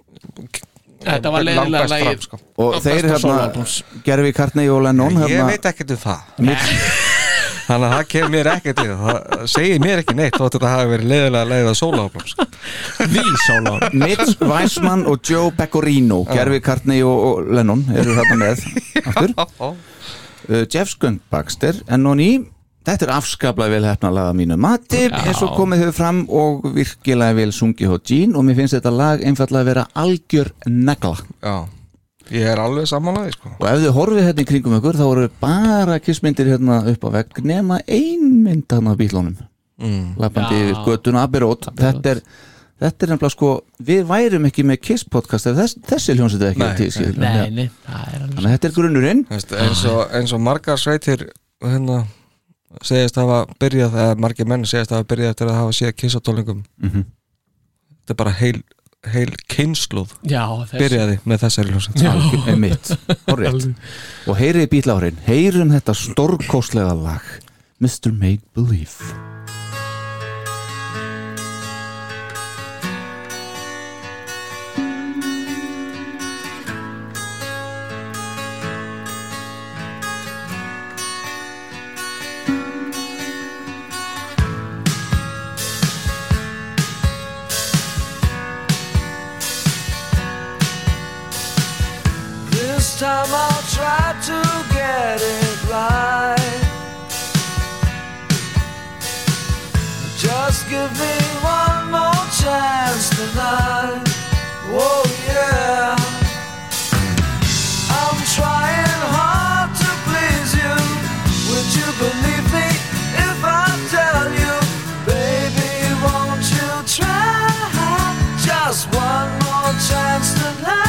[SPEAKER 3] Þetta var leiðilega
[SPEAKER 2] langbest fram
[SPEAKER 3] lagið
[SPEAKER 2] sko.
[SPEAKER 1] Og þeir hérna Gerfi Kartney og Lennon
[SPEAKER 2] ég
[SPEAKER 1] hérna,
[SPEAKER 2] veit ekkert um það þannig að það kemur mér ekkert við það segir mér ekki neitt þótt að það hafi verið leiðilega leiðið að sóla áfram sko.
[SPEAKER 3] Því sóla
[SPEAKER 1] Mitch Weissman og Joe Pecorino Gerfi Kartney og, og Lennon eru þarna með aftur uh, Jeff Skunk Baxter en nú ný Þetta er afskaplega vel hefna laga mínu mati eins og komið hefur fram og virkilega vel sungið á Gene og mér finnst þetta lag einfallega að vera algjör negla
[SPEAKER 2] já, ég er alveg samanlega sko.
[SPEAKER 1] og ef þið horfið hérna í kringum ykkur þá eru bara kissmyndir hérna upp á vegg nema ein mynd hann af bílónum
[SPEAKER 2] mm.
[SPEAKER 1] lappandi
[SPEAKER 3] Já.
[SPEAKER 1] yfir göttun Abirót
[SPEAKER 3] Abbey Road.
[SPEAKER 1] þetta er þetta er nefnilega sko, við værum ekki með Kiss podcast ef þess, þessi hljónsett er ekki
[SPEAKER 2] Nei,
[SPEAKER 1] til, skilur,
[SPEAKER 3] Nei, nei, það er alveg
[SPEAKER 1] þannig að þetta er grunnurinn
[SPEAKER 2] Þú veist, eins, og, eins og margar sveitir hérna, segist hafa byrjað eða margir menn segist hafa byrjað eftir að hafa séð kissatólingum þetta er bara heil, heil kynsluð
[SPEAKER 3] Já, þessi
[SPEAKER 2] byrjaði með þessari hljóset
[SPEAKER 1] Algjör- er mitt, horrið og heyriði bílárin, heyrum þetta stórkostlega lag Mr. Make Believe
[SPEAKER 7] This time I'll try to get it right. Just give me one more chance tonight. Oh yeah. I'm trying hard to please you. Would you believe me if I tell you, baby, won't you try just one more chance tonight?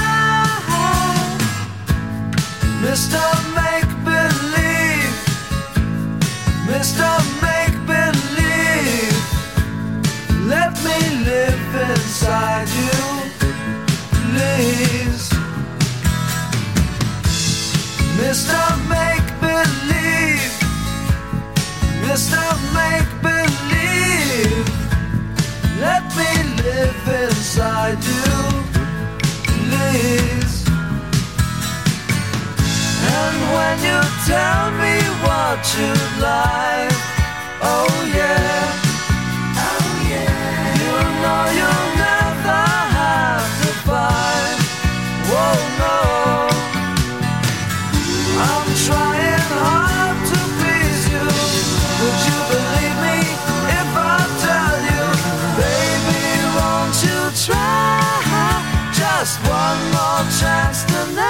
[SPEAKER 7] Mr. Make Believe, Mr. Make Believe, let me live inside you, please. Mr. Make Believe, Mr. Make Believe, let me live inside you, please. And when you tell me what you like, oh yeah, oh yeah, you know you'll never have to fight. Whoa no, I'm trying hard to please you. Would you believe me if I tell you, baby, won't you try just one more chance tonight?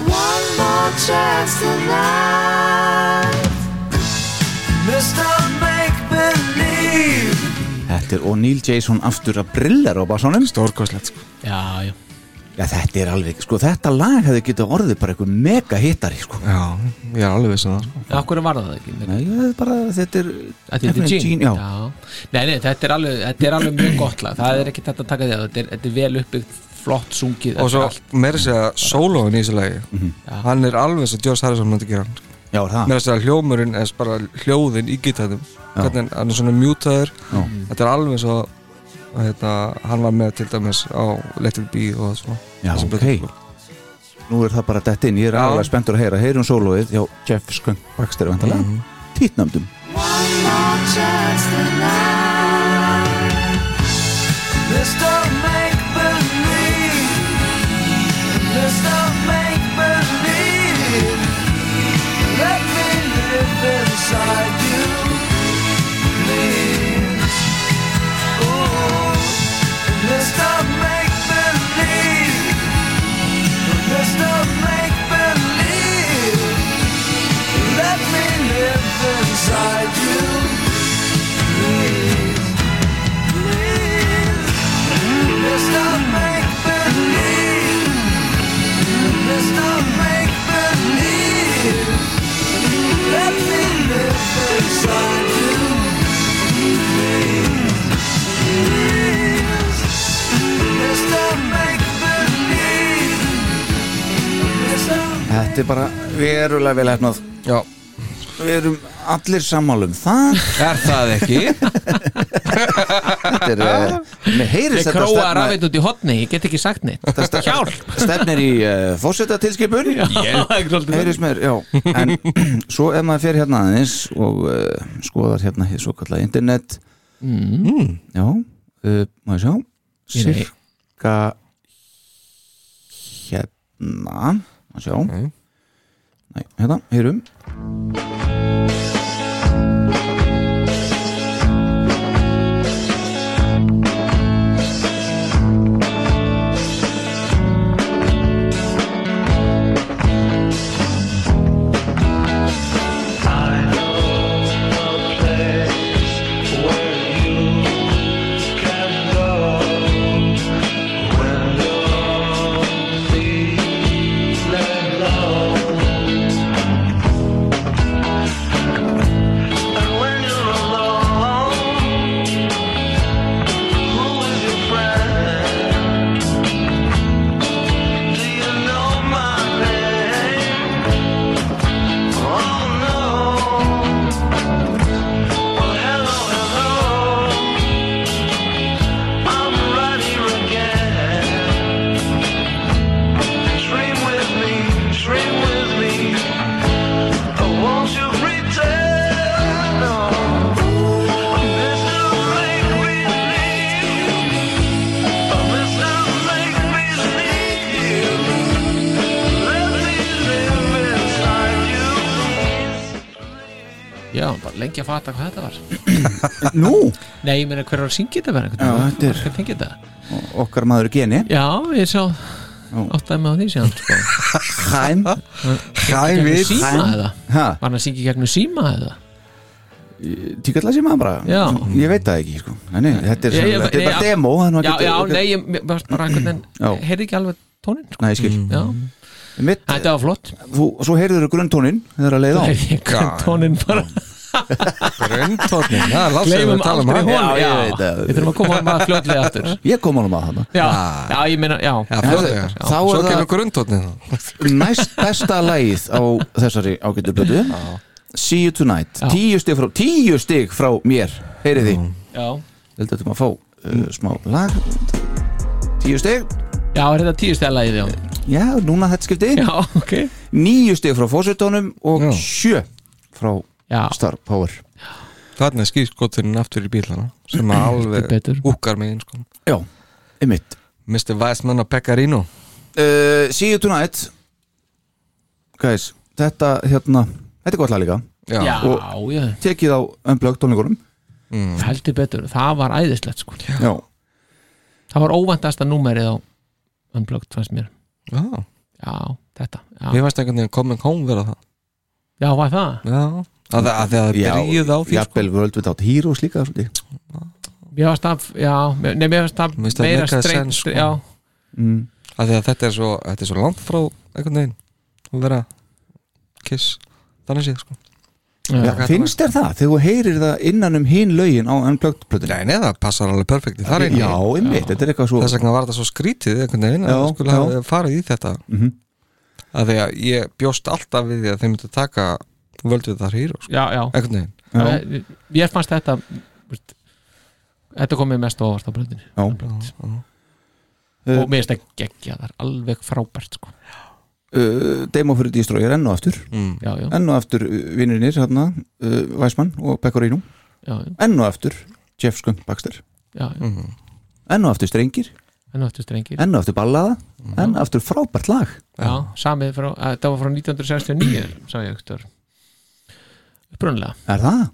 [SPEAKER 7] One more chance tonight. Mr. Make Believe.
[SPEAKER 1] Þetta er O'Neill Jason aftur að brillar á basónum
[SPEAKER 2] stórkoslegt sko.
[SPEAKER 3] Já, já
[SPEAKER 1] Já, þetta er alveg, sko, þetta lag hefði getið orðið bara eitthvað mega hittari, sko
[SPEAKER 2] já, ég er alveg vissin það sko.
[SPEAKER 3] Akkur var það ekki
[SPEAKER 1] Nei, ég hefði bara, þetta er
[SPEAKER 3] Þetta er
[SPEAKER 1] Definitely
[SPEAKER 3] Gene
[SPEAKER 1] já.
[SPEAKER 3] Já. Nei, nei, þetta er alveg, þetta er alveg mjög gott lag Það er ekki þetta að taka því að þetta er, þetta er vel uppbyggt flott sungið
[SPEAKER 2] og svo
[SPEAKER 3] allt.
[SPEAKER 2] meira að segja sólóin í þessu lagi hann er alveg svo George Harrison myndi gera hann
[SPEAKER 1] Já, er það
[SPEAKER 2] meira að segja hljómurinn eða bara hljóðin í gítarnum hvernig hann er svona mjútaður
[SPEAKER 1] Já.
[SPEAKER 2] þetta er alveg svo hérna, hann var með til dæmis á Let It Be og svona
[SPEAKER 1] Já,
[SPEAKER 2] Þessi
[SPEAKER 1] ok
[SPEAKER 2] blötu.
[SPEAKER 1] Nú er það bara dett inn, ég er
[SPEAKER 2] Já.
[SPEAKER 1] alveg spenntur að heyra Heyrum sólóið, já, Jeff Skunk Baxter vantarlega mm Títnamdum
[SPEAKER 7] Mr. Make Believe, Mr. Make Believe, let me live inside you, please. Ooh, Mr. Make Believe, Mr. Make Believe, let me live inside you, please, please. Mr. Make Believe. Mr. Make Believe. Let me live inside you. Please. Mr. Make Believe. Mr.
[SPEAKER 1] Þetta er bara verulega vel hefnað
[SPEAKER 2] já,
[SPEAKER 1] Við erum allir sammálum Það
[SPEAKER 2] er það ekki?
[SPEAKER 1] þetta er eh, Mér heyrist
[SPEAKER 3] Ég
[SPEAKER 1] þetta
[SPEAKER 3] króa
[SPEAKER 1] stefna-
[SPEAKER 3] rafið út í hotni, ég get ekki sagt neitt Hjálp
[SPEAKER 1] Stefnir í uh, fórsetatilskipun
[SPEAKER 3] Það er svolítið
[SPEAKER 1] Heyrist mér, já En svo ef maður fer hérna aðeins og uh, skoðar hérna hér svo kallað internet mm. Já, uh, maður sjá
[SPEAKER 3] Nei, nei.
[SPEAKER 1] Sirka hérna maður sjá
[SPEAKER 2] Ok.
[SPEAKER 1] Nei, hérna, heyrum
[SPEAKER 7] oh oh Dream with me, dream with me. Oh, won't you pretend? No. Mr. Make Believe. Oh, Mr. Make Believe. Let me live inside you.
[SPEAKER 3] Já, bara lengi að fatta hvað þetta var
[SPEAKER 1] Ah, Nú,
[SPEAKER 3] Nei, ég meina hver var að syngja þetta verið
[SPEAKER 1] Já, þetta er-
[SPEAKER 3] Hver tengið þetta?
[SPEAKER 1] okkar maður geni
[SPEAKER 3] Já, ég sá áttaði mig á því síðan sko.
[SPEAKER 1] Hæm
[SPEAKER 3] Gegnum
[SPEAKER 2] hæfið
[SPEAKER 3] síma
[SPEAKER 1] Hæ?
[SPEAKER 3] eða? Var hann að syngja í gegnum síma eða?
[SPEAKER 1] Tíkalla sér maður bara
[SPEAKER 3] Já.
[SPEAKER 1] Ég veit það ekki, sko Nei, nei, þetta er,
[SPEAKER 3] Ég-
[SPEAKER 1] ég,
[SPEAKER 3] ég-
[SPEAKER 1] þetta er bara
[SPEAKER 3] ég-
[SPEAKER 1] demo þannig
[SPEAKER 3] Já,
[SPEAKER 1] að
[SPEAKER 3] já,
[SPEAKER 1] getur-
[SPEAKER 3] nei, ég mér varst bara einhvern
[SPEAKER 1] Já.
[SPEAKER 3] veginn Heyrði ekki alveg tónin sko.
[SPEAKER 1] Nei, ég skil Mm.
[SPEAKER 3] Já,
[SPEAKER 1] Mitt,
[SPEAKER 3] þetta var flott
[SPEAKER 1] þú, Svo heyrður þú grunntónin þegar að leið á
[SPEAKER 3] Heyrði ekki tónin bara
[SPEAKER 2] röndtótnin, það er látt sem
[SPEAKER 3] Gleimum
[SPEAKER 2] við tala um
[SPEAKER 3] aldrei
[SPEAKER 2] hann
[SPEAKER 3] honum
[SPEAKER 1] Já,
[SPEAKER 3] Já,
[SPEAKER 1] ég veit það.
[SPEAKER 3] við þurfum að koma hann að fljóðlega aftur
[SPEAKER 1] Ég kom honum að þarna
[SPEAKER 3] Já, já, ég meina, já
[SPEAKER 2] Já, fljótlegar.
[SPEAKER 1] Já. Þá er
[SPEAKER 2] svo
[SPEAKER 1] það-
[SPEAKER 2] kemur gröndtótnin
[SPEAKER 1] Næst besta lagið á þessari ágættu blödu See you tonight
[SPEAKER 3] Já.
[SPEAKER 1] tíu stig, frá, tíu stig frá mér Heyrið því
[SPEAKER 3] Já,
[SPEAKER 1] Þetta er maður að fá uh, smá lag Tíu stig
[SPEAKER 3] já, er þetta tíu stælaðið, já
[SPEAKER 1] Já, núna þetta skipti
[SPEAKER 3] Já, ok
[SPEAKER 1] Níu stig frá fósitónum og
[SPEAKER 2] Já.
[SPEAKER 1] sjö frá
[SPEAKER 3] Já,
[SPEAKER 1] Star Power
[SPEAKER 2] þarna er skýrskoturinn aftur í bílana sem að
[SPEAKER 3] betur.
[SPEAKER 2] alveg húkar mig inn sko.
[SPEAKER 1] Já, einmitt
[SPEAKER 2] Mr. Weissmann og Pekarino
[SPEAKER 1] uh, See you tonight Guys, þetta hérna Þetta er gott lag líka
[SPEAKER 2] já,
[SPEAKER 3] já, já,
[SPEAKER 1] Tekið á ömblögg tónleikunum
[SPEAKER 3] heldur betur Það var æðislegt, sko
[SPEAKER 1] Já,
[SPEAKER 3] Það var óvæntasta númerið á Unplugged, fannst mér
[SPEAKER 2] já.
[SPEAKER 3] Já, þetta, já,
[SPEAKER 2] mér fannst einhvern veginn Coming Home vera það
[SPEAKER 3] já var það
[SPEAKER 2] já, að, að, að það
[SPEAKER 1] já
[SPEAKER 2] byrjuð á því sko.
[SPEAKER 1] Jafnvel World Without Heroes líka svolítið.
[SPEAKER 3] Mér varst það, já, mér- nei, mér varst það
[SPEAKER 2] Mér finnst það
[SPEAKER 3] meira
[SPEAKER 2] meika
[SPEAKER 3] streynt
[SPEAKER 2] sens, sko.
[SPEAKER 3] Já,
[SPEAKER 1] mm.
[SPEAKER 2] að því að þetta er svo, þetta er svo langt frá einhvern veginn að vera kiss þannig séð sko
[SPEAKER 1] Já, finnst þér það þegar þú heyrir það innan um hinn lögin á unplugged plötunni?
[SPEAKER 2] Nei, nei, það passar alveg perfekt í þar einu
[SPEAKER 1] Já, einmitt, þetta er eitthvað svo
[SPEAKER 2] Þess vegna var þetta svo skrítið einhvern veginn að
[SPEAKER 1] Já,
[SPEAKER 2] það skulle
[SPEAKER 1] já.
[SPEAKER 2] hafa farið í þetta mm
[SPEAKER 1] Mhm.
[SPEAKER 2] að því að ég bjóst alltaf við því að þeim myndi taka völdu þetta hýru sko.
[SPEAKER 3] já, já,
[SPEAKER 2] einhvern veginn
[SPEAKER 3] já. ég fannst þetta veist, þetta komið mest ofast á bröndinni
[SPEAKER 1] Já.
[SPEAKER 3] og mér finnst það geggja það er alveg frábært sko.
[SPEAKER 1] uh, Demo fyrir Destroyer enn og aftur
[SPEAKER 2] Mm.
[SPEAKER 3] já, já,
[SPEAKER 1] enn og aftur vinnirinnir hérna, uh, Væsmann og Pecorino
[SPEAKER 3] já, já,
[SPEAKER 1] enn og aftur Jeff Skunk Baxter
[SPEAKER 3] já, já.
[SPEAKER 1] enn og aftur Strengir,
[SPEAKER 3] en áttu strengir
[SPEAKER 1] enn og aftur Ballaða
[SPEAKER 2] Mm.
[SPEAKER 1] enn og aftur frábært lag
[SPEAKER 3] já, samið frá, að, þetta var frá 1969 sá ég ektur upprunlega,
[SPEAKER 1] Er það?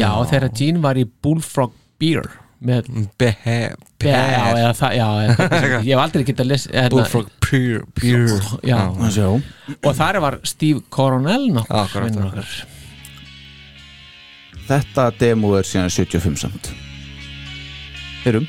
[SPEAKER 3] já, þegar Gene var í Bullfrog Beer með
[SPEAKER 2] Behe,
[SPEAKER 3] Já, já, eða það, já, eða, hvernig- ég hef aldrei getað les, eða,
[SPEAKER 2] Bullfrog Pure, pure.
[SPEAKER 3] já,
[SPEAKER 1] Sjá
[SPEAKER 3] og þar var Steve Coronel
[SPEAKER 2] Já,
[SPEAKER 3] nokkur,
[SPEAKER 2] akkurat,
[SPEAKER 3] vinur
[SPEAKER 2] akkurat.
[SPEAKER 3] okkar.
[SPEAKER 1] Þetta demo er síðan 75 samt Heyrum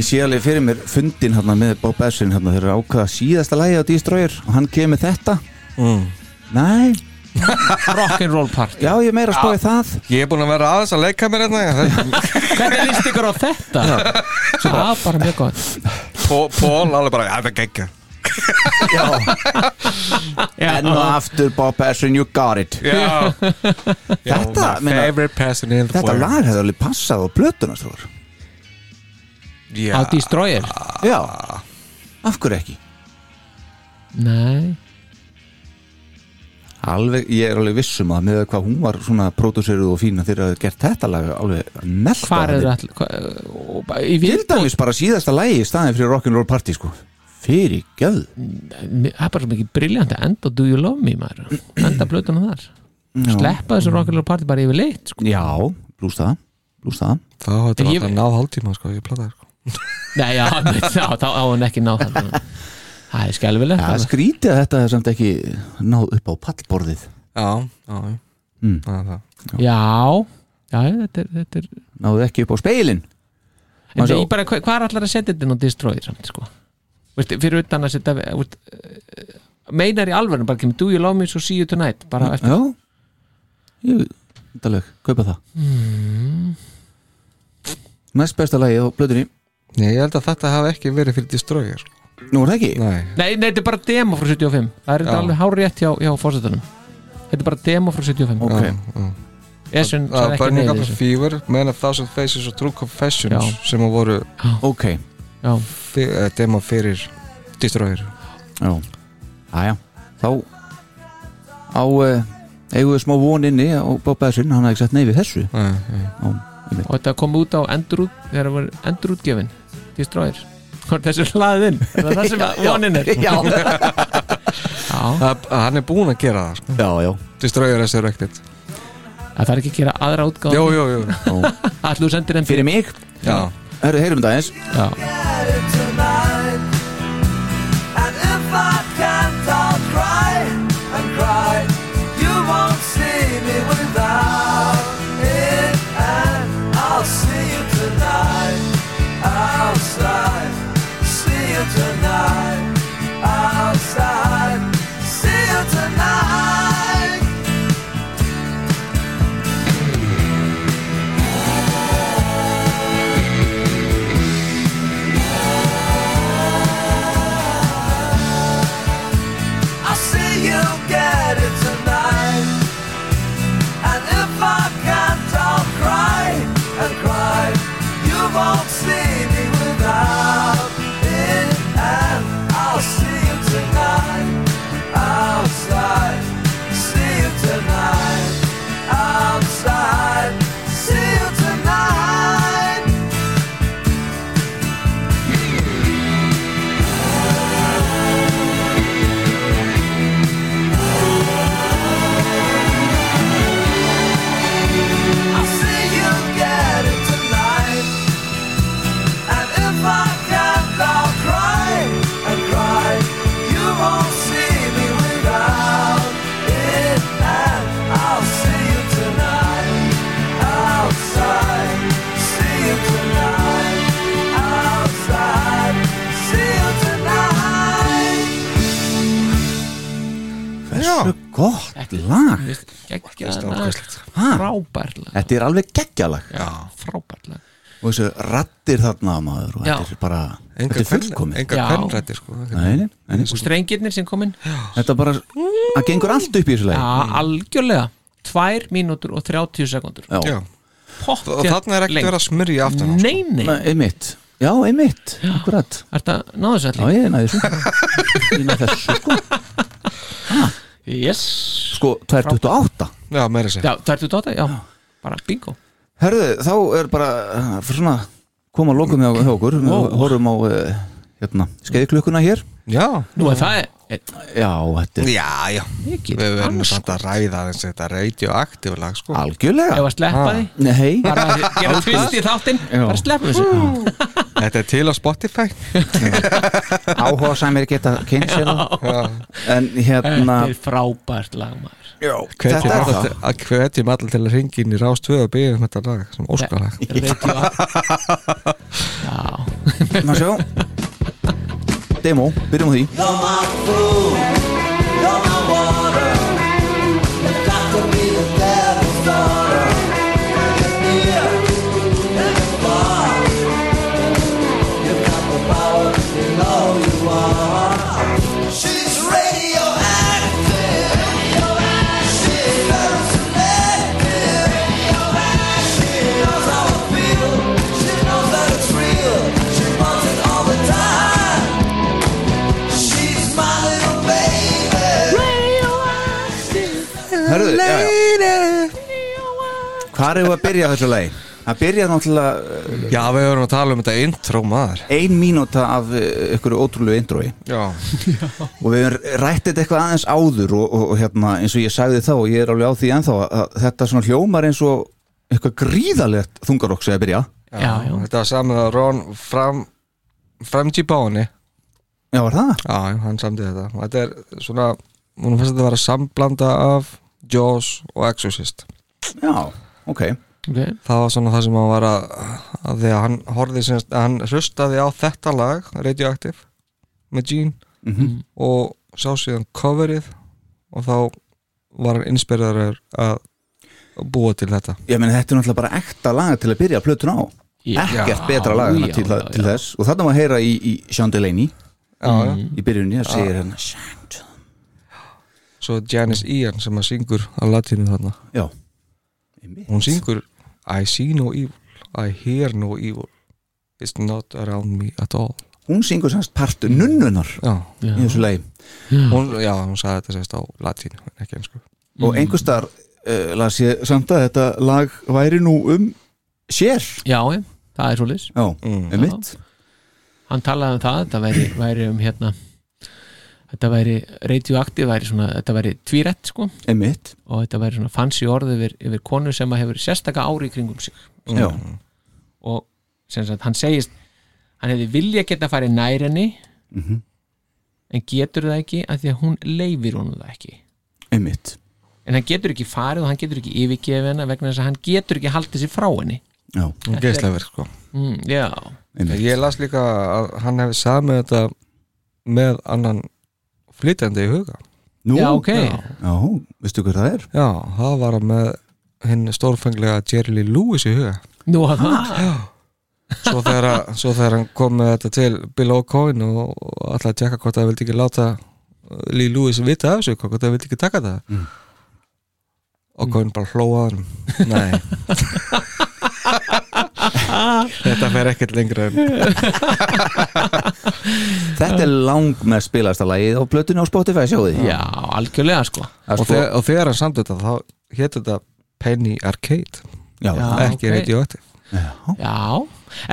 [SPEAKER 1] Ég sé alveg fyrir mér fundin hérna með Bob Essin hérna þegar þeir ákvaða síðasta lægi á Destroyer og hann kemur með þetta
[SPEAKER 2] Mm.
[SPEAKER 1] Nei,
[SPEAKER 3] Rock'n'Roll Party
[SPEAKER 1] já ég er meira að spá í það
[SPEAKER 2] Ég er búin að vera aðeins að leika mér hérna
[SPEAKER 3] hvernig líst ykkur á þetta? Já, bara mjög gott
[SPEAKER 2] Pó- Pól alveg bara, "Já, það er geggja
[SPEAKER 1] Enn og aftur Bob Essin, you got it
[SPEAKER 2] Já, já
[SPEAKER 1] Þetta,
[SPEAKER 2] my
[SPEAKER 1] meina-
[SPEAKER 2] Favorite person in the
[SPEAKER 1] Þetta
[SPEAKER 2] world
[SPEAKER 1] lag hefði alveg passað á plötuna stróður
[SPEAKER 2] Já,
[SPEAKER 3] á Destroyer?
[SPEAKER 1] Já, af hverju ekki?
[SPEAKER 3] Nei,
[SPEAKER 1] Alveg, ég er alveg vissum að með hvað hún var svona pródúseruð og fína þegar að gert þetta lag alveg nelda
[SPEAKER 3] hvað er
[SPEAKER 1] henni.
[SPEAKER 3] all hva- og bara í
[SPEAKER 1] Til
[SPEAKER 3] viðbót-
[SPEAKER 1] dæmis bara síðasta lægi í staðin fyrir Rock'n'Roll Party sko Fyrir göð
[SPEAKER 3] það er bara svo mikið briljant enda Do You Love Me maður enda blötunum þar sleppa þessu Rock'n'Roll Party bara yfir leitt sko.
[SPEAKER 1] Já, blúst það, blúst það
[SPEAKER 2] þá þetta
[SPEAKER 3] Ég-
[SPEAKER 2] var að ná hálftíma sko, ég plata sko.
[SPEAKER 3] nei, já, já, þá á hann ekki náð það það er skelfilegt
[SPEAKER 1] Já, það er skrítið að þetta er samt ekki náð upp á pallborðið
[SPEAKER 2] Já, já, já
[SPEAKER 1] Mm.
[SPEAKER 2] Það er það.
[SPEAKER 3] Já, já, þetta er, þetta er
[SPEAKER 1] Náðu ekki upp á speilin
[SPEAKER 3] en
[SPEAKER 1] Maður
[SPEAKER 3] ég
[SPEAKER 1] sjá-
[SPEAKER 3] bara, hvað, hvað er allar að setja þetta inn á Destroyer samt, sko Vist, fyrir utan að setja veist, eh, meinar í alvörnum, bara kemur Do You Love Me So See You Tonight, bara eftir
[SPEAKER 1] Já Ég, þetta lög, kaupa það mm. Næst besta lagið á blöðunni
[SPEAKER 2] Nei, ég held að þetta hafi ekki verið fyrir Destroyer sko.
[SPEAKER 1] Nú er það ekki
[SPEAKER 2] Nei,
[SPEAKER 3] Nei, nei, þetta er bara demo frá 75 það er þetta
[SPEAKER 2] Já.
[SPEAKER 3] alveg hárétt hjá, hjá fórsetunum þetta er bara demo frá 75
[SPEAKER 1] Ok,
[SPEAKER 3] Essun
[SPEAKER 2] uh,
[SPEAKER 3] sagði ekki
[SPEAKER 2] Burning Up
[SPEAKER 3] neyði
[SPEAKER 2] a
[SPEAKER 3] þessu
[SPEAKER 2] Fever Man of Thousand Faces og True Confessions
[SPEAKER 3] Já.
[SPEAKER 2] sem að voru
[SPEAKER 1] ok
[SPEAKER 3] Já,
[SPEAKER 2] fi- eh, demo fyrir Destroyer
[SPEAKER 1] Já, aðja Þá á uh, eigum við smá voninni á Bob Essin, hann hafði ekki sett nei við þessu
[SPEAKER 2] Nei, nei.
[SPEAKER 3] og þetta kom út á endurút þegar það var endurútgefin Destroyer Hvort þessu hlaðin, það er það sem að vonin er Já, já
[SPEAKER 2] Það- Hann er búinn að gera það sko.
[SPEAKER 1] Já, já
[SPEAKER 2] Destroyer Resurrected
[SPEAKER 3] það þarf ekki að gera aðra
[SPEAKER 2] Jú,
[SPEAKER 3] útgáð
[SPEAKER 2] jú, jú
[SPEAKER 3] Allu sendir enn
[SPEAKER 1] Fyrir mig,
[SPEAKER 2] Já,
[SPEAKER 1] herru, heyrum þetta eins
[SPEAKER 3] Já,
[SPEAKER 7] I'll
[SPEAKER 1] gott lag
[SPEAKER 3] frábært lag
[SPEAKER 1] Þetta er alveg geggjalag
[SPEAKER 3] frábært lag
[SPEAKER 1] og þessu rattir þarna maður og
[SPEAKER 3] Já.
[SPEAKER 1] þetta er bara, þetta
[SPEAKER 2] enga
[SPEAKER 1] er fullkomið
[SPEAKER 3] Já.
[SPEAKER 2] kvennrætti sko
[SPEAKER 1] Nei, nei, nei,
[SPEAKER 3] og strengirnir sem komin
[SPEAKER 1] þetta bara það gengur allt upp í þessu lagi
[SPEAKER 3] Já, algjörlega Tvær mínútur og 30 sekundur
[SPEAKER 2] Já.
[SPEAKER 3] Pott
[SPEAKER 2] og þarna er ekki verið að smyrja aftan á, sko.
[SPEAKER 3] Nei, nei,
[SPEAKER 1] Nei, einmitt, já, einmitt, akkurat
[SPEAKER 3] er þetta náðu
[SPEAKER 1] Já,
[SPEAKER 3] sætli?
[SPEAKER 1] ég næði þessu Ég næði þessu, sko
[SPEAKER 3] Yes
[SPEAKER 1] Sko, 228
[SPEAKER 2] já, meira sér
[SPEAKER 3] Já, 28, já, bara bingo
[SPEAKER 1] Herðu, þá er bara uh, svona, koma að lokum hjá, hjá okkur wow. horfum á uh, hérna, skeiðklukkuna hér
[SPEAKER 2] já,
[SPEAKER 3] Nú er það er,
[SPEAKER 1] Já, þetta er
[SPEAKER 2] já, já
[SPEAKER 3] mikið
[SPEAKER 2] við verðum
[SPEAKER 3] Annars-
[SPEAKER 2] samt að ræða aðeins þetta radioaktív lag sko
[SPEAKER 1] algjörlega
[SPEAKER 3] Ef að sleppa
[SPEAKER 2] Ah.
[SPEAKER 3] því
[SPEAKER 1] Nei,
[SPEAKER 3] Bara að gera tvist í þáttinn Bara sleppa þessu
[SPEAKER 2] þetta er til á Spotify
[SPEAKER 1] áhuga samir geta kynsina En hérna
[SPEAKER 3] Þetta er frábært lag maður
[SPEAKER 1] já,
[SPEAKER 2] hvetjum
[SPEAKER 1] Þetta er
[SPEAKER 2] alla
[SPEAKER 1] það
[SPEAKER 2] til- að hvetjum alla til að ringa inn í rástöðu að byggja um þetta lag sem óskalag
[SPEAKER 3] Radioaktív. Já
[SPEAKER 1] Má sjá Demo, byrjum á því
[SPEAKER 7] You're my food, you're my water. You've got to be the devil's daughter. It's near and it's far. You've got the power, you know you are. She's radioactive. She's hallucinating. She knows how I feel. She knows that it's real. She wants it all the time. She's my little baby.
[SPEAKER 1] Herðu, já, já Hvar er að byrja á þessu lagi? Það byrja náttúrulega uh,
[SPEAKER 2] já, við verðum að tala um þetta intro maður
[SPEAKER 1] ein mínúta af uh, ykkur ótrúlegu indrói
[SPEAKER 2] já,
[SPEAKER 1] og við höfum rætt þetta eitthvað aðeins áður og, og, og hérna, eins og ég sagði þá og ég er alveg á því ennþá að- að þetta svona hljómar eins og eitthvað gríðalegt þungarokk sem er að byrja
[SPEAKER 3] Já, já
[SPEAKER 2] þetta var samið að Ron fram Fremji Báni
[SPEAKER 1] Já, var það?
[SPEAKER 2] Já, já, hann samdi þetta Og Þetta er svona, hún finnst þetta að vera samblanda af Jaws og Exorcist
[SPEAKER 1] Já, ok
[SPEAKER 3] okay.
[SPEAKER 2] Það var svona það sem hann var að, að því að hann horfði sem að hann hlustaði á þetta lag, Radioactive með Gene
[SPEAKER 1] Mhm.
[SPEAKER 2] og sá síðan coverið og þá var hann inspiraður að búa til þetta
[SPEAKER 1] Ég meni þetta er náttúrulega bara ekta lag til að byrja plötun á ekkert betra lag já,
[SPEAKER 3] já,
[SPEAKER 1] til,
[SPEAKER 3] já,
[SPEAKER 1] til
[SPEAKER 3] já.
[SPEAKER 1] þess og þarna má heyra í, í Sean Delaney
[SPEAKER 2] Já, já,
[SPEAKER 1] í byrjunni að segir hérna Sean Delaney.
[SPEAKER 2] svo Janice Ian sem að syngur á latinu þarna
[SPEAKER 1] Já,
[SPEAKER 2] hún syngur I see no evil, I hear no evil it's not around me at all
[SPEAKER 1] hún syngur semst part nunnunar
[SPEAKER 2] já, Mm.
[SPEAKER 1] í þessu lagi
[SPEAKER 2] hún, já, hún sagði þetta sérst á latínu en ekki ennsku
[SPEAKER 3] Mm.
[SPEAKER 1] og einhverstaðar uh, las ég samt að þetta lag væri nú um sér
[SPEAKER 3] Já, já, það er svolítið
[SPEAKER 1] Já,
[SPEAKER 2] Mm.
[SPEAKER 1] um mitt
[SPEAKER 3] hann talaði um það, þetta væri, væri um hérna þetta væri radioaktiv, væri svona, þetta væri tvírætt sko,
[SPEAKER 1] Einmitt,
[SPEAKER 3] og þetta væri svona fancy orð yfir, yfir konu sem að hefur sérstaka ári í kringum sig
[SPEAKER 1] já,
[SPEAKER 3] og sem sagt, hann segist hann hefði vilja geta að fara í nær henni
[SPEAKER 1] Mhm.
[SPEAKER 3] en getur það ekki af því að hún leifir honum það ekki
[SPEAKER 1] einmitt
[SPEAKER 3] en hann getur ekki farið og hann getur ekki yfirgefið henni vegna þess að hann getur ekki haldið sér frá henni
[SPEAKER 1] Já,
[SPEAKER 2] geðslegur sko
[SPEAKER 3] mm, já,
[SPEAKER 1] einmitt
[SPEAKER 2] ég las líka að hann hefði samið þetta með annan flytjandi í huga
[SPEAKER 1] Nú,
[SPEAKER 3] já, ok
[SPEAKER 1] já, veistu hver það er?
[SPEAKER 2] já, það var hann með hinn stórfenglega Jerry Lee Lewis í huga
[SPEAKER 3] nú að það,
[SPEAKER 2] svo þegar, að- svo þegar hann kom með þetta til Bill O'Coin og alltaf að tjekka hvort það vildi ekki láta eh, Lee Lewis vita af þessu, hvort það vildi ekki taka það mm. O'Coin bara hlóa hann nei þetta fer ekkert lengra en
[SPEAKER 1] Þetta er lang með spilasta lagið á plötunni á Spotify, sjáu því
[SPEAKER 3] já, algjörlega sko
[SPEAKER 1] Það
[SPEAKER 2] og,
[SPEAKER 1] er
[SPEAKER 2] sko,
[SPEAKER 1] sko,
[SPEAKER 2] og þegar hann samt þetta þá hétt þetta Penny Arcade
[SPEAKER 1] já,
[SPEAKER 3] Já.
[SPEAKER 1] það-
[SPEAKER 2] ekki
[SPEAKER 3] ok.
[SPEAKER 2] okay. radioaktiv
[SPEAKER 3] Já,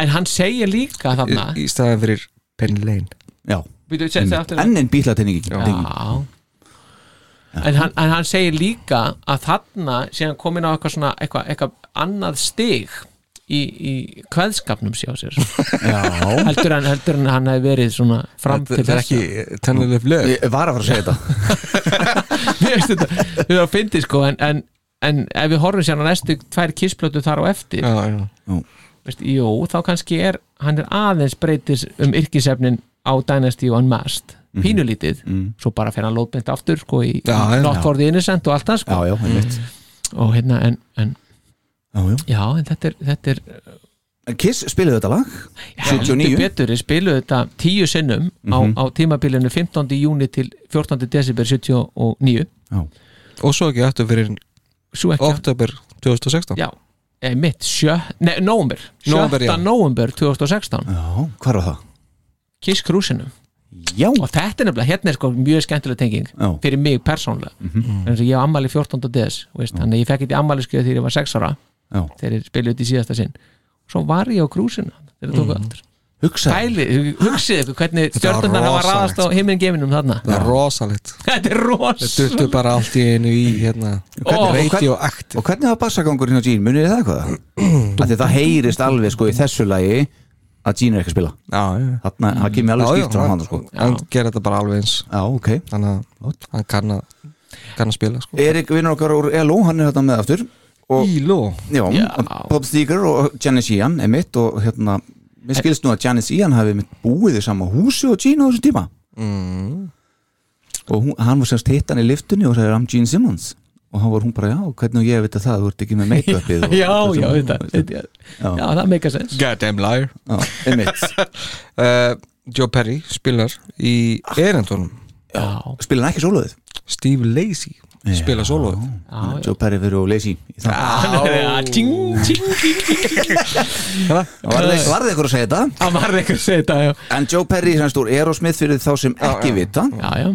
[SPEAKER 3] en hann segir líka þarna
[SPEAKER 2] í, í staðan fyrir Penny Lane
[SPEAKER 1] já
[SPEAKER 3] Býtu, segja þetta aftur
[SPEAKER 1] Enn einn bílatinning
[SPEAKER 3] Já En hann, en hann segir líka að þarna sé hann komin á eitthvað svona eitthvað, eitthvað annað stig í, í kveðskapnum sé á sér
[SPEAKER 1] Já,
[SPEAKER 3] heldur en, heldur en hann hefði verið svona fram til
[SPEAKER 2] þetta er
[SPEAKER 3] þess
[SPEAKER 2] ekki tennileg flög
[SPEAKER 1] ég var að fara að segja þetta
[SPEAKER 3] þetta við erum að fyndi sko en, en, en ef við horfum sér á næstu tvær kissblötu þar á eftir
[SPEAKER 2] já, já.
[SPEAKER 3] veist, jú, þá kannski er hann er aðeins breytis um yrkisefnin á á Dynasty og Unmasked pínulítið, svo bara fyrir hann lóðbent aftur sko í
[SPEAKER 2] Mhm. Já, já.
[SPEAKER 3] Not for the Innocent og allt það sko
[SPEAKER 1] já, einmitt
[SPEAKER 3] og hérna en, en
[SPEAKER 1] Mm. Já, já.
[SPEAKER 3] já, en þetta er, þetta er
[SPEAKER 1] En Kiss spilaði þetta lag
[SPEAKER 3] heldur
[SPEAKER 1] 79
[SPEAKER 3] betur, ég spiluðu þetta tíu sinnum
[SPEAKER 2] Mhm.
[SPEAKER 3] á, á tímabilinu 15. júni til 14. desember 79
[SPEAKER 2] og svo ekki aftur fyrir
[SPEAKER 3] svo ekki,
[SPEAKER 2] oktober 2016
[SPEAKER 3] já eh, mitt, sjö, nei, nóumber
[SPEAKER 2] Nóvember, já.
[SPEAKER 3] 7. nóumber 2016
[SPEAKER 1] Já, hvað var það?
[SPEAKER 3] Kiss Cruisinum
[SPEAKER 1] Já,
[SPEAKER 3] og þetta er nefnilega, hérna er sko mjög skemmtileg tenging
[SPEAKER 1] Já.
[SPEAKER 3] fyrir mig persónlega þannig að ég á ammali 14. des veist, þannig að ég fekk eitthvað ammali skjöð þegar ég var 6 ára
[SPEAKER 1] Já.
[SPEAKER 3] þegar ég spilaði þetta í síðasta sinn svo var ég á krúsinu þegar það tóku aftur
[SPEAKER 1] hugsaði
[SPEAKER 3] Pæli, hugsið ykkur hvernig
[SPEAKER 2] Þetta var
[SPEAKER 3] stjörnurnar hafa
[SPEAKER 2] rosalegt.
[SPEAKER 3] raðast á heiminn geiminum þarna
[SPEAKER 2] það er rosalegt
[SPEAKER 3] þetta er
[SPEAKER 2] það
[SPEAKER 3] ros
[SPEAKER 2] duttu bara allt í einu í hérna
[SPEAKER 3] Ó,
[SPEAKER 2] radioaktiv
[SPEAKER 1] Og hvernig var bassagangur hérna Gene, munið þið það hvað? Af því það heyrist alveg sko í þessu lagi að Gene er ekki að spila
[SPEAKER 2] já, já,
[SPEAKER 1] Þarna, það kemur alveg
[SPEAKER 2] já, já,
[SPEAKER 1] skýrt frá hann sko
[SPEAKER 2] hann gerir þetta bara alveg eins
[SPEAKER 1] Já, ok
[SPEAKER 2] þannig að hann kann að kann að spila sko.
[SPEAKER 1] Erik vinnur okkar úr ELO, hann er þetta með aftur og,
[SPEAKER 2] Íló
[SPEAKER 1] já,
[SPEAKER 3] Já.
[SPEAKER 1] og Bob Steger og Janis Ian er mitt og hérna, mér skilst nú að Janis Ian hafi mitt búið í sama húsi og Gene á þessum tíma og hún, hann var semst hitt hann í liftunni og sagði I'm Gene Simmons og hann var hún bara, já, hvernig á ég veit að það, þú ert ekki með make-upið og-
[SPEAKER 3] já,
[SPEAKER 1] og-
[SPEAKER 3] já, þetta
[SPEAKER 1] veist,
[SPEAKER 3] þetta- já, það meika sens
[SPEAKER 2] goddamn liar
[SPEAKER 1] já, einmitt
[SPEAKER 2] uh, Joe Perry spilar í erendunum
[SPEAKER 3] já,
[SPEAKER 1] spila hann ekki sóluðið
[SPEAKER 2] Steve Lacey spila solo
[SPEAKER 3] já, já
[SPEAKER 1] Joe Perry fyrir og Lacey í það.
[SPEAKER 3] Já, ting, ting, ting, ting.
[SPEAKER 1] var það var það ykkur að segja þetta
[SPEAKER 3] það var eitthvað að segja þetta já,
[SPEAKER 1] en Joe Perry semst úr Aerosmith fyrir þá sem ekki vita
[SPEAKER 3] já, já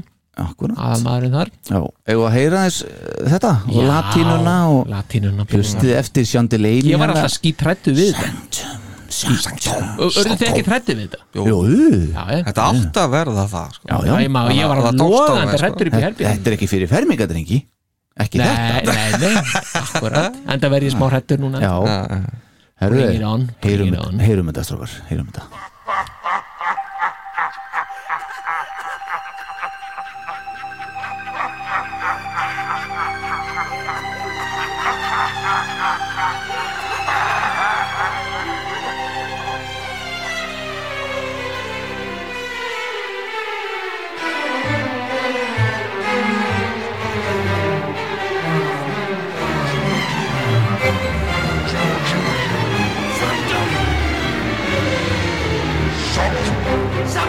[SPEAKER 1] akkurat
[SPEAKER 3] aðalmaðurinn þar
[SPEAKER 1] Já, eigum við að heyra þess uh, þetta og
[SPEAKER 3] Já,
[SPEAKER 1] latínuna og
[SPEAKER 3] latínuna
[SPEAKER 1] hlustið eftir Chandelier
[SPEAKER 3] ég var alltaf skítrættu við þetta Örðu þið ekki trættið við þetta?
[SPEAKER 1] Jú,
[SPEAKER 3] Já, já,
[SPEAKER 2] þetta átt að verða það sko.
[SPEAKER 3] já,
[SPEAKER 1] já.
[SPEAKER 3] ég, maður, ég var
[SPEAKER 2] Það
[SPEAKER 3] alveg
[SPEAKER 2] tókst á
[SPEAKER 3] loðandi
[SPEAKER 2] það, sko.
[SPEAKER 3] hrættur upp í
[SPEAKER 1] þetta
[SPEAKER 3] herbygðum
[SPEAKER 1] þetta er ekki fyrir fermingadrengi ekki þetta
[SPEAKER 3] Nei, nei, nei, akkurat En það verði ég smá hrættur núna
[SPEAKER 1] Já,
[SPEAKER 2] Já, já.
[SPEAKER 1] herðu,
[SPEAKER 3] Bring it on, bring
[SPEAKER 1] heyrum
[SPEAKER 3] it
[SPEAKER 1] þetta,
[SPEAKER 3] on.
[SPEAKER 1] heyrum þetta strókar heyrum þetta
[SPEAKER 7] Freedom! Freedom!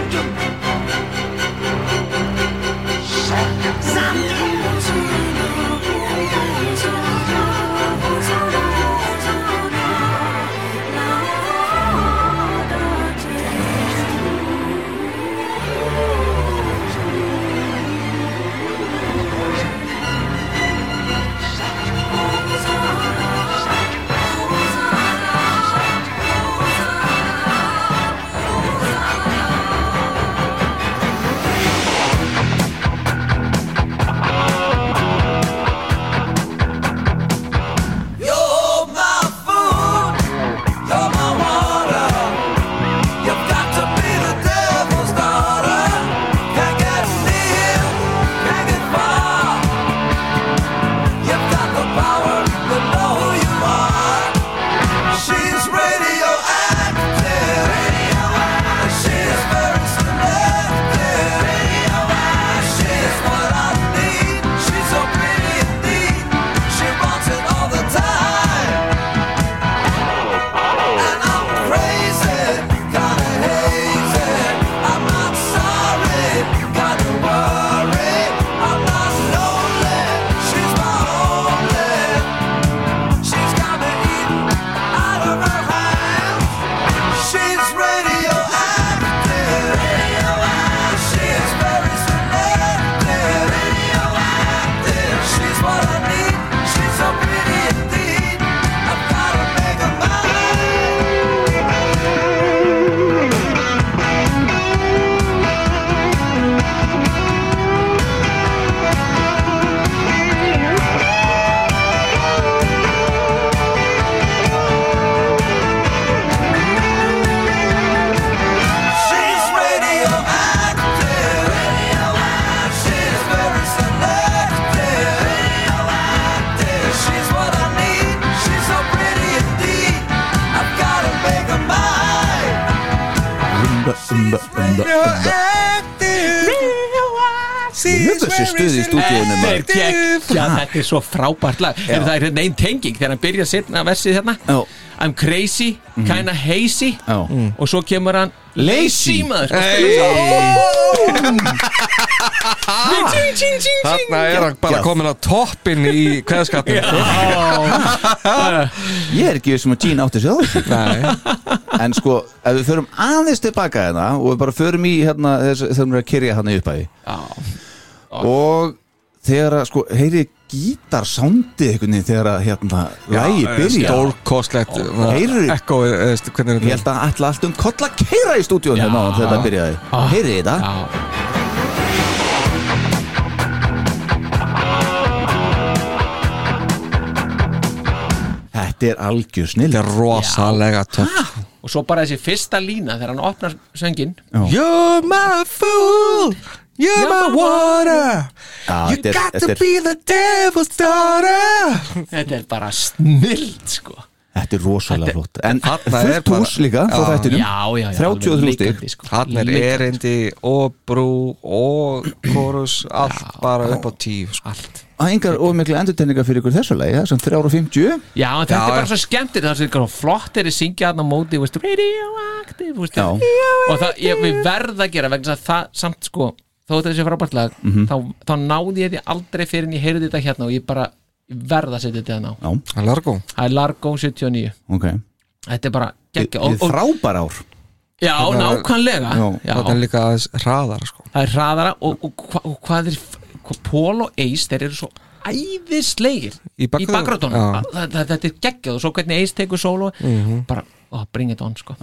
[SPEAKER 1] Þessi stuði í stúdíunum
[SPEAKER 3] Þetta er
[SPEAKER 1] maður.
[SPEAKER 3] geggja, þetta er svo frábært lag Ef það er hérna ein tenging þegar hann byrja setna versið hérna
[SPEAKER 1] Já.
[SPEAKER 3] I'm crazy, kinda hazy Mm.
[SPEAKER 1] Já.
[SPEAKER 3] og svo kemur hann Lazy maður
[SPEAKER 2] Þarna er hann bara komin á toppin í kveðskapin
[SPEAKER 3] Eh,
[SPEAKER 1] Ég er ekki sem að Gene átti sér á þessu. En sko, ef við förum aðeins tilbaka hérna og við bara förum í hérna þess- þegar hún er að kyrja hann í uppæði og þegar að sko, heyri gítarsándið einhvern veginn þegar að hérna lægi byrja
[SPEAKER 2] Stórkostlegt
[SPEAKER 1] Heyrðu.
[SPEAKER 2] Ekko, eh, hvernig
[SPEAKER 1] Ég
[SPEAKER 2] er
[SPEAKER 1] held að alltaf allt um koll að keira í stúdíun hérna áðan þegar þetta byrjaði Heyrið þetta? Þetta er algjör snill
[SPEAKER 2] þetta er rosalega töff
[SPEAKER 3] Og svo bara þessi fyrsta lína þegar hann opnar söngin
[SPEAKER 2] You're my fool You're my water You
[SPEAKER 1] þetta er-
[SPEAKER 2] got
[SPEAKER 1] þetta
[SPEAKER 2] to
[SPEAKER 1] er-
[SPEAKER 2] be the devil's daughter
[SPEAKER 3] Þetta er bara snild sko
[SPEAKER 1] Þetta er rosalega flott En
[SPEAKER 2] Þarna er
[SPEAKER 1] fullt
[SPEAKER 2] bara-
[SPEAKER 1] hús líka frá
[SPEAKER 2] Já.
[SPEAKER 1] þættinum
[SPEAKER 3] Já, já, já
[SPEAKER 1] 33
[SPEAKER 3] alveg
[SPEAKER 1] stig.
[SPEAKER 3] leikandi, sko.
[SPEAKER 2] Hann er
[SPEAKER 3] Leikandi.
[SPEAKER 2] erindi og brú og kórus allt bara upp á tíu sko.
[SPEAKER 3] Allt
[SPEAKER 1] Það er engar of mikla endurtegningar fyrir ykkur þessu lagi Það er sem 3.50
[SPEAKER 3] Já, en þetta
[SPEAKER 2] Já,
[SPEAKER 3] er bara
[SPEAKER 2] já.
[SPEAKER 3] svo skemmtir Það er svo flott er að syngja hann á móti veist, Radioactive veist,
[SPEAKER 1] Já.
[SPEAKER 3] Og það, ég, við verða að gera vegna þess að það samt sko Þó þetta er sér frábært lag
[SPEAKER 2] Mhm.
[SPEAKER 3] þá, þá náði ég því aldrei fyrir en ég heyrði þetta hérna Og ég bara verða að setja þetta hérna á
[SPEAKER 2] Hann largó
[SPEAKER 3] Það er Largo 79
[SPEAKER 1] Ok
[SPEAKER 3] Þetta er bara
[SPEAKER 1] Við
[SPEAKER 3] geggja
[SPEAKER 1] við frábær ár
[SPEAKER 3] Já, nákvæmlega
[SPEAKER 1] Já,
[SPEAKER 3] já,
[SPEAKER 2] Þetta er líka aðeins hraðar sko.
[SPEAKER 3] Það er hraðara og, og, hva, og hvað er hva, Pól og Ace, þeir eru svo æðislegir
[SPEAKER 2] Í bakgrunn-
[SPEAKER 3] bakgrátunum
[SPEAKER 2] Já.
[SPEAKER 3] Þa- þa- Þetta er geggjað og svo hvernig Ace tekur solo bara, ó, bring it on sko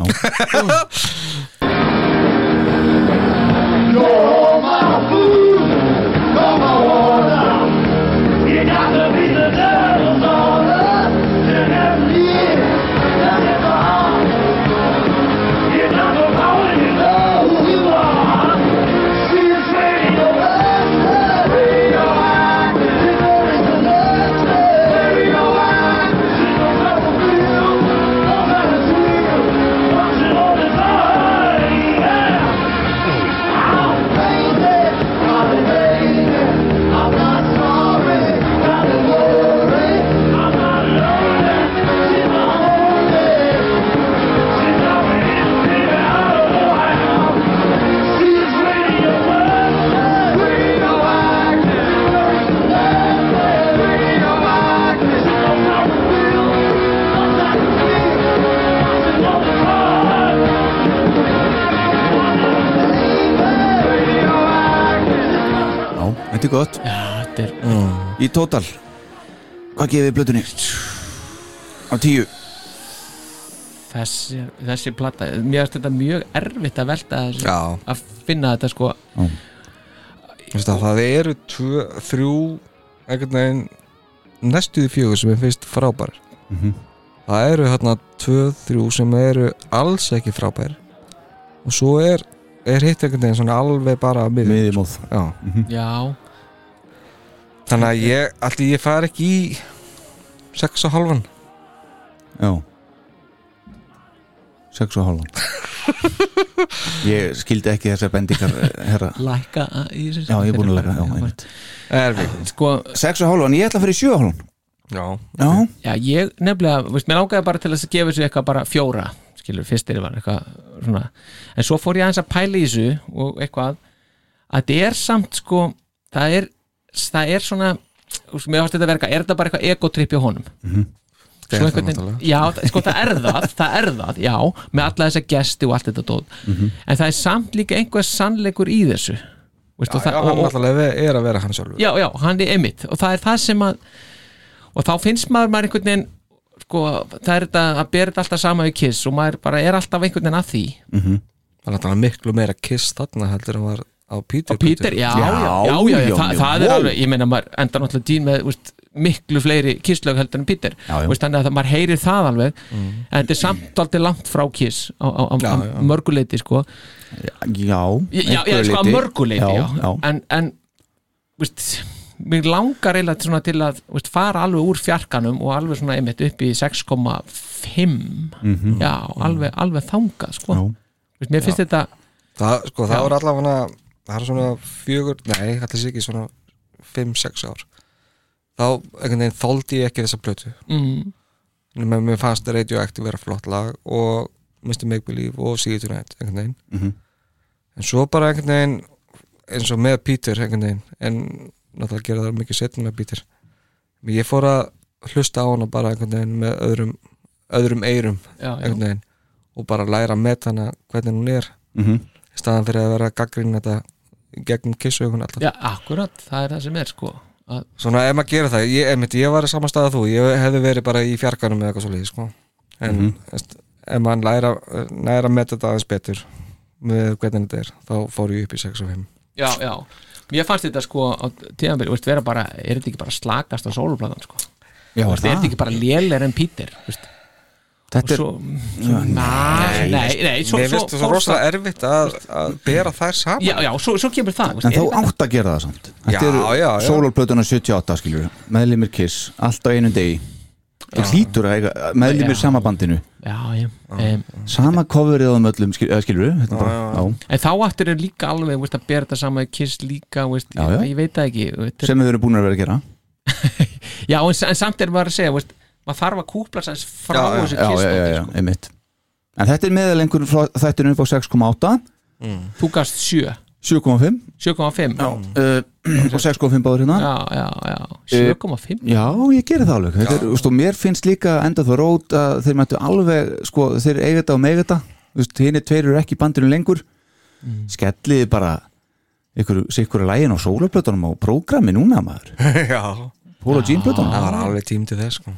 [SPEAKER 1] Já, þetta er gott
[SPEAKER 3] Já, þetta er
[SPEAKER 1] Í tótal Hvað gefið blötunni? Á tíu
[SPEAKER 3] þessi, þessi platta Mér finnst þetta mjög erfitt að velta þessu
[SPEAKER 2] Já.
[SPEAKER 3] að finna þetta sko
[SPEAKER 2] Veistu að Það eru tvö, þrjú einhvern veginn næstuði fjögur sem er fyrst frábær
[SPEAKER 1] Mhm.
[SPEAKER 2] Það eru hérna tvö, þrjú sem eru alls ekki frábær og svo er, er hitt einhvern veginn svona alveg bara að miður
[SPEAKER 1] Miðjumóð
[SPEAKER 2] Já.
[SPEAKER 1] Mhm.
[SPEAKER 3] Já,
[SPEAKER 2] Þannig að ég, allir ég far ekki í sex og halvan
[SPEAKER 1] Já Sex og hálfan Ég skildi ekki þessar bendingar eh, herra
[SPEAKER 3] lækka að- í þessu
[SPEAKER 1] Já, ég er búin að læra Já, einmitt
[SPEAKER 2] Erfið
[SPEAKER 3] Sko,
[SPEAKER 1] Sex og hálfan, ég ætla að fyrir sjö og hálfan
[SPEAKER 2] Já,
[SPEAKER 1] Já
[SPEAKER 3] Já, ég nefnilega, veist, mér ágæði bara til þess að gefa þessu eitthvað bara fjóra, skilur, fyrst er var eitthvað svona, en svo fór ég aðeins að pæla í þessu og eitthvað að þetta er samt sko það er, það er svona þú veist, mér varst þetta verka, er þetta bara eitthvað egotripp hjá honum?
[SPEAKER 2] það
[SPEAKER 3] Svo
[SPEAKER 2] er það
[SPEAKER 3] einhvern veginn,
[SPEAKER 2] Mhm. náttúrulega
[SPEAKER 3] já, það- sko það er það það er það, já, með alla þessa gesti og allt þetta dóð,
[SPEAKER 2] Mhm.
[SPEAKER 3] en það er samt líka einhver sannleikur í þessu veist, og
[SPEAKER 2] Já,
[SPEAKER 3] það-
[SPEAKER 2] hann
[SPEAKER 3] og- og-
[SPEAKER 2] náttúrulega er að vera hann sjálfur
[SPEAKER 3] já, já, hann er emitt og það er það sem að og þá finnst maður maður einhvern veginn sko, það er þetta að bera þetta alltaf sama við kiss og maður bara er alltaf einhvern veginn að því
[SPEAKER 2] Það er náttúrulega miklu meira kiss þarna heldur en var á Peter
[SPEAKER 3] og Peter, já, já, já, já,
[SPEAKER 1] já,
[SPEAKER 3] það,
[SPEAKER 1] já,
[SPEAKER 3] það er
[SPEAKER 1] wow.
[SPEAKER 3] alveg, ég meina maður enda náttúrulega dýn með, úst, miklu fleiri kisslög heldur en Peter,
[SPEAKER 1] Já, Mm. já.
[SPEAKER 3] Úst, þannig að það- maður heyrir það alveg, en þetta er samt aldrei langt frá kiss á, á, á,
[SPEAKER 2] Já,
[SPEAKER 3] á
[SPEAKER 2] já.
[SPEAKER 3] mörguleiti, sko
[SPEAKER 1] Já,
[SPEAKER 3] já, já,
[SPEAKER 1] einhverju
[SPEAKER 3] sko að
[SPEAKER 1] leyti.
[SPEAKER 3] mörguleiti, já,
[SPEAKER 1] já.
[SPEAKER 3] en, en veist, mér langar eiginlega til svona til að veist, fara alveg úr fjarkanum og alveg svona einmitt upp í 6,5 já, alveg, alveg þangað sko.
[SPEAKER 1] Mhm. Já.
[SPEAKER 3] veist, mér finnst þetta
[SPEAKER 2] það, sko, það var allavega það er svona fjögur, nei, allir sér ekki svona 5-6 ár þá einhvern veginn þóldi ég ekki þessa plötu
[SPEAKER 3] Mhm.
[SPEAKER 2] nema mér fannst Radioactive vera flott lag og Mr. Make Believe og See You Tonight einhvern veginn
[SPEAKER 1] Mhm.
[SPEAKER 2] en svo bara einhvern veginn eins og með Peter einhvern veginn en náttúrulega gera það mikið setn með Peter Men ég fór að hlusta á hana bara einhvern veginn með öðrum öðrum eyrum
[SPEAKER 3] Já, já.
[SPEAKER 2] einhvern veginn og bara læra að meta hana hvernig hún er
[SPEAKER 1] Mhm.
[SPEAKER 2] í staðan fyrir að vera að gaggrinn þetta í gegnum kissugun alltaf
[SPEAKER 3] Já, akkurat, það er það sem er sko að,
[SPEAKER 2] svona ef maður gerir það, ég, einmitt, ég var í sama stað að þú, ég hefði verið bara í fjarkanum eða eitthvað svo sko en mm ef maður læra, læra að metta þetta aðeins betur með hvernig þetta er, þá fór ég upp í 6 og 5
[SPEAKER 3] Já, já, mér fannst þetta sko á tíðanbyrju, veist, vera bara, er þetta ekki bara slakast á sólublatan sko
[SPEAKER 1] Já,
[SPEAKER 3] veist, er þetta ekki bara lélir en Peter veist?
[SPEAKER 1] Þetta
[SPEAKER 3] og
[SPEAKER 1] er,
[SPEAKER 3] svo, nei, nei, nei svo,
[SPEAKER 2] Mér
[SPEAKER 3] svo,
[SPEAKER 2] finnst það
[SPEAKER 3] fórst
[SPEAKER 2] rosalega erfitt að, að bera þær saman
[SPEAKER 3] Já, já, svo, svo kemur það veist,
[SPEAKER 1] en þá
[SPEAKER 3] er-
[SPEAKER 1] átt að gera það samt Þetta
[SPEAKER 2] Já, já,
[SPEAKER 1] eru
[SPEAKER 2] já.
[SPEAKER 1] sólólplötuna 78 skiljur meðlimir Kiss, allt á einum degi Þú hlýtur að eiga meðlimir
[SPEAKER 3] Já.
[SPEAKER 1] sama bandinu
[SPEAKER 3] Já, já, um,
[SPEAKER 1] sama coverið á þeim öllum skiljur þetta er bara, já,
[SPEAKER 3] en þá aftur er líka alveg veist, að bera þetta saman við kiss líka veist,
[SPEAKER 1] Já, já.
[SPEAKER 3] Ég, ég veit það ekki veist,
[SPEAKER 1] sem við erum búin að vera að gera
[SPEAKER 3] Já, en, en samt er maður að segja veist, maður þarf að kúpla sæns frá
[SPEAKER 1] já, já,
[SPEAKER 3] þessu kiss
[SPEAKER 1] já, já,
[SPEAKER 3] dóti, sko.
[SPEAKER 1] já, einmitt en þetta er meðal einhvern frá þættinu upp á 6,8
[SPEAKER 3] sko. Þú gafst 7,
[SPEAKER 1] 7,5
[SPEAKER 3] 7,5 já.
[SPEAKER 1] uh, og 6,5 báður hérna
[SPEAKER 3] já, já, já, 7,5
[SPEAKER 1] Já, ég gerir það alveg Þetta er, veist, og mér finnst líka enda það rót að þeir mættu alveg, sko, þeir eiga þetta og mega þetta Þú veist, hinn er tveir eru ekki í bandinu lengur
[SPEAKER 3] Mm.
[SPEAKER 1] skelliði bara ykkur, sikkur að lægin á sólaplötunum og prógrami núna maður
[SPEAKER 2] já,
[SPEAKER 1] Pól og Jean plötunum
[SPEAKER 2] það var alveg tím til þess sko.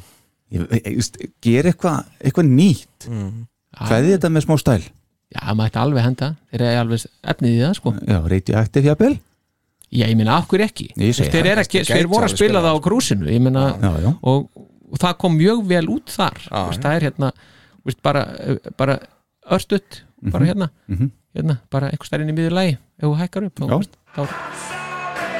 [SPEAKER 1] Ég- ég- ég veist, Ger eitthvað eitthva nýtt
[SPEAKER 3] Mm.
[SPEAKER 1] Hvað er þetta með smá stæl?
[SPEAKER 3] Já, maður ætti alveg henda, þeir eru alveg efnið í það sko
[SPEAKER 1] Já, radioactive jafnvel
[SPEAKER 3] Já, ég meina, af hverju ekki?
[SPEAKER 1] Ég segi
[SPEAKER 3] þeir,
[SPEAKER 1] það.
[SPEAKER 3] eru ekki
[SPEAKER 2] Gæti
[SPEAKER 3] þeir voru að
[SPEAKER 2] alveg
[SPEAKER 3] spila
[SPEAKER 2] spilað
[SPEAKER 3] það á krúsinu ég meina,
[SPEAKER 1] Já, já,
[SPEAKER 3] og, og það kom mjög vel út þar
[SPEAKER 2] Já,
[SPEAKER 3] veist,
[SPEAKER 2] já.
[SPEAKER 3] það er hérna veist, bara, eh, bara örstutt bara hérna,
[SPEAKER 1] mhm.
[SPEAKER 3] hérna bara einhver stærinn í miður lagi ef þú hækkar upp
[SPEAKER 1] Já.
[SPEAKER 3] þá, veist, þá,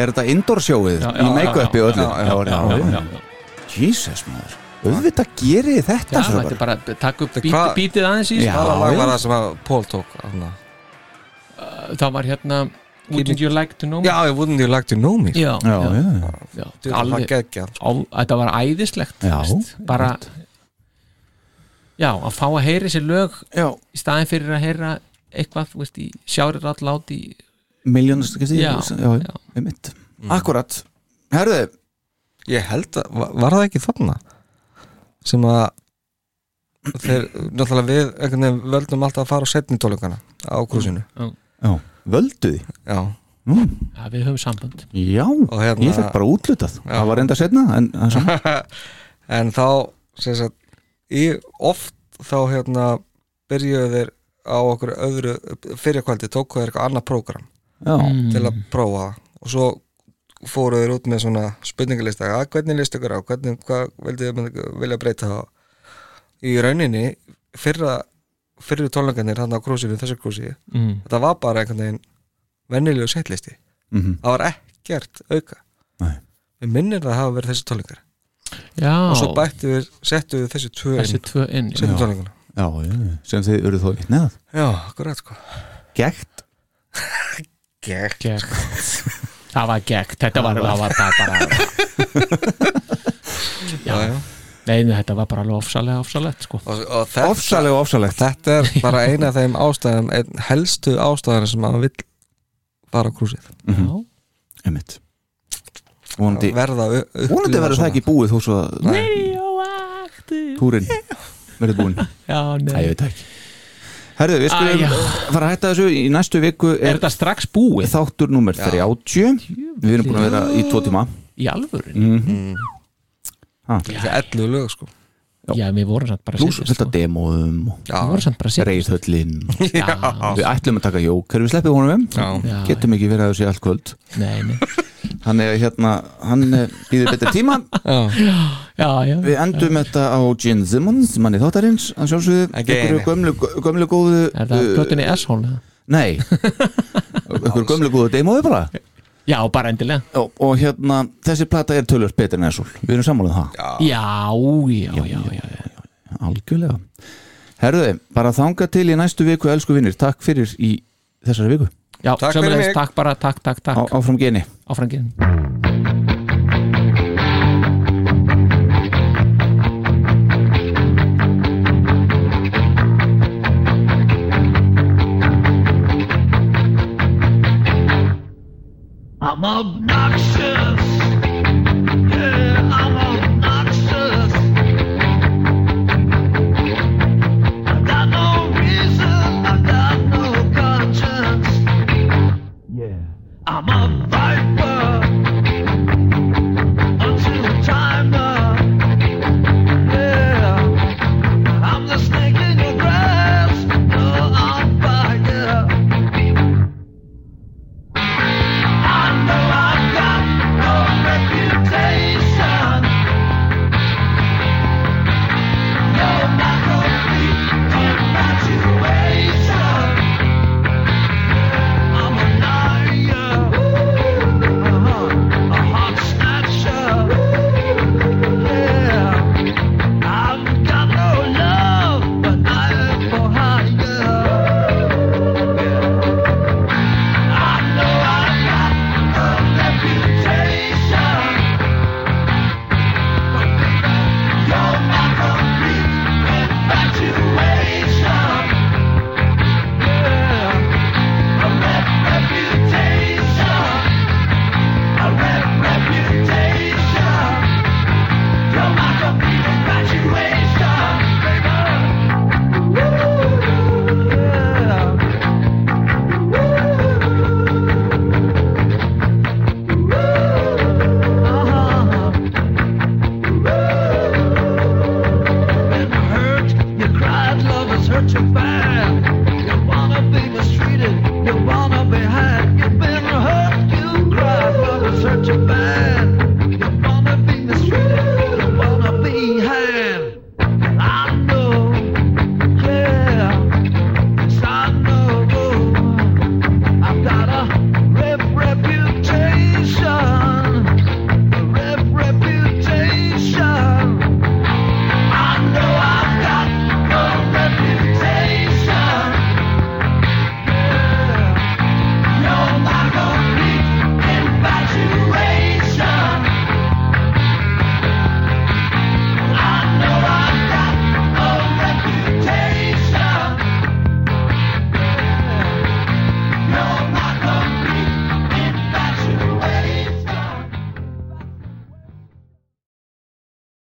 [SPEAKER 1] Er þetta indoor sjóið
[SPEAKER 3] Já, já,
[SPEAKER 1] í
[SPEAKER 3] já,
[SPEAKER 1] make-upi
[SPEAKER 3] já,
[SPEAKER 1] og öllu?
[SPEAKER 3] já, já, já, já, já, já.
[SPEAKER 1] Jesus maður Auðvitað gerir þið
[SPEAKER 3] já,
[SPEAKER 1] þetta
[SPEAKER 3] maður
[SPEAKER 1] strákar.
[SPEAKER 3] ætti bara að taka upp
[SPEAKER 2] Þetta
[SPEAKER 3] bít,
[SPEAKER 2] hvað-
[SPEAKER 3] bítið aðeins í
[SPEAKER 1] Já.
[SPEAKER 2] hvaða lag var
[SPEAKER 1] já.
[SPEAKER 2] það sem að Paul tók hana.
[SPEAKER 3] það var hérna Wouldn't you like to know me?
[SPEAKER 2] já, ég wouldn't you like to know me
[SPEAKER 3] já,
[SPEAKER 1] Já, já, já.
[SPEAKER 3] já.
[SPEAKER 2] Djú, það
[SPEAKER 3] alveg
[SPEAKER 2] geggja
[SPEAKER 3] á, þetta var æðislegt
[SPEAKER 1] Já,
[SPEAKER 3] veist, bara já, að fá að heyra þessi lög
[SPEAKER 1] Já,
[SPEAKER 3] í staðin fyrir að heyra eitthvað, þú veist, í sjárir all lát í
[SPEAKER 1] miljónast skipti
[SPEAKER 3] Já,
[SPEAKER 1] já,
[SPEAKER 3] já.
[SPEAKER 1] um mitt Akkurat, herðu
[SPEAKER 2] ég held að, var, var það ekki þarna sem að þeir, náttúrulega við einhvern veginn völdum alltaf að fara á setni tólingana á krúsinu,
[SPEAKER 1] já. Völdu því
[SPEAKER 2] já
[SPEAKER 1] Nú,
[SPEAKER 3] já, við höfum samband
[SPEAKER 1] Já,
[SPEAKER 2] hérna-
[SPEAKER 1] ég fekk bara útlutað
[SPEAKER 2] Já.
[SPEAKER 1] Það var enda setna en, en samt.
[SPEAKER 2] en þá sem sagt, í, oft þá hérna byrjuðu þeir á okkur öðru fyrirkvældi tóku þeir eitthvað annað prógram
[SPEAKER 1] já,
[SPEAKER 2] til
[SPEAKER 3] Mm.
[SPEAKER 2] að prófa það og svo fóru þeir út með svona spurningalista að hvernig listu ykkur á, hvernig, hvað vildið þið vilja breyta það í rauninni fyrra fyrir tónleikanir hann á krúsinu, þessu krúsi
[SPEAKER 3] mm.
[SPEAKER 2] þetta var bara einhvern veginn vennilegu setlisti,
[SPEAKER 1] mm
[SPEAKER 3] Mhm.
[SPEAKER 2] það var ekkert auka
[SPEAKER 1] Nei.
[SPEAKER 2] við minnir það hafa verið þessi tónleikar
[SPEAKER 3] já,
[SPEAKER 2] og svo bættu við, settu við þessi tvö
[SPEAKER 3] þessi
[SPEAKER 2] inn,
[SPEAKER 3] tvö inn já.
[SPEAKER 2] setjum tónleikana
[SPEAKER 1] já, já, sem þið eru þó vitt neðað
[SPEAKER 2] já, akkurat sko
[SPEAKER 1] Gægt
[SPEAKER 2] Gekk.
[SPEAKER 3] Gekk. það var gegg, þetta var, það var bara, bara
[SPEAKER 2] Já, já.
[SPEAKER 3] nei, nei, þetta var bara alveg ofsalega, ofsalegt sko.
[SPEAKER 2] Og, og þetta,
[SPEAKER 1] Ofsaleg og ofsalegt
[SPEAKER 2] þetta er bara eina af þeim ástæðum einn helstu ástæðan sem maður vill fara á krúsið
[SPEAKER 3] mm.
[SPEAKER 1] um mitt Vonandi,
[SPEAKER 2] verða u-
[SPEAKER 1] vonandi
[SPEAKER 2] upplifa
[SPEAKER 1] verður það
[SPEAKER 2] svona.
[SPEAKER 1] ekki búið þó svo að túrin verður búin
[SPEAKER 3] já,
[SPEAKER 1] Æ, ég
[SPEAKER 3] nei
[SPEAKER 1] veit það ekki Herðu, við
[SPEAKER 3] Æ, já.
[SPEAKER 1] skulum fara að hætta þessu í næstu viku
[SPEAKER 3] er
[SPEAKER 1] er
[SPEAKER 3] þetta strax búið
[SPEAKER 1] þáttur númer 30 Við erum búin að vera í tvo tíma
[SPEAKER 3] í alvöru
[SPEAKER 1] mm
[SPEAKER 2] Líka 11 lög sko
[SPEAKER 1] Já.
[SPEAKER 3] já, við vorum samt bara að
[SPEAKER 1] Plus
[SPEAKER 3] setja,
[SPEAKER 1] þetta
[SPEAKER 3] sko.
[SPEAKER 1] demóðum og
[SPEAKER 2] já,
[SPEAKER 3] við vorum samt bara að setja
[SPEAKER 1] reyðhöllin
[SPEAKER 3] já,
[SPEAKER 1] Við ætlum að taka jóker, við sleppum honum um
[SPEAKER 2] já.
[SPEAKER 3] já,
[SPEAKER 1] Getum ekki verið að þessu í allt kvöld
[SPEAKER 3] nei, nei.
[SPEAKER 1] Hann er hérna, hann býður betur eh, tíma
[SPEAKER 2] Já.
[SPEAKER 3] já, já
[SPEAKER 1] Við endum þetta á Gene Simmons, manni þáttarins hann sjálfsögðu,
[SPEAKER 2] Again.
[SPEAKER 1] einhverju gömlu, gömlu góðu
[SPEAKER 3] Er það
[SPEAKER 1] uh,
[SPEAKER 3] plötin í S-hól?
[SPEAKER 1] Nei, einhverju gömlu góðu demoði bara
[SPEAKER 3] Já, bara endilega
[SPEAKER 1] og, og hérna, þessi plata er tölvöld betur en Essul Við erum sammálið það,
[SPEAKER 3] Já, já, já, já,
[SPEAKER 1] algjörlega Herðu, bara þanga til í næstu viku, elsku vinnir Takk fyrir í þessari viku
[SPEAKER 3] já
[SPEAKER 2] Takk fyrir
[SPEAKER 3] sömuleiðis,
[SPEAKER 2] mig.
[SPEAKER 3] Takk bara, takk, takk,
[SPEAKER 1] á,
[SPEAKER 3] takk
[SPEAKER 1] Áfram geni
[SPEAKER 3] Áfrangin
[SPEAKER 7] I'm obnoxious.